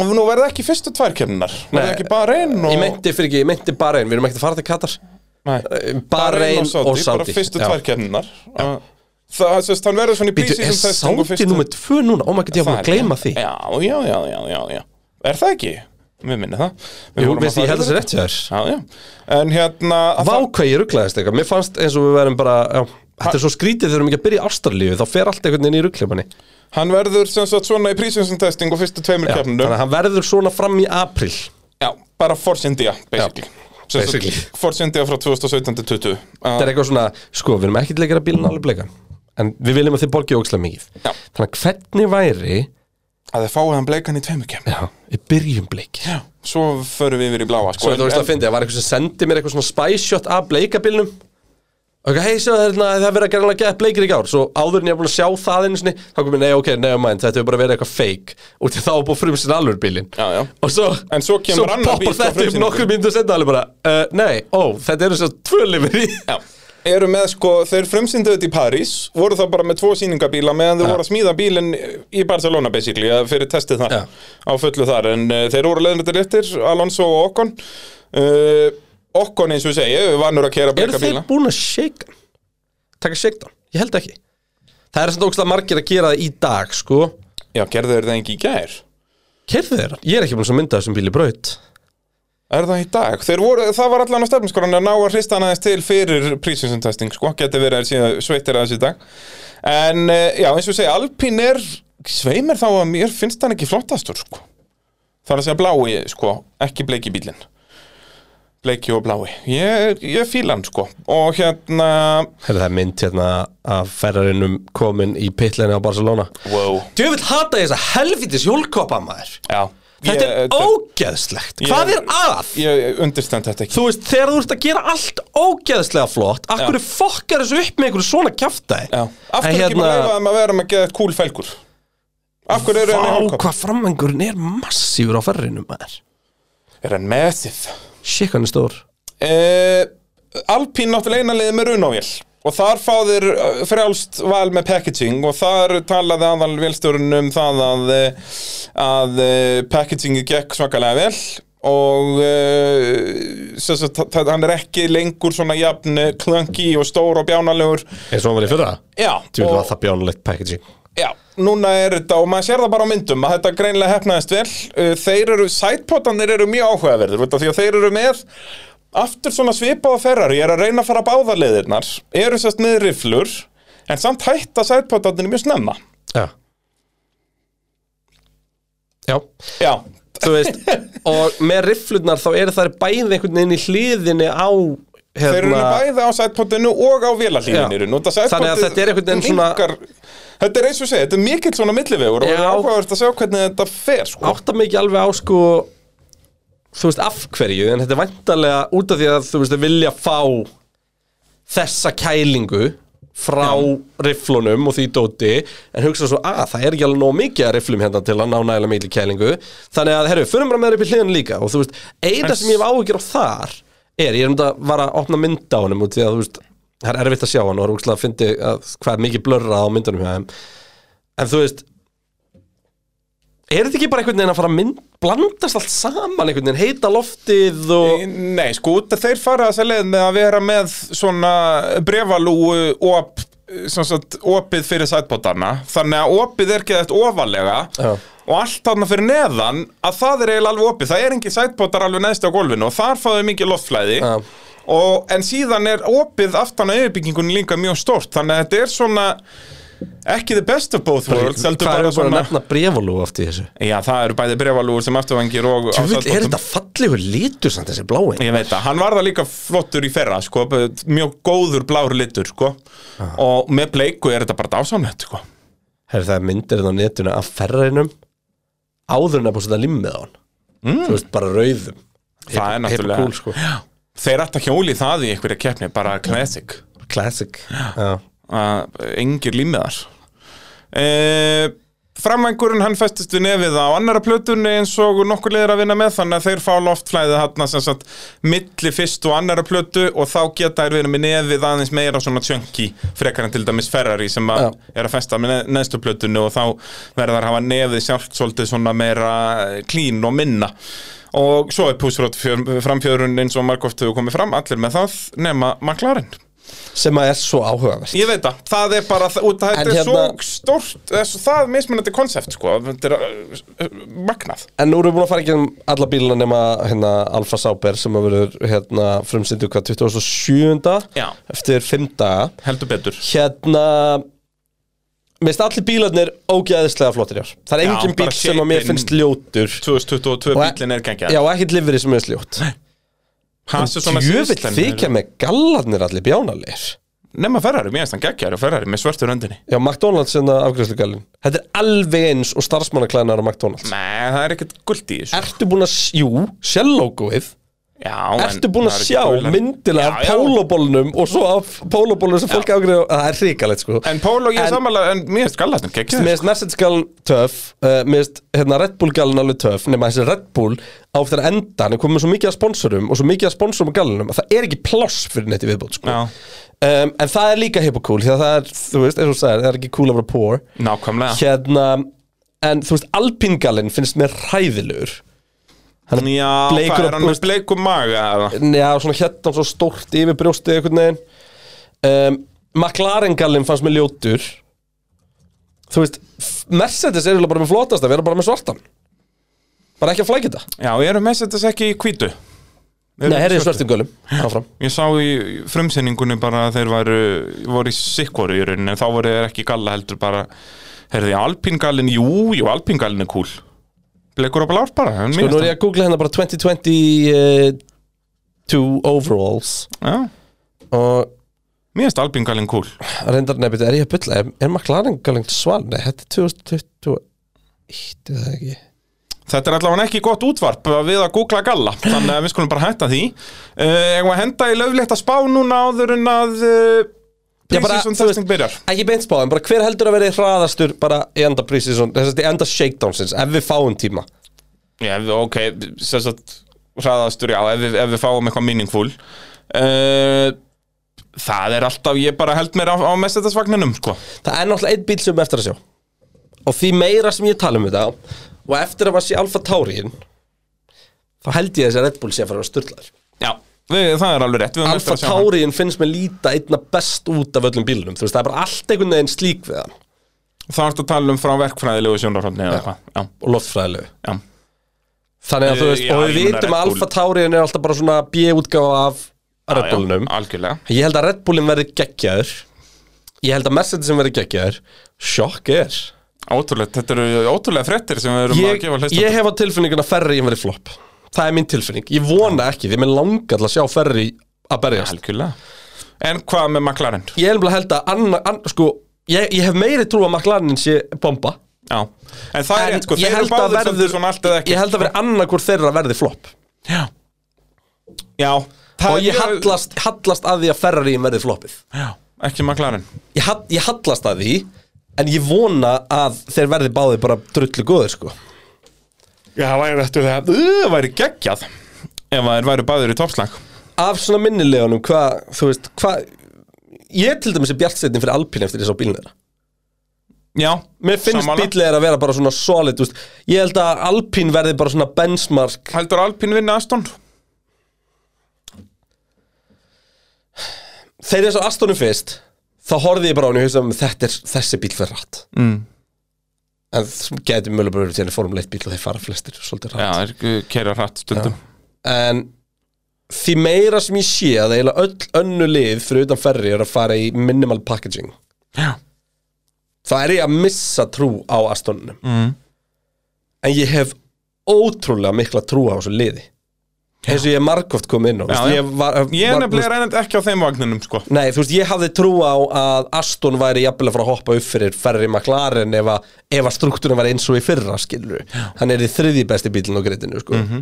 S2: Og nú verði ekki fyrstu tvær kemnar Verði
S1: Nei.
S2: ekki bara einn og
S1: Ég meinti fyrir ekki, ég meinti Bahrein, við erum ekkert að fara til Katar
S2: Nei.
S1: Bahrein eh, og Saudi,
S2: Bara fyrstu
S1: Já.
S2: tvær kemnar Það, þú veist, hann verður svona í
S1: Bíddu,
S2: prísísum
S1: Er Saudi nummer tvö núna? Ó, maður geti að gleyma því
S2: Já, já, já, já, já, já Er það ekki? Mér minni það Við
S1: Jú,
S2: vorum að
S1: veist, ég
S2: fara
S1: held
S2: yfir
S1: þessi rétt hjá þér
S2: þetta. Já, já En hérna að
S1: Vá
S2: það-
S1: hvað ég rugglaðist eitthvað, mér fannst eins og við verðum bara já, Þetta er svo skrítið þegar við erum ekki að byrja í ástarlífi Þá fer allt einhvern veginn í ruggleimanni
S2: Hann verður sem sagt svona í prísísum testing og fyrstu tveimur
S1: Þannig
S2: kemnum
S1: að hann verður svona fram í april Þetta
S2: Já, bara Force India, basically Sem sagt,
S1: basically.
S2: Force India frá 2017 til 20 uh,
S1: er eitthvað svona, sko, við erum ekki til að gera bílun alveg bleika En við viljum að þið borgið ókslega mikið
S2: Já.
S1: Þannig að hvernig væri
S2: Að þið fáið hann bleikan í tveimur kemnum
S1: Já, við byrjum bleik
S2: Já, svo förum við yfir í bláa sko.
S1: Svo þetta veist að fyndi, það var eitthvað sem sendi mér eitthvað svona spice shot af bleikabilnum Ok, hei, sjá þarna, það verið að gerðanlega að geta bleikir í gár Svo áður en ég var búin að sjá það einu sinni Þá kom ég, nei, ok, nei, mæn, þetta hefur bara verið eitthvað fake Og til þá var búin frumsinn alveg bílinn
S2: Já, já.
S1: Og svo,
S2: En svo kemur annar bíll
S1: poppar þetta
S2: frá
S1: upp
S2: frumsýningu.
S1: nokkur mínútur setna alveg bara uh, Nei, ó, þetta eru svo tvölifir í
S2: Já. Eru með sko, þeir frumsýndu þetta í París voru þá bara með tvo sýningabíla meðan þeir voru að smíða bílinn í Barcelona basically, eða fyrir testið þar
S1: Já.
S2: á fullu þar, en uh, þeir voru leðin þetta réttir Alonso og Okkon uh, Okkon eins og ég segi, vannur að kera
S1: Eru
S2: bleika
S1: þeir
S2: bíla
S1: búin að shake hann? Taka shake down? Ég held ekki Það er svona ógstlega margir að gera það í dag, sko
S2: Já, gerðu þeir það ekki í gær
S1: Keirðu þeir hann? Ég er ekki búin að mynda þessum bíl í braut
S2: Er það í dag? Þeir Voru, það var allan á stefnskoran að ná að hrista hann aðeins til fyrir prísinsum testing, sko, geti verið að síða, sveitir aðeins í dag En eh, já, eins og segja, Alpín er sveimir þá að mér finnst hann ekki flottastur, sko Það er að segja blái, sko, ekki bleiki bílinn Bleiki og blái Ég, ég fíla hann, sko Og hérna,
S1: Herra, það er mynd hérna af ferrarinum komin í pitleinu á Barcelona
S2: wow
S1: Djöfull hata ég þess að helvitis hjólkoppa maður
S2: Já,
S1: Þetta
S2: Ég-
S1: er ógeðslegt, hvað
S2: Ég-
S1: er að?
S2: Ég understand þetta ekki
S1: Þú veist, þegar þú ert að gera allt ógeðslega flott Akkur fokkar þessu upp með einhverju svona kjaftaði
S2: Já, af hverju ekki
S1: hérna-
S2: bara leifa þeim að vera með að geða kúl felgur? Af hverju eru hann í
S1: Vá,
S2: hálfkopp?
S1: hvað framengurinn er massífur á ferrarinum maður
S2: Er hann massive?
S1: Shit, hann er stór
S2: uh, Alpín náttúrulega eina leiði með runavél og þar fá þeir eh, frjálst val með packaging og þar talaði aðal vélstjórun um það að, eh, að eh, packagingi gekk svakalega vel og uh, sem sagt, þa- þa- hann er ekki lengur svona jafn eh, clunky og stór og bjánalegur
S1: eins og hann var í fyrra
S2: Já,
S1: Tjúl
S2: og-
S1: var það bjánulegt packaging
S2: Já, núna er þetta og maður sér það bara á myndum að þetta greinilega hefnaðist vel Uh, þeir eru, sætpotanir eru mjög áhugaverður út af því að þeir eru með aftur svona svipaða ferrar, ég er að reyna að fara báðar leiðirnar, eru sérst með riflur en samt hætta sætpotanir mjög snemma
S1: Já Já,
S2: Já,
S1: þú veist Og með rifflurnar þá eru þær bæði einhvern veginn í hliðinni á hérna,
S2: þeir eru bæði á sætpotinu og á
S1: Já.
S2: vélalíninu út af
S1: Þannig að
S2: sætpotið
S1: þetta er einhvern veginn svona-
S2: minnkar- Þetta er eins og segja, þetta er mikill svona millivegur og
S1: Já.
S2: það er áhugavert að sjá hvernig þetta fer sko.
S1: átta mig ekki alveg á sko þú veist af hverju en þetta er vantarlega út af því að þú veist að vilja fá þessa kælingu frá rifflunum og því dóti en hugsa svo að það er ekki alveg nóg mikið að rifflum hérna til að ná nægilega mikið kælingu þannig að herru, förum bara með þeir upp í hliðan líka og þú veist, eina
S2: En-
S1: sem ég hef áhyggjur á þar er, ég er um þetta var að opna mynd á honum út því að þú veist, það er erfitt að sjá hann og það er úkslega að fyndi að hvað er mikið blörra á myndunum hjá þeim en þú veist, er þetta ekki bara einhvern veginn að fara að mynd, blandast allt saman einhvern veginn, heita loftið og
S2: Nei, sko, út að þeir fara þess að leið með að vera með svona brefalúu op, sem sagt, opið fyrir sætbótana þannig að opið er geðast ofalega
S1: Já.
S2: og allt þarna fyrir neðan að það er eiginlega alveg opið, það er engin sætbótar alveg neðst á gólfinu og þar fáðu mikið loftflæði
S1: Já.
S2: og, en síðan er opið aftan á yfirbyggingunni líka mjög stórt þannig að þetta er svona ekki the best of both worlds
S1: hvað er
S2: heldur
S1: bara
S2: bara
S1: að
S2: svona
S1: nefna brefalú aftur í þessu
S2: Já, það eru bæði brefalúur sem afturvangir og á
S1: Tjöfull, er
S2: sætbótum.
S1: þetta fallegur lítur samt þessi blái
S2: Ég veit það, hann var það líka flottur í ferra sko, mjög góður blár litur sko. og með bleiku er þetta bara dásamlegt sko.
S1: Herri, það er myndir þetta á netinu af ferrarinum áður en að búið að setja limmið á hann mm. þú veist, bara rauðum
S2: Það er náttúrulega
S1: cool, sko.
S2: Já. Þeir ætta hjóli það í einhverja keppni bara classic,
S1: classic Já.
S2: að engir límiðar e, Framvængurinn hann festist við nefið á annara plötunni eins og nokkur liðir að vinna með þannig að þeir fá loftflæðið hann sem sagt milli fyrst og annara plötu og þá geta þeir verið með nefið aðeins meira svona chunky frekar en til dæmis Ferrari sem að
S1: Já.
S2: er að festa með ne- neðstu plötunni og þá verður þær að hafa nefið sjálft svolítið svona meira klín og minna og svo er púsrótt framfjörun eins og margóft hefur komið fram, allir með það nema maklarinn
S1: sem að er svo áhugaverst
S2: Ég veit það, það er bara, það- út, þetta
S1: En
S2: er
S1: hérna-
S2: svo stórt, það er svo- það er mismunandi konsept sko, þetta er uh, uh, magnað.
S1: en nú erum við búin að fara ekki um alla bíluna nema hérna, Alfa Sauber sem að verður hérna, frumsindu hvað 27.
S2: Já.
S1: eftir 5 daga
S2: Heldur betur.
S1: hérna minnst allir bílarnir ógæðislega flottir í ár það er
S2: Já,
S1: engin bíl
S2: bara
S1: sem að mér
S2: shaping.
S1: finnst ljótur
S2: 2022
S1: Og- e-
S2: bílinn er gengjað.
S1: já, og ekkert livrið sem mér finnst ljótt djöfitt þykja með gallarnir allir bjánalir
S2: Nefna Ferrari, mér finnst hann geggjaður og Ferrari með svörtu röndinni.
S1: Já, McDonalds hérna afgræslugallin Þetta er alveg eins og starfsmannaklæðnar á McDonalds
S2: Nei, það er ekkert guld í þessu.
S1: Ertu búin að, s- jú, sjálflókuð
S2: Já,
S1: Ertu búin að sjá myndilega af
S2: Já, já.
S1: pólobólnum og svo af pólobólnum sem fólk afgræða Það er hrikalegt sko
S2: En Pól og ég
S1: En-
S2: samanlega, en mér finnst gallastin geggjaður.
S1: Mér finnst Mercedes-gallin töff uh, Mér finnst hérna, Red Bull-gallin alveg töff Nefna þessi Red Bull á þeirra enda Hann er komið með svo mikið af sponsorum og svo mikið af sponsorum á gallinum að það er ekki pláss fyrir neitt í viðbót sko.
S2: Já,
S1: um, En það er líka hippokúl Því að það er, þú veist, eins og þú sagðir, það er ekki cool að vera poor
S2: nákvæmlega.
S1: hérna en þú veist, alpingallin finnst mér hræðilegur
S2: Já,
S1: bleikur og
S2: hvað er hann með bleikum maga? eða?
S1: já, svona hérna svo stórt yfir brjóstið einhvern veginn um, McLaren-gallin fannst mér ljótur þú veist f- Mercedes er eiginlega bara með flotast að vera bara með svartan bara ekki að flækja þetta
S2: Já, ég erum mest þetta ekki í hvítu. Eru
S1: nei,
S2: í
S1: herrið
S2: svörtu.
S1: svartum gölum áfram
S2: Ég sá í frumsýningunni bara að þeir varu, voru í sikkvoru í rauninni en þá voru þeir ekki galla heldur bara heyrði, alpingallin, jú, jú, alpingallin er cool Blekur og blár bara en
S1: og
S2: mér
S1: nú er ég
S2: finnst
S1: að googla hérna bara 2022 overalls
S2: hann- Já,
S1: og
S2: mér finnst alpingallin cool
S1: reyndar nefnir, er ég að bylla er, er McLaren-gallin sval? nei, þetta er 2021 er það ekki
S2: Þetta er allavega ekki gott útvarp við að googla galla þannig að við skulum bara hætta því uh, Ég var henda í löflegt að spá núna áður en að uh,
S1: Já, bara,
S2: Prísísson
S1: þú veist-
S2: testing byrjar
S1: ekki beint spá, en bara hver heldur að verði hraðastur bara í enda prísísson, þess að í enda shakedownsins ef við fáum tíma
S2: Já, við- ok, sem sagt hraðastur, já, ef við, ef við fáum eitthvað meaningful uh, Það er alltaf, ég bara held mér á, á mestendasvagninum, sko
S1: það er náttúrulega einn bíl sem við eftir að sjá og því meira sem ég tala um þetta og eftir að maður sé Alfa Taurin þá þá held ég að þessi Red Bull sé að fara að styrla þér
S2: Já, við, það er alveg rétt við höfum eftir
S1: Alfa
S2: að sjá hann.
S1: Tauriin finnst mér líta einna best út af öllum bílunum þú veist, það er bara allt einhvern veginn slík við hann
S2: Þá ertu að tala um frá verkfræðilegu sjónarhóttni eða eitthvað Já,
S1: og loftfræðilegu
S2: já,
S1: þannig að þú
S2: Eh,
S1: veist,
S2: já,
S1: og við
S2: ég meina
S1: vitum að
S2: Red Bull.
S1: Alfa Tauriin er alltaf bara svona B-útgáfa af Red Bullnum
S2: Já, Algjörlega
S1: ég held að Red Bullin verði geggjaður ég held að Mercedesin verði geggjaður sjokk er
S2: Ótrúlega, þetta eru ótrúlega fréttir sem við erum að
S1: ég,
S2: gefa hlust
S1: ég hef á tilfinninguna Ferri verði flopp það er mín tilfinning, ég vona ekki því mér langar til að sjá Ferri að berjast
S2: Algjörlega En hvað með McLaren?
S1: ég hef held að anna, an, sko, ég, ég hef meiri trú að McLarenin sé bomba
S2: Já, en það er
S1: En
S2: rétt sko,
S1: ég
S2: þeir eru
S1: held að
S2: báðir
S1: verður
S2: svolítið svona allt eða ekki
S1: ég held að verði annarkur þeirra verði flopp
S2: Já, já það
S1: og
S2: er
S1: ég
S2: mjög-
S1: hallast, hallast að því að Ferri verði floppið
S2: Já, ekki McLaren
S1: ég, hall, ég hallast að því en ég vona að þeir verði báði bara drullu góður sko
S2: Já, það væri réttu það Það væri geggjað Ef að þeir væri báðir í toppslag
S1: af svona minnilegunum hvað, þú veist, hvað ég til dæmis er bjartsettin fyrir Alpine eftir þess á bílinu þeirra
S2: Já,
S1: Mér finnst
S2: sammála.
S1: bíllið er að vera bara svona solid úst. Ég held að Alpine verði bara svona benchmark
S2: Heldur Alpín vinna Aston?
S1: Þegar ég svo Astonum fyrst Þá horfði ég bara á henni og hugsaði um þetta er þessi bíl fyrir rætt mm. En það getur mjög bara verið til að formule 1 bíl og þeir fara flestir svolítið
S2: Já,
S1: rætt
S2: þeir keira hratt stundum
S1: En því meira sem ég sé að eiginlega öll önnu lið fyrir utan ferri er að fara í minimal packaging
S2: Já,
S1: Það er ég að missa trú á Astonunum mm. En ég hef ótrúlega mikla trú á þessu liði eins og ég er margóft komið inn á
S2: Já,
S1: veist,
S2: já.
S1: ég, var,
S2: Ég er
S1: var-
S2: nefnilega reynend ekki á þeim vagninum sko
S1: Nei, þú veist, ég hafði trú á að Aston væri jafnilega frá að hoppa upp fyrir Ferri McLaren ef að, ef að struktúrin var eins og í fyrra, skilur Hann er í þriðji besti bílinn á greitinu, sko
S2: Mhm.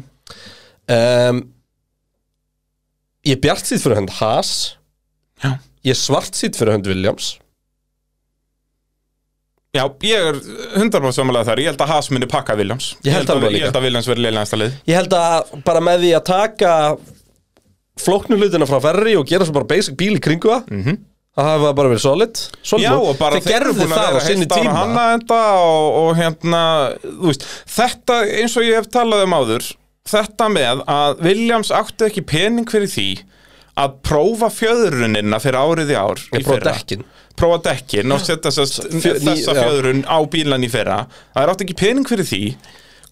S1: um, Ég er bjart sýtt fyrir hönd Haas
S2: Já.
S1: Ég er svart sýtt fyrir hönd Williams
S2: Já, ég er 100% samanlega þar Ég held að Haas minni pakka Williams
S1: Ég held alveg
S2: að,
S1: líka.
S2: ég held að Williams verði leila næsta lið
S1: Ég held að bara með því að taka flóknu hlutina frá Ferri og gera svo bara basic bíl í kringu það mm -hmm. Það hafa bara verið solid, solid
S2: Mhm. Já,
S1: move.
S2: og bara
S1: Þeir
S2: eru
S1: gerðu
S2: búin að
S1: það á
S2: vera
S1: sinni
S2: heilt ár að
S1: tíma
S2: hanna þetta og, og hérna, þú veist, þetta eins og ég hef talað um áður þetta með að Williams átti ekki pening fyrir því að prófa fjöðrunina fyrir árið í ár
S1: Ég
S2: í
S1: prófa
S2: fyrra.
S1: dekkin.
S2: prófa dekkin og setja þess,
S1: Fjö- ný-
S2: þessa
S1: já.
S2: fjöðrun á bílan í fyrra það er átti ekki pening fyrir því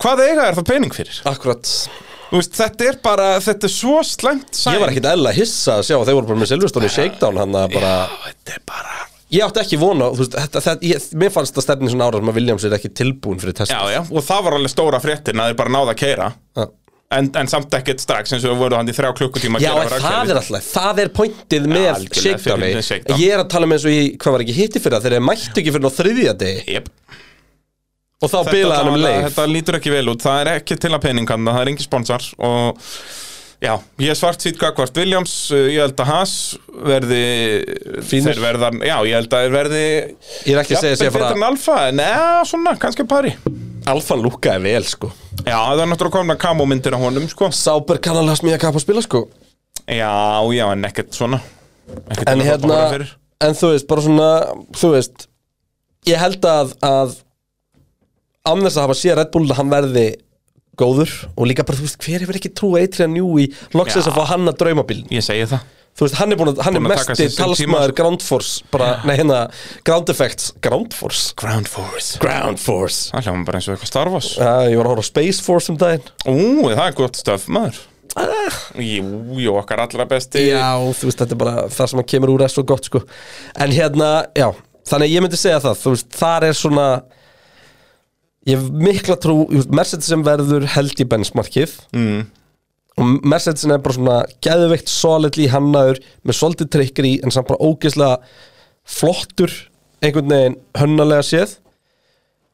S2: hvað eiga er það pening fyrir?
S1: Akkurat
S2: Þú Veist, þetta er bara, þetta er svo slæmt sæn
S1: Ég var ekkit eðla hissa að sjá að þeir voru bara með Silvestóni shakedown hann að bara
S2: þetta er bara
S1: Ég átti ekki vona, þú veist, þetta, þetta, ég, mér fannst það stefni svona ára sem að Williams er ekki tilbúin fyrir test
S2: já, já, og það var alveg stóra fréttin að þeir bara náða að keira
S1: Já.
S2: en, en samt ekkert strax eins og við vorum hann í þrjá klukkutíma að
S1: Já,
S2: gera
S1: en
S2: bara
S1: það
S2: ákveðið.
S1: er alltaf, það er pointið með
S2: algjörlega,
S1: shakedowni
S2: fyrir með shakedown.
S1: Ég er að tala með eins og ég, hvað var ekki hitti fyrir það, þeir eru mættu ekki fyrir á þriðja degi
S2: Jep.
S1: Og þá
S2: Þetta
S1: bilaði hann um
S2: tala-
S1: leið
S2: Þetta lítur ekki vel út, það er ekki til að peninganna það er engin sponsor og já, ég er svart sýt gagvart Williams uh, ég held að Haas verði
S1: Fínir.
S2: þeir verðar, já, ég held að þeir verði
S1: Ég er ekki að segja sér
S2: Jafnvel
S1: að
S2: betur en
S1: fara
S2: Alfa, neða, svona, kannski pari Já,
S1: Alfa lúkaði vel, sko
S2: það er náttúrulega komin að kamo myndir á honum, sko
S1: Sáber kannalega smíða kapp og spila, sko
S2: Já, já, en ekkert svona ekkert
S1: en
S2: til að hrópa
S1: hérna
S2: húrra fyrir.
S1: en þú veist, bara svona þú veist, ég held að að án þess að hafa séð Red Bull að hann verði góður og líka bara, þú veist, hver hefur ekki trúa eitri að njú í loksins
S2: Já.
S1: að fá hann að draumabílinn
S2: Ég segi það
S1: þú veist, hann er, búin að, hann
S2: Búinn
S1: er
S2: að taka
S1: mesti
S2: sér sinn sko.
S1: talsmaður Ground Force, bara, nei hérna Ground Effects, Ground Force?
S2: Ground Force
S1: Ground Force
S2: Það hljóðum bara eins og eitthvað Star Wars
S1: Já, ég var að horfa á Space Force um daginn
S2: Ú, það er gott stöf, maður
S1: Ah.
S2: Jú, jú, okkar allra besti
S1: Já, þú veist, þetta er bara það sem hann kemur úr er svo gott, sko En hérna, já, þannig að ég myndi segja það Þú veist, þar er svona Ég hef mikla trú þú veist, Mercedes sem verður held í benchmarkið mm. Og Mercedes er bara svona Geðveikt solidly hannaður Með svolítið trikkir í, en samt bara ógeðslega Flottur Einhvern veginn hönnalega séð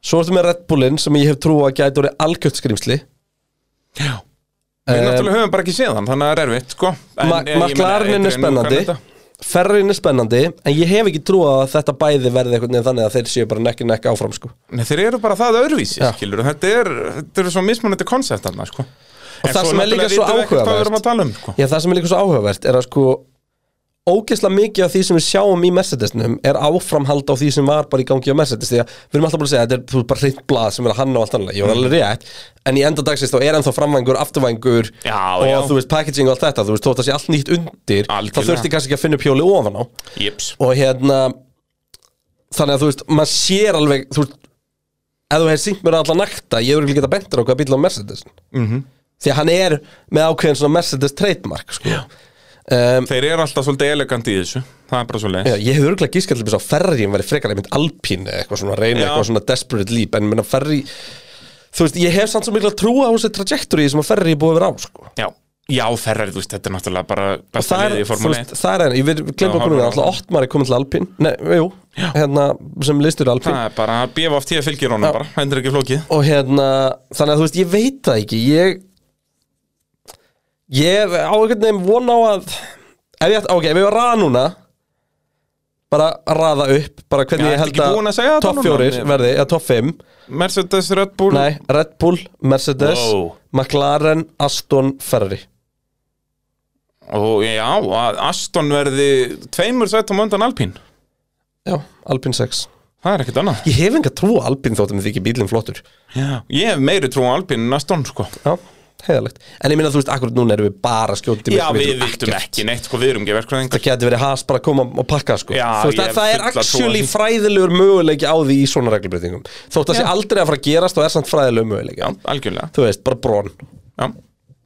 S1: Svo ertu með Red Bullinn sem ég hef trú á að gæti orðið algjöft skrýmsli
S2: Já. Við náttúrulega höfum bara ekki séð hann, þannig að það er erfitt, sko En,
S1: Eh, Ma-
S2: eh, ég meina,
S1: McLaren er
S2: Adrian Newey kann
S1: spennandi
S2: þetta.
S1: Ferrin er spennandi En ég hef ekki trú að þetta bæði verði einhvern veginn þannig að þeir séu bara nekki nekki áfram sko.
S2: Nei, þeir eru bara það öðruvísi,
S1: Já.
S2: skilur Þetta er, þetta er svo mismunandi koncept hann, sko Og
S1: það sem er líka svo
S2: Hvað við
S1: áhugavert-
S2: erum að tala um, sko
S1: Já það sem er líka svo áhugavert er að sko ógeðslega mikið af því sem við sjáum í Mercedesnum er áframhald á því sem var bara í gangi á Mercedes því að við erum alltaf búin að segja þetta er þú veist, bara hreint blað sem er að hanna og allt annað ég var alveg rétt en í enda dagsins þá er ennþá framvængur, afturvængur
S2: Já,
S1: og
S2: já.
S1: þú veist packaging og allt þetta þú veist þótt að sé allt nýtt undir
S2: Algjörlega.
S1: þá þurfti kannski ekki að finna upp hjólið ofan á
S2: Jips
S1: og hérna þannig að þú veist, maður sér alveg þú veist, ef þú hefði sínt mér alla nakta ég hefur ekki getað bentur á hvað bíl á Mercedes mm
S2: Mhm.
S1: -hmm. því að hann er með ákveðin svona Mercedes trademark sko. um,
S2: Þeir eru alltaf svolítið elegant í þessu Það er bara svolítið
S1: já, ég hefur örgulega gískað til þess að ferriðin verið frekar einmitt alpín eða eitthvað svona reyna
S2: Já.
S1: eitthvað svona desperate leap en menna ferri þú veist, ég hef samt svo mikla trú á þessi trajectory sem að ferri búið verið á sko.
S2: Já, já Ferrari, þú veist, þetta er náttúrulega bara
S1: og
S2: besta
S1: það er,
S2: liðið í
S1: þú
S2: Formule
S1: veist,
S2: 1
S1: það er enn, ég vil
S2: Já,
S1: glemma okkur núna,
S2: horfum.
S1: alltaf Ottmar er komin til Alpín, nei, jú, hérna, sem listur Alpín
S2: Það er bara, BFT fylgir honum bara, hendur ekki flókið
S1: og hérna, þannig að þú veist, ég veit það ekki ég ég á einhvern veginn von á að ef ég ætti, ok, ef ég var að raða núna bara að raða upp bara
S2: Já,
S1: hvernig
S2: ertu
S1: ég held
S2: ekki búin að segja
S1: að
S2: þetta
S1: topp
S2: núna? Mm.
S1: fjórir verði, eða topp fimm
S2: Mercedes, Red Bull
S1: nei, Red Bull, Mercedes
S2: Wow.
S1: McLaren, Aston, Ferrari
S2: Og já, að Aston verði tveimur sætt á möndan Alpín
S1: já, Alpine 6
S2: Það er ekkert annað
S1: ég hef enga trú á Alpine þóttum því ekki bílinn flottur
S2: já. Ég hef meiri trú á Alpín en Aston, sko
S1: já, heiðalegt en ég minna, þú veist, akkurat núna erum við bara skjótið
S2: Já, við viltum ekki neitt, sko, við erum ekki verkfræðingar
S1: það geti verið has bara að koma og pakka sko.
S2: Já,
S1: Þú veist,
S2: ég
S1: að það er
S2: fulla trú á
S1: actually
S2: því.
S1: fræðilegur möguleiki á því í svona reglubreitingum þótt að sé aldrei að fara að gerast þá er samt fræðilegur möguleiki
S2: Já, algjörlega
S1: þú veist, bara brón
S2: Já,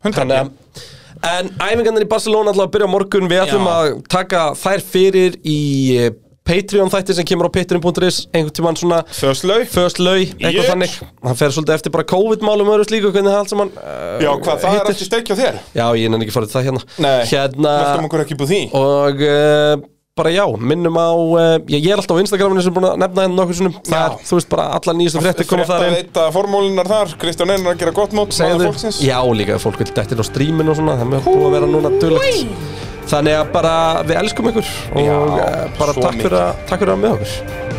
S2: hundra
S1: Þannig, að- en æfingarnir í Barcelona ætla að byrja á morgun við ætlum
S2: Já.
S1: að taka þær fyrir í eh, Patreon þætti sem kemur á patreon.is einhvern tímann svona
S2: Föslau
S1: First lau, eitthvað
S2: Yes.
S1: þannig Það fer svolítið eftir bara COVID-málum og öðru slíku Hvernig það allt saman uh,
S2: Já, hvað, það er
S1: hittir.
S2: ekki steikja þér?
S1: Já, ég nenni ekki farið það hérna
S2: Nei,
S1: hérna,
S2: Veltum okkur ekki búið því
S1: og uh, bara já, minnum á uh, ég, ég er alltaf á Instagraminu sem er búin að nefna hérna nokkur sinnum, það er,
S2: Já.
S1: þú veist bara allar nýjastu fréttir koma þar inn
S2: Þetta formúlinar þar, Kristján Einar að gera gott mót maður
S1: Segðu-
S2: fólksins.
S1: já líka, ef fólk vil dættir á streaminu og svona, það er búið að vera núna duglegt þannig að bara við elskum ykkur og
S2: Já,
S1: já, bara
S2: svo
S1: takk fyrir, að, takk fyrir að vera með okkur